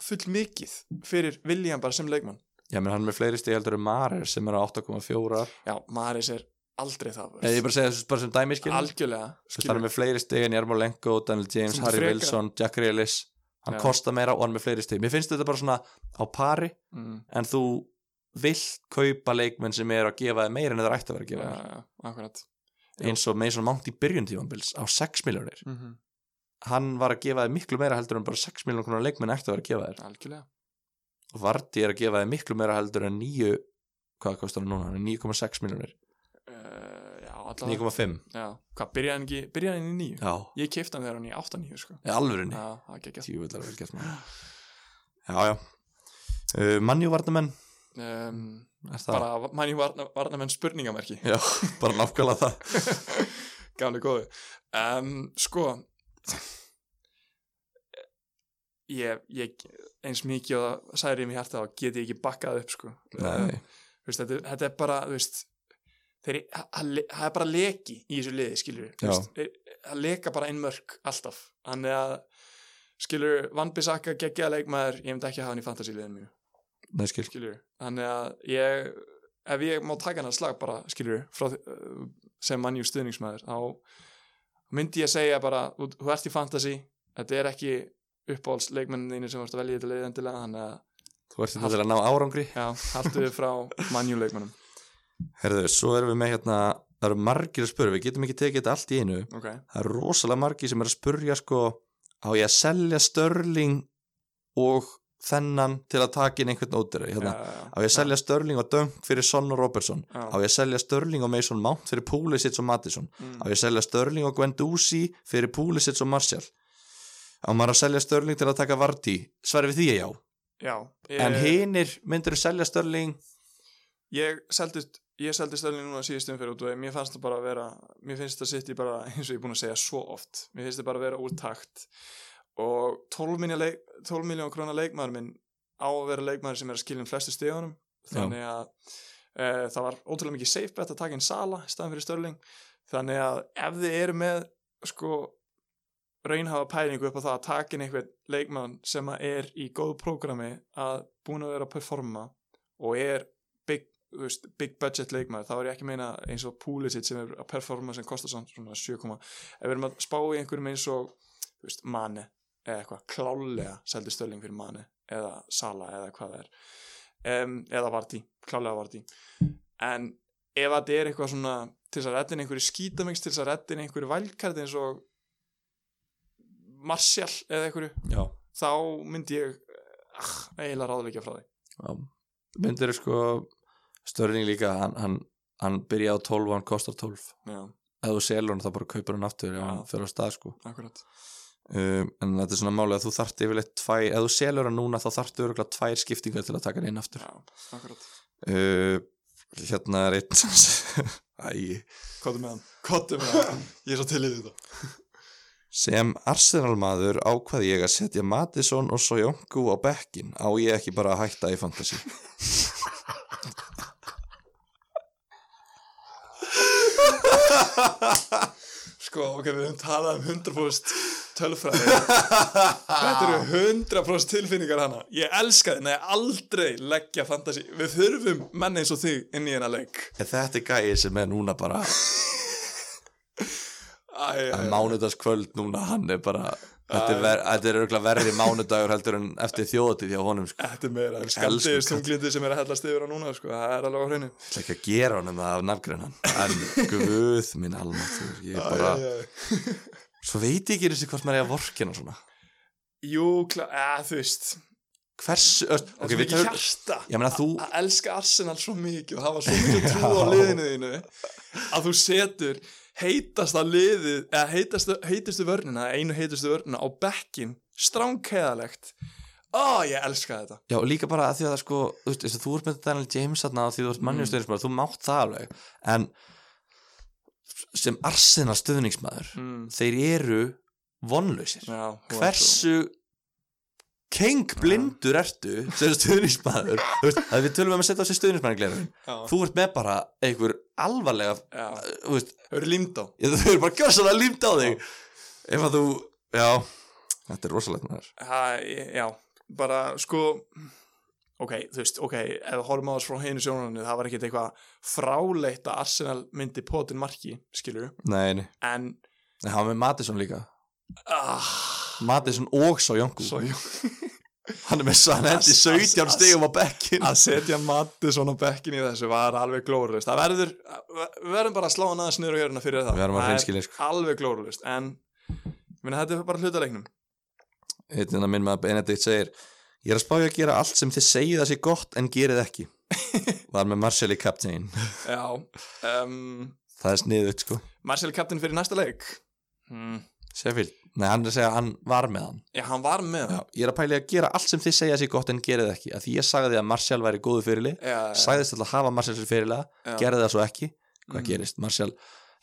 full mikið fyrir Viljan bara sem leikmann
já, menn hann er með fleiri stig heldur en Marer sem er á 8,4
Já, Maris er aldrei það
eða ég bara segja þessu bara sem dæmi skilur
Algjörlega
Þú veist, hann er með fleiri stig en Jarmo Lenko, Daniel James,
Þú ert
Harry
frekar-
Wilson, Jack Grealish hann
Já.
kostar meira og hann er með fleiri stig mér finnst þetta bara svona á pari
mm,
en þú vilt kaupa leikmenn sem er að gefa þið meira en þeir ætti að vera að
Já,
gefa
já,
þér
já, akkurat
eins og Mason Mount í byrjun tímanbils á 6 miljónir
mm
hann var að gefa þið miklu meira heldur en bara 6 miljónir konar leikmenn ætti að vera að gefa þér
Algjörlega
og Vardí er að gefa þið miklu meira heldur en 9 hvað kostar hann núna, hann er 9,6 miljónir
uh, Já, allavega
9,5
já. Hvað, byrjaði hann ekki, byrjaði hann í nýju?
já,
Ég keipti hann þegar hann í 8-9 sko.
í alvörinni
Já, það er geggjast
tjúvillar vel gert maður já, já uh, mannjú varnamenn
um,
er það?
Bara mæni varna, varnamenn spurningamerki *laughs*
já, bara nákvæmlega það
Gamli góði um, Sko ég, ég eins mikið og særi mér hjarta þá get ég ekki bakkað upp sko
nei,
Þú veist, þetta, þetta er bara þú veist, þeir, ha- ha- le- það er bara leki í þessu liði skilur
Já.
við það leka bara einn mörk alltaf þannig að skilur við vannbisakka geggjaða leikmaður ég myndi ekki hafa hann í fantasíliðinu mínu
nei skil
skilur þannig að ég ef ég má taka hann að slag bara skilur frá, því- uh, sem mannjú stuðningsmaður þá myndi ég segja bara þú, þú ert í fantasy, þetta er ekki uppáhalds leikmennin þínu sem vart að velja í þetta liðið endilega þannig að
þú ert þetta til að ná árangri
já, haldu þið frá mannjú leikmennum
Herðu, svo erum við með hérna það eru margir að spurja, við getum ekki tekið þetta allt í einu
ok,
það eru rosalega margir sem er að spurja sko á ég að selja Störling og þennan til að taka inn einhvern ódýrari hérna. á ég að selja Störling og Dunk fyrir Son og Robertson á ég að selja Störling og Mason Mount fyrir Pulisic og Madison á
mm.
ég að selja Störling og Guendouzi fyrir Pulisic og Martial á maður að selja Störling til að taka Vardí sverfi því ég já
Já,
en
ég,
hinir myndur selja Störling
ég seldist ég seldi stöðlinni núna síðustum fyrir út og mér fannst það bara að vera mér finnst það sitt í bara eins og ég er búin að segja svo oft mér finnst það bara að vera úr takt og 12 miljón, leik, 12 miljón krónar leikmaður minn á að vera leikmaður sem er að skilja um flestu stegunum
Já.
þannig að e, það var ótrúlega mikið safe bet að taka inn Sala í staðan fyrir Störling þannig að ef þið eru með sko raunhafa pælingu upp á það að taka inn einhvern leikmann sem að er í góðu prógrami að búin að vera að performa og er big, þú veist, big budget leikmann þá er ég ekki að meina eins og Pulisic sem er að performa sem kostar samt svona 7, koma- ef við erum að spá í einhverjum eins og þú veist, manni eða eitthvað klálega seldi stölling fyrir manni eða sala eða hvað það er um, eða vartí, klálega vartí en ef þetta er eitthvað svona til þess að reddin einhverju skítamengst til þess að reddin einhverju vælkart eins og Martial eða einhverju
já
þá myndi ég ah, eiginlega ráðleikja frá því
Já, myndir sko Störling líka, hann, hann, hann byrja á 12 og hann kostar 12
já,
ef þú selur hann þá bara kaupir hann aftur ef
Já.
hann fyrir á stað sko
akkurat
um, en þetta er svona málið að þú þarft yfirleitt tvær, ef þú selur hann núna þá þarftu örgulega tvær skiptingar til að taka hann inn aftur
já, akkurat
uh, hérna er einn sem- *laughs* Æ,
kottu með hann, kottu með hann ég er svo til í þetta
sem Arsenal maður ákvað ég að setja Madison og Sojongu á bekkin á ég ekki bara að hætta í fantasy
sko, ok, við höfum talað um 100% *laughs* tölfræði þetta eru 100% tilfinningar hana ég elska þið, neða aldrei leggja fantasi, við þurfum menn eins og þig inn í hennar leik
En þetta er gæið sem er núna *laughs* bara
Æ, æ, æ.
mánudagskvöld núna hann er bara þetta er, ver, þetta er örgulega verri mánudagur heldur en eftir þjóðatíð hjá honum sko.
Þetta er meira en
Elsku
skaldiðis
kall.
tunglindi sem er að hellast yfir á núna, sko, það er alveg á hreinu.
ég ætla ekki að gera honum það af nafngrein hann en guð minn almáttur ég bara,
Æ, æ, æ.
svo veit ég ekki þessi hvort maður er að vorkina svona
Jú, klá, að, þú veist,
hversu, öst,
það
ok,
er
við
svo mikið
tökum
hjarta
ég meina þú,
að elska Arsenal svo mikið og hafa svo mikið trú á liðinu þínu að þú setur heitasta liðið, eða heitastu, heitustu vörnina, einu heitustu vörnina á bekkin, stránkæðalegt. Ó, ég elska þetta.
já og líka bara að því að það sko þú, veist, eins og þú ert með Daniel James þarna og því þú ert
Mm.
mannjöfstöðnismæður, þú mátt það alveg en sem Arsenal stöðningsmæður
Mm.
þeir eru vonlausir
Já, þú ert svo-
hversu kengblindur ertu sem stuðnismæður Þú veist, að við tölum um að setja á sig stuðnismæðingleirun
Já,
þú ert með bara einhver alvarlega
já,
þú veist,
þau eru límd á.
ég- þau eru bara gjössan að límt á þig ef að þú, já þetta er rosalegt maður
Ha, já, bara sko ok, þú veist, ok ef við horfum á þess frá hinu sjónunni það var ekkert eitthvað fráleitt að Arsenal myndi potin marki, skilur
nei, nei,
en
en hann var með Matisson líka
ah,
Matisson og Sojongu
svo jú
hann er með sann endi
Ass-
17
ass-
stegum á bekkin
að setja mati svona bekkin í þessu var alveg glórulust það verður, við verðum bara að slá hann aðeins niður á hjörna fyrir það
Við verðum að
Það er
hreinskilja, sko.
alveg glórulust, en ég meina, þetta er bara hlutalegnum
hérna minn maður Benedikt segir ég er að spája að gera allt sem þið segið að sé gott en gerið ekki *laughs* var með Marcelli Captain
já, um,
það er sniðugt sko
Marcel Captain fyrir næsta leik hmm.
Sheffield, nei hann er að segja að hann var með hann
já, hann var með
Já, ég er að pæli að gera allt sem þið segja að sé gott en gerið ekki að því ég sagði að Marcial væri góðu fyrirli
Já,
sagðist alltaf að hafa Marcial sér fyrirlega
já.
gerði það svo ekki, hvað
Mm.
gerist Marcial,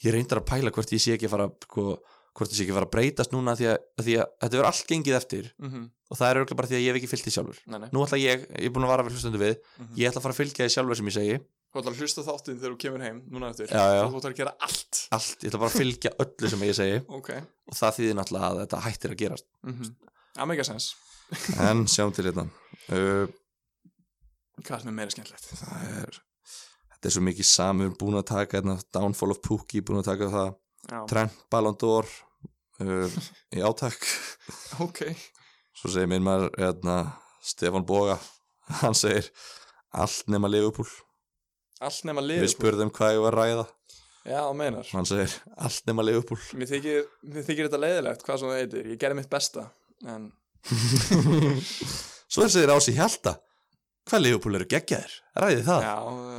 ég reyndar að pæla hvort ég sé ekki að fara hvo- hvort ég sé ekki að fara að breytast núna því að, að því að þetta verður allt gengið eftir
Mhm,
og það er auðvitað bara því að ég hef ekki fyllt því sjálfur
Nei, nei.
nú ætla ég, ég er búin að vara við hlustundu við
Mhm.
ég ætla að fara að fylgja því sjálfur sem ég segi
Þú ætlar að hlusta á þáttinn þegar þú kemur heim núna eftir
Já, já.
Þú ætlar að gera allt
allt, ég ætla bara að fylgja öllu sem ég segi
Ok
og það þýðir náttúrulega að þetta hættir að gerast
Það make a sense
en sjáum til þetta uh,
Hvað sem er meira skemmtilegt
það er þetta er svo mikið samur búin að taka hérna, Downfall of Pookie, búin að taka það
Já.
Trent Ballon d'Or uh, í átak
Ok
svo segir minn maður hérna, Stefan Boga, hann segir allt nema Liverpool
Allt nema
við
liður
spurðum hvað ég var að ræða
Já, meinar
hann segir allt nema leifupúl
Mér þykir, mér þykir þetta leiðilegt hvað svona heitir Ég gerði mitt besta En
svo segir Ási Hjalta hvað leifupúl eru geggjaðir, ræði það
já,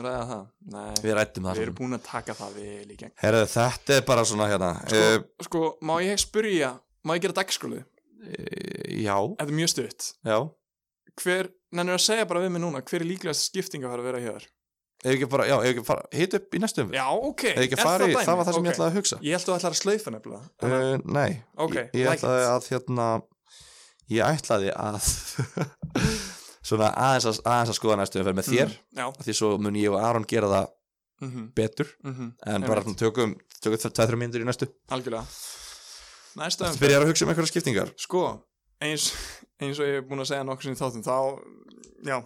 ræða það Nei,
Ah. við rættum það
við
við
erum búin að taka það vel í gegn
Herðu, þetta er bara svona hérna
Sko,
uh,
sko, má ég spyrja Má ég gera dagskólu? eh,
já,
Þetta er mjög stutt
já
Hver, nennir að segja bara við mig núna Hver er líklegast skipting að fara að vera hér?
ef ekki bara, já, ef ekki bara, hit upp í næstu umfyr
Já, ok
ef ekki
er
fari, það,
dæmið?
var það sem
Ok.
ég ætlaði að hugsa
Ég held að ætlar að slaufa nefnilega Þannig að-
uh, nei,
Ok,
ég, ég
like
ætlaði
it.
að hérna ég ætlaði að *laughs* svona aðeins að, aðeins að skoða næstu
Mhm.
umfyr með þér mm.
Já
því svo mun ég og Aron gera það
mm -hmm,
betur en bara svona tökum, tökum 2-3 mínútur í næstu
Algjörlega Næsta
Þetta
umferð
byrjar að hugsa um einhverja skiptingar
Sko, eins, *laughs* eins og ég er búin að segja nokkur sinni í þáttum Þá, já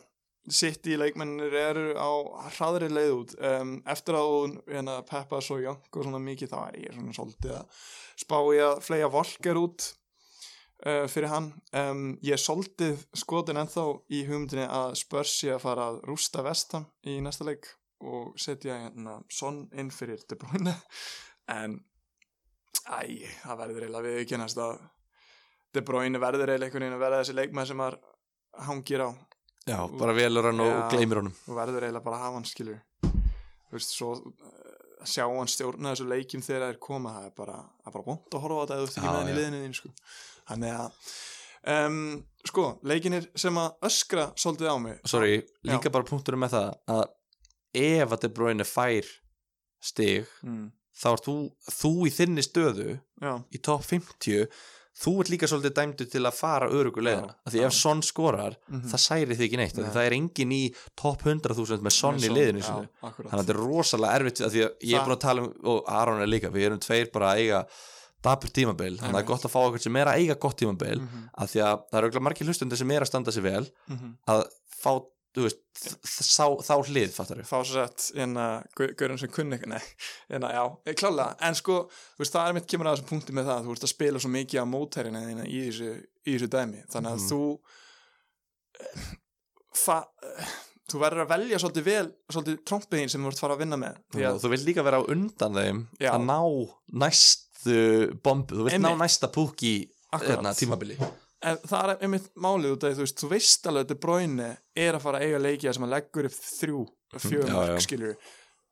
City leikmennir eru á hraðri leið út um, Eftir að hún hérna, peppa svo jönk og svona mikið Þá er ég svona svolítið að spá ég að flega volker út uh, Fyrir hann um, Ég er svolítið skotin ennþá í hugmyndinni að spörs ég að fara að rústa vestam í næsta leik og setja hérna sonn inn fyrir De Bruyne *laughs* en æ, það verður eiginlega við ekki næst að De Bruyne verður eiginlega einhvern veginn að verða þessi leikmæð sem maður hangir á og
Já, bara velur hann og
Já.
gleymir honum
verður eiginlega bara að hafa hann skilur þú veist, svo eh, að sjá hann stjórna þessu leikjum þegar það er koma það er bara, það er bara bónt að horfa á þetta ef þú ert ekki
Já,
með hann í
já.
liðinu þín sko. þannig að um, sko, leikinir sem að öskra svolítið á mig
Sorry, líka bara punkturum með það að ef að De Bruyne fær stig
mm,
þá er þú, þú í þinni stöðu
já,
í top 50 þú ert líka svolítið dæmdu til að fara örugulegina,
Já,
af því
já.
ef Son skorar
Mhm.
það særi þig ekki neitt, af því
Nei.
það er engin í top 100.000 með Son í liðinu sinu
já, akkurat
þannig að þetta er rosalega erfitt af því að ég er
Það-
búin að tala um, og Aron er líka við erum tveir bara að eiga dapur tímabil, þannig að það er
Einmitt.
gott að fá okkur sem er að eiga gott tímabil
mm -hmm,
af því að það eru auðvitað margir hlustundi sem er að standa sér vel
mhm.
að fá, þú veist, þ- þ- sá, þá hlið fattar við,
fá svo sett hérna Guðrun sem kunni ekki, nei, hérna já, eh, klálega, en sko, þú veist, það er mitt kemur að þessum punkti með það, að þú ert að spila svo mikið á mótærinni þína í þessu, í þessu dæmi þannig að
Mhm.
þú eh, fa, eh, þú verður að velja svolítið vel, svolítið trompiðin sem þú ert fara að vinna með, því
og
að
þú vilt líka vera á undan þeim
Já.
að ná næstu bombu, þú vilt
Einmitt.
ná næsta púk í
Akkurat.
hérna, tímabili
en það er einmitt málið út af því, þú veist, þú veist alveg að þetta bróinu er að fara að eiga leikja sem að leggur upp þrjú, fjögur
Mm, já,
mark,
já.
skilur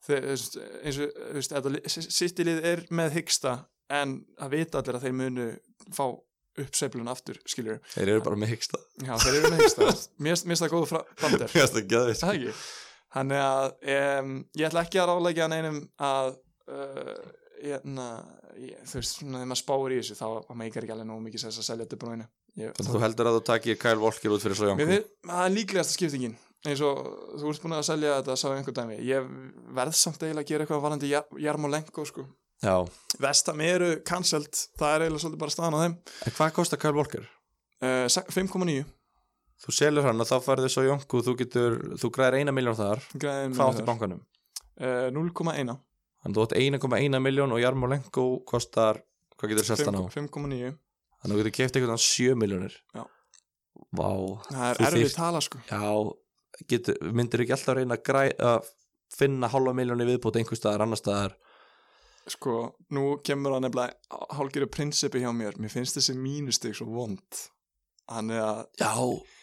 þeir, þú veist, eins og, þú veist, þetta sittilið er með hyggsta en það vita allir að þeir munu fá uppsveiflun aftur, skilur
þeir eru bara með hyggsta *laughs*
já, þeir eru með hyggsta, mér finnst það góð framder,
það
það ekki þannig að um, ég ætla ekki að ráleika neinum að uh, hérna, ég, þú veist, svona þegar maður spáir í þessu þá þá meikar ekki alveg nógu mikið sens að selja þetta bróinu
þú heldur að þú takir Kyle Walker út fyrir svo
Mér
jánku
finnst, það er líklegasta skiptingin eins og þú ert búin að selja þetta sá einhver dæmi, ég verð samt eiginlega að gera eitthvað varandi Jarmolenko sko
já,
Vestam eru cancelled, það er eiginlega svolítið bara staðan á þeim
en hvað kostar Kyle Walker?
uh, sa- 5,9
þú selur hann og þá færðu svo jánku þú getur, þú græðir eina miljón þar
græðum
hvað áttu í
þar.
bankanum?
Eh, 0,1
Þannig þú átt 1,1 miljón og Jarmolenko kostar, hvað getur 16 á?
5,9
Þannig að þú getur keft eitthvað 7 miljónir
Já.
Vá
það er
Þú
erfið
þyrft-
tala sko
Já, getur, myndir ekki alltaf reyna að, græ, að finna hálfa miljóni viðbót einhvers staðar, annar staðar
sko, nú kemur það nefnilega hálgjöru prinsipi hjá mér, mér finnst þessi mínustig svo vond hann er að,
Já,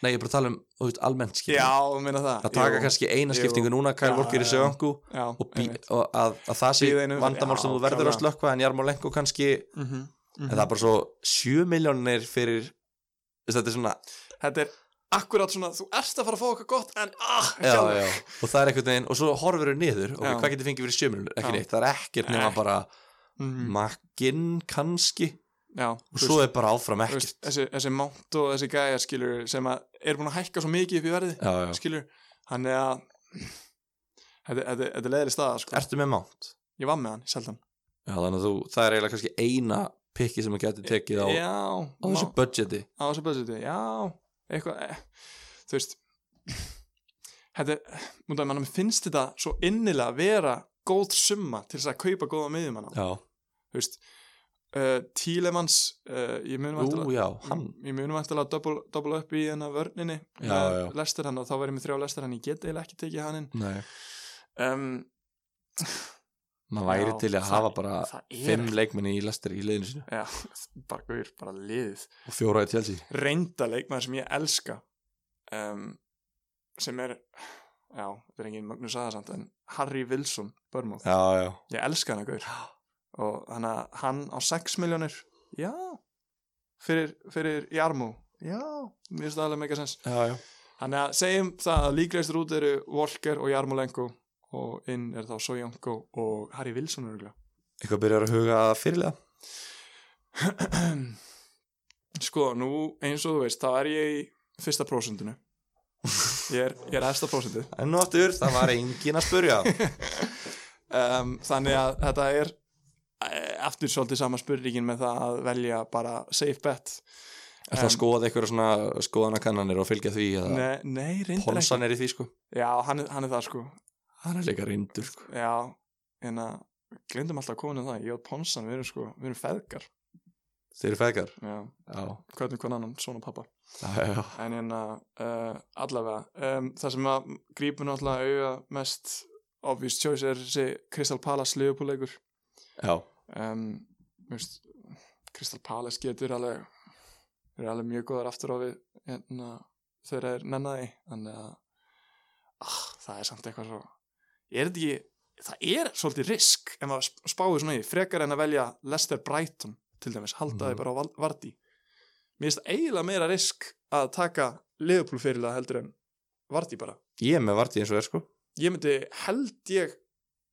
nei, ég er bara að tala um þú veist, almennt skipting
já, minna það
Að taka
Jú,
kannski eina
jú.
skiptingu núna Kyle
Já,
Walker í
já.
Sjöangu
já,
og, bí, og að, að það sé
Bíða einu-
vandamál sem
já,
þú verður að
klárlega.
slökka en Jarmolenko kannski,
mm -hmm,
en það er bara svo 7 miljónir fyrir þú veist, þetta er svona
þetta er akkurát svona þú ert að fara að fá eitthvað gott en ah, ekki
já,
alveg.
já. og það er einhvern veginn og svo horfur þau niður og
Já.
hvað getur fengið fyrir sjöminunum, ekki
Já.
neitt, það er ekkert nema
Ekki.
bara
Mhm,
makkinn kannski
já
og svo er bara áfram
þú veist,
ekkert já,
þessi, þessi mátt og þessi gæja skilur sem að er búin að hækka svo mikið upp í verði
já.
skilur, hann er að þetta þetta- þetta er leðri staða sko.
ertu með mánt
ég var með hann, ég seldi hann
já, þannig að þú, það er eiginlega kannski eina pikki sem þú getur tekið á,
já,
á þessu budgeti
á þessu budgeti, já eitthvað, eh, þú veist þetta, er- út af mannum finnst þetta svo innilega vera góð summa til þess að kaupa góða miðjum hann á,
já,
þú veist uh, Tílemans uh, ég munum
ú, já, hann
ég munum eftir að double, double upp í hennar vörninni
Já,
með
já.
lestir hann og þá verðum við þrjá lestir hann ég get eiginlega ekki tekið hann inn
Nei.
um,
maður væri
Já,
til í að
það-
hafa bara
það er
fimm
ekki.
leikmenni í lestir í liðinu sinu
Já, *laughs* bara guður, bara liðið
og fjóra í tjálsi
reynda leikmaður sem ég elska um, sem er já, þetta er engin Magnús aðeins en Harry Wilson, Börmóð
já, já,
ég elska hann eitthvað og hann, hann á 6 miljónir já fyrir, fyrir Jarmú já, mér finnst það alveg mega sens
já, já.
þannig að segjum það að líklegstur út eru Walker og Jarmulenko og inn er þá Sojanko og Harry Wilson örgulega
eitthvað byrjar að huga að fyrirlega
Sko, nú eins og þú veist, þá er ég í fyrsta prósundinu Ég er, ég er efsta prósundu
en nú aftur, það var engin að spurja *laughs*
um, Þannig að þetta er eh, aftur svolítið sama spurningin með það að velja bara safe bet
er það
Em.
að skoða eitthvað svona skoðanakannanir og fylgja því að
Nei, nei reyndar ekki
Ponsan er í því sko
Já, hann, er- hann er það sko
hann er líka reyndur sko
Já, en að glindum alltaf að koma inn á það, ég og Ponsan, við erum sko við erum feðgar,
þeir eru feðgar
já,
já,
hvernig hvernig annan, svona pappa
já, já, já.
en hérna uh, allavega um, það sem að grípur náttúrulega auga mest obvious choice er þessi Crystal Palace liðupúleikur
já.
um, þú veist, Crystal Palace getur alveg eru alveg mjög góðar aftur á við hérna, þegar þeir nennaði þannig að ah, það er samt eitthvað svo er þetta ekki, það er svolítið risk ef maður sp- spáir svona í, frekar en að velja Lester Brighton til dæmis, haldaði
Mhm.
bara á Val- Vardí mér finnst eiginlega meira risk að taka Liverpool fyrirlega heldur en Vardí bara
ég er með vartið eins og er sko
ég myndi held ég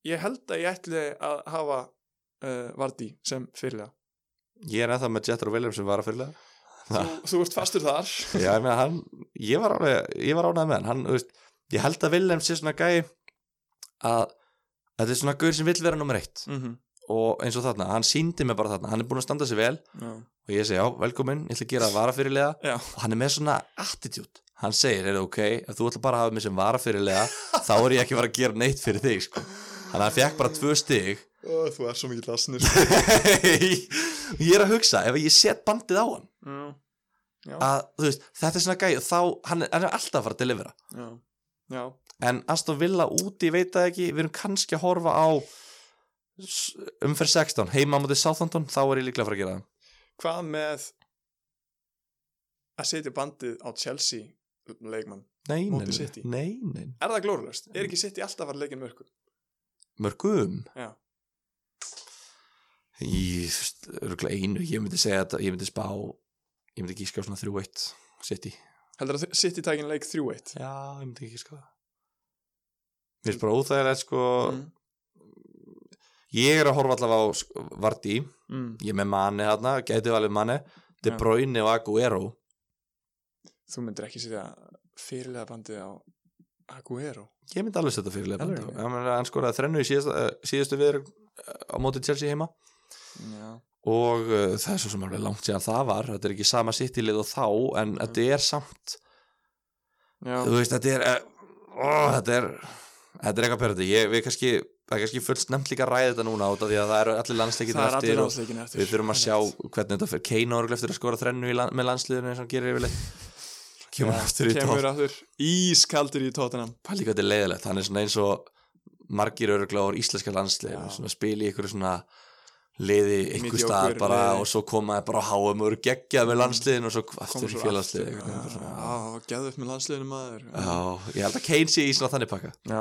ég held að ég ætli að hafa uh, Vardí sem fyrirlega
ég er ennþá með Jetter og William sem var að fyrirlega
þú, þú ert fastur þar
já, ég meina hann ég var ánægð, ég var ánægð með hann, hann þú veist, ég held að William sé svona gæi að þetta er svona gaur sem vill vera nummer eitt
mm -hmm.
og eins og þarna, hann síndi mig bara þarna hann er búin að standa sig vel og ég segi já, velkomin, ég ætla að gera það varafyrirlega
Já.
og hann er með svona attitude hann segir, er það ok, ef þú ætla bara að hafa mig sem varafyrirlega þá er ég ekki að fara að gera neitt fyrir þig sko. þannig að hann fekk bara tvö stig *laughs*
Ó, þú er svo mikið lasnir
og ég er að hugsa, ef ég set bandið á hann
já,
að, þú veist, þetta er svona gæi og þá, hann, er- hann er alltaf að fara að delivera
já, já,
en Aston Villa úti, ég veit það ekki við erum kannski að horfa á s- umferð 16, heima á móti Southampton þá er ég líklega að fara að gera það
hvað með að setja bandið á Chelsea leikmann,
Nei, nei,
Móti City.
nei, nei, nei.
er það glórulöst? er ekki City alltaf að fara leikin mörku?
mörgum
Já.
Í, þú veist, örgulega einu ég myndi segja þetta, ég myndi spá ég myndi gíska á svona 3-1 City
heldur að City tækin leik 3-1
já, ég myndi gíska á það mér finnst bara óþægilegt sko
mm.
ég er að horfa allavega á sko, Vardí ég
Mm.
er með manni þarna, gæti valið manni De
Já.
Bruyne og Aguero
þú myndir ekki setja fyrirlega bandið á Aguero
ég myndi alveg setja fyrir
Alveg?
lefnandi hann skoraði þrennu í síðast, eh, síðustu viður á móti Chelsea heima
já,
og uh, það er svo sem alveg langt síðan það var þetta er ekki sama sittilið og þá en þetta er samt
já.
þú veist, þetta er eh, ó, þetta er, þetta er eitthvað perandi ég, við kannski, það er kannski fullt nefnt líka að ræða þetta núna út af því að það eru allir landsleikir
það er allir
eftir og
landsleikin eftir
við þurfum að sjá hvernig þetta fyrir Kane orglega eftir að skora þrennu í land, með landsliðinu eins og hann gerir yfirleitt kemur aftur í tótt
kemur aftur ískaldur í tóttunum
pæli hvað þetta er leiðilegt, hann er svona eins og margir öruglega úr íslenska landsliðinu
Já.
svona spili í einhverju svona liði einhver
Mediocre
stað bara
liði. Mm.
og svo koma þeir bara á háum og eru geggjað með landsliðinu og svo aftur í félagsliði
já, geðu upp með landsliðinu maður
Já, ég held að Kane sé í svona þannig pakka
já.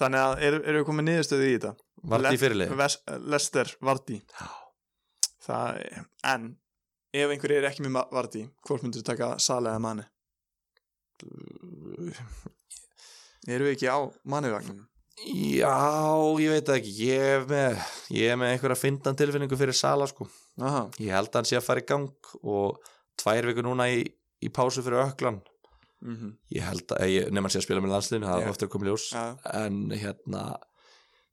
þannig að eru er við komið niðurstöðu í þetta
Vart í fyrirlið
fyrirlið Lester Vardí
Já.
það, er- en ef einhver er ekki með Ma- Vardí hvort myndur þú taka Sala eða
*laughs*
Mane erum við ekki á Manevagnum
Já, ég veit það ekki Ég er með, ég er með einhverja fyndan tilfinningu fyrir Sala sko.
aha,
Ég held að hann sé að fara í gang og tvær vikur núna í, í pásu fyrir öklan
mm
Ég held að, ég, nefn hann sé að spila með landsliðinu það
Já.
er ofta að koma í ljós
já,
en hérna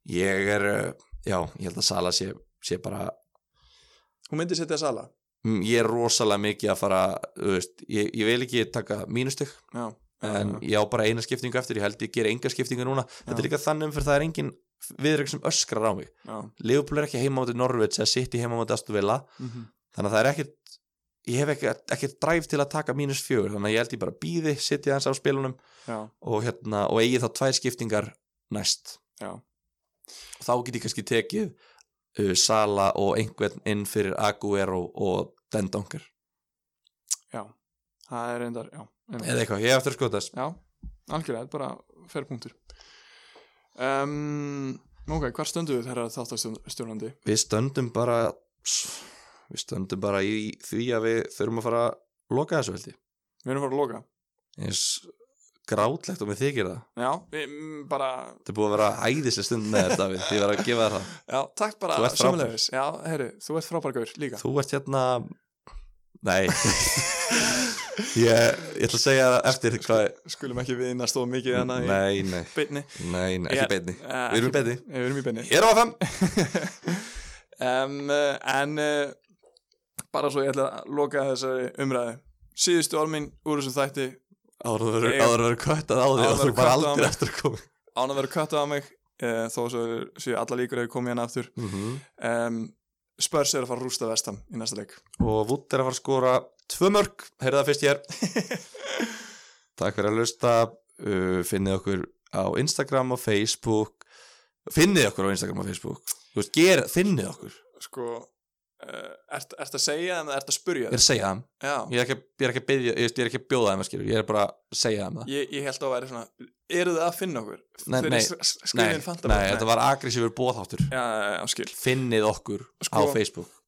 ég er, uh, já, ég held að Sala sé, sé bara,
hún myndir setja Sala
Mm, ég er rosalega mikið að fara, þú veist, ég, ég vil ekki taka mínustig
já,
en
já,
ég á bara eina skiptingu eftir, ég held ég gera enga skiptingu núna,
Já.
þetta er líka þannig um fyrir það er engin viðrögg sem öskrar á mig
já.
Leopold er ekki heima átti Norvits eða City heima átti Aston Villa
Mhm.
þannig að það er ekkert ég hef ekkert, ekkert dræf til að taka mínus fjögur þannig að ég held ég bara býði, City aðeins á spilunum
já.
og, hérna, og eigi þá tvær skiptingar næst
Já.
og þá get ég kannski tekið uh, Sala og einhvern inn fyrir Aguero og Dendonger
já, það er reyndar, já einmitt.
eða eitthvað, ég hef eftir að skoða þess
Já, algjörlega, þetta er bara fer punktur um, Ok, hvar stöndu við þeirra þáttastjórnandi?
við stöndum bara við stöndum bara í því að við þurfum að fara að loka þessu veldi
Við erum að fara að loka
eins grátlegt og mér þykir það
Já, við mm, bara
þetta er búið að vera æðislega stund með þetta Davíð, ég verð að gefa þér það
Já, takk
Þú
bara
ert frábær.
sömulegis Já, heyri, þú ert frábær gaur líka
þú ert hérna nei *laughs* ég, ég ætla að segja það eftir hvað
Skulum ekki við inn að stóða mikið hana í
nei, nei,
beinni
nei, nei, ekki
Ég-
beinni
Eh,
við erum í
ekki-
beinni
Við erum í
*laughs*
beinni
ég er á FM
um, eh, En eh, bara svo ég ætla að loka þessari umræði Síðustu ormin úr þessum þætti
áður að vera-
Ég-
áður að vera köttað á því
Áður
og
að
þú
vera
bara
köttað á
aldrei
mig.
eftir að koma
Án að vera köttu á mig uh, Þó svo séu alla líkur að ég komi hérna aftur
Mhm.
um, Spurs er að fara að rústa vestam í næsta leik
og Wood er að fara að skora tvö mörg heyrðu það fyrst
*laughs*
hér takk fyrir að lusta uh, finnið okkur á Instagram og Facebook finnið okkur á Instagram og Facebook Þú veist, ger, finnið okkur,
sko uh, ert, ert að segja þeim eða ert að spurja
ég er að segja það
þeim
ég er ekki, ég er ekki, að, byggja, ég er ekki að bjóða þeim að skilur ég er bara að segja þeim það
ég, ég held að væri svona eru þið að finna okkur
Nei, nei, nei,
skriðin um fanta
nei, þetta var aggressífur bóðháttur
já, já, já, skil
finnið okkur á
Sko-
Facebook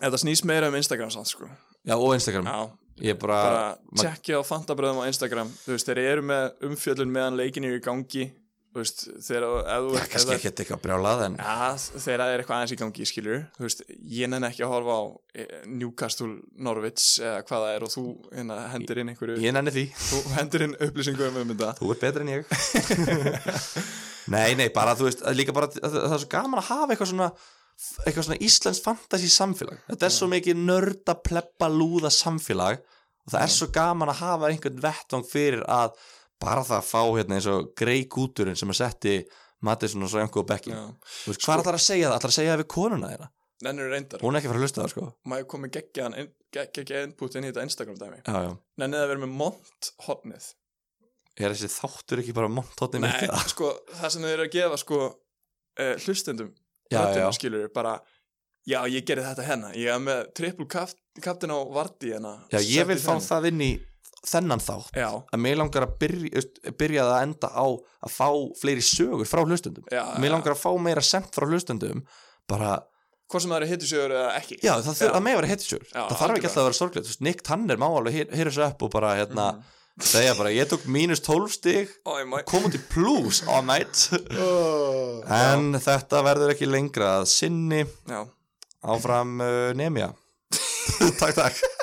þetta snýst meira um Instagram samt sko
já, og Instagram,
já
ég er bara,
bara
ma-
tjekkja á fantabröðum á Instagram þú veist, þeir eru með umfjöllun meðan leikin er í gangi þú veist, þeir eru
bara kannski ekki eitthvað brjálað en
Já, þegar það er eitthvað aðeins í gangi, skilur Þú veist, ég nenni ekki að horfa á eh, Newcastle, Norwich eða hvað það er og þú hérna, hendir inn einhverju
ég nenni því
þú hendur inn upplýsingu um þetta
Þú ert betri en ég *laughs* Nei, nei, bara þú veist að líka bara, að, að það er svo gaman að hafa eitthvað svona eitthvað svona íslensk fantasy samfélag þetta er svo mikið nörda pleppa lúða samfélag og það er svo gaman að hafa einhvern vettvang fyrir að bara það að fá hérna eins og grei gúturinn sem að setti Mattisson og Sveinko og Beckin Þú veist, hvað er það að segja það? Það er að segja það við konuna þeirna
Nennir reyndar,
Sko- Hún er ekki að fara að hlusta það sko
maður komið geggjaðan inn- gegg- geggjaðan input inn í þetta Instagram dæmi
Já, já
Nennið að vera með mont hotnið
Er þessi þáttur ekki bara montóttin
Nei, sko, það sem þau eru að gefa sko uh, hlustendum
Já, já.
skilur bara Já, ég gerði þetta hérna Ég er með triple kaft, kaptin á Vardí hérna
Já, ég vil
Setti
fá
þennan.
það inn í þennan þátt
Já,
að mér langar að byrja, veist, byrja að enda á að fá fleiri sögur frá hlustendum
Já, já.
mér langar að fá meira sent frá hlustendum bara,
hvort sem það eru hittisjögur eða ekki
já það þurfa
Já.
að með vera hittisjör
Já,
það þarf
algjörlega.
ekki alltaf að vera sorglega, þú veist, Nick Tanner má alveg heyr- heyra svo upp og bara hérna,
Mhm.
segja bara, ég tók mínus 12 stig
Ó, ég má
kom út í plus all
*laughs*
night
Oh. Já,
en þetta verður ekki lengra að sinni áfram uh, nemja eh, *laughs* takk, takk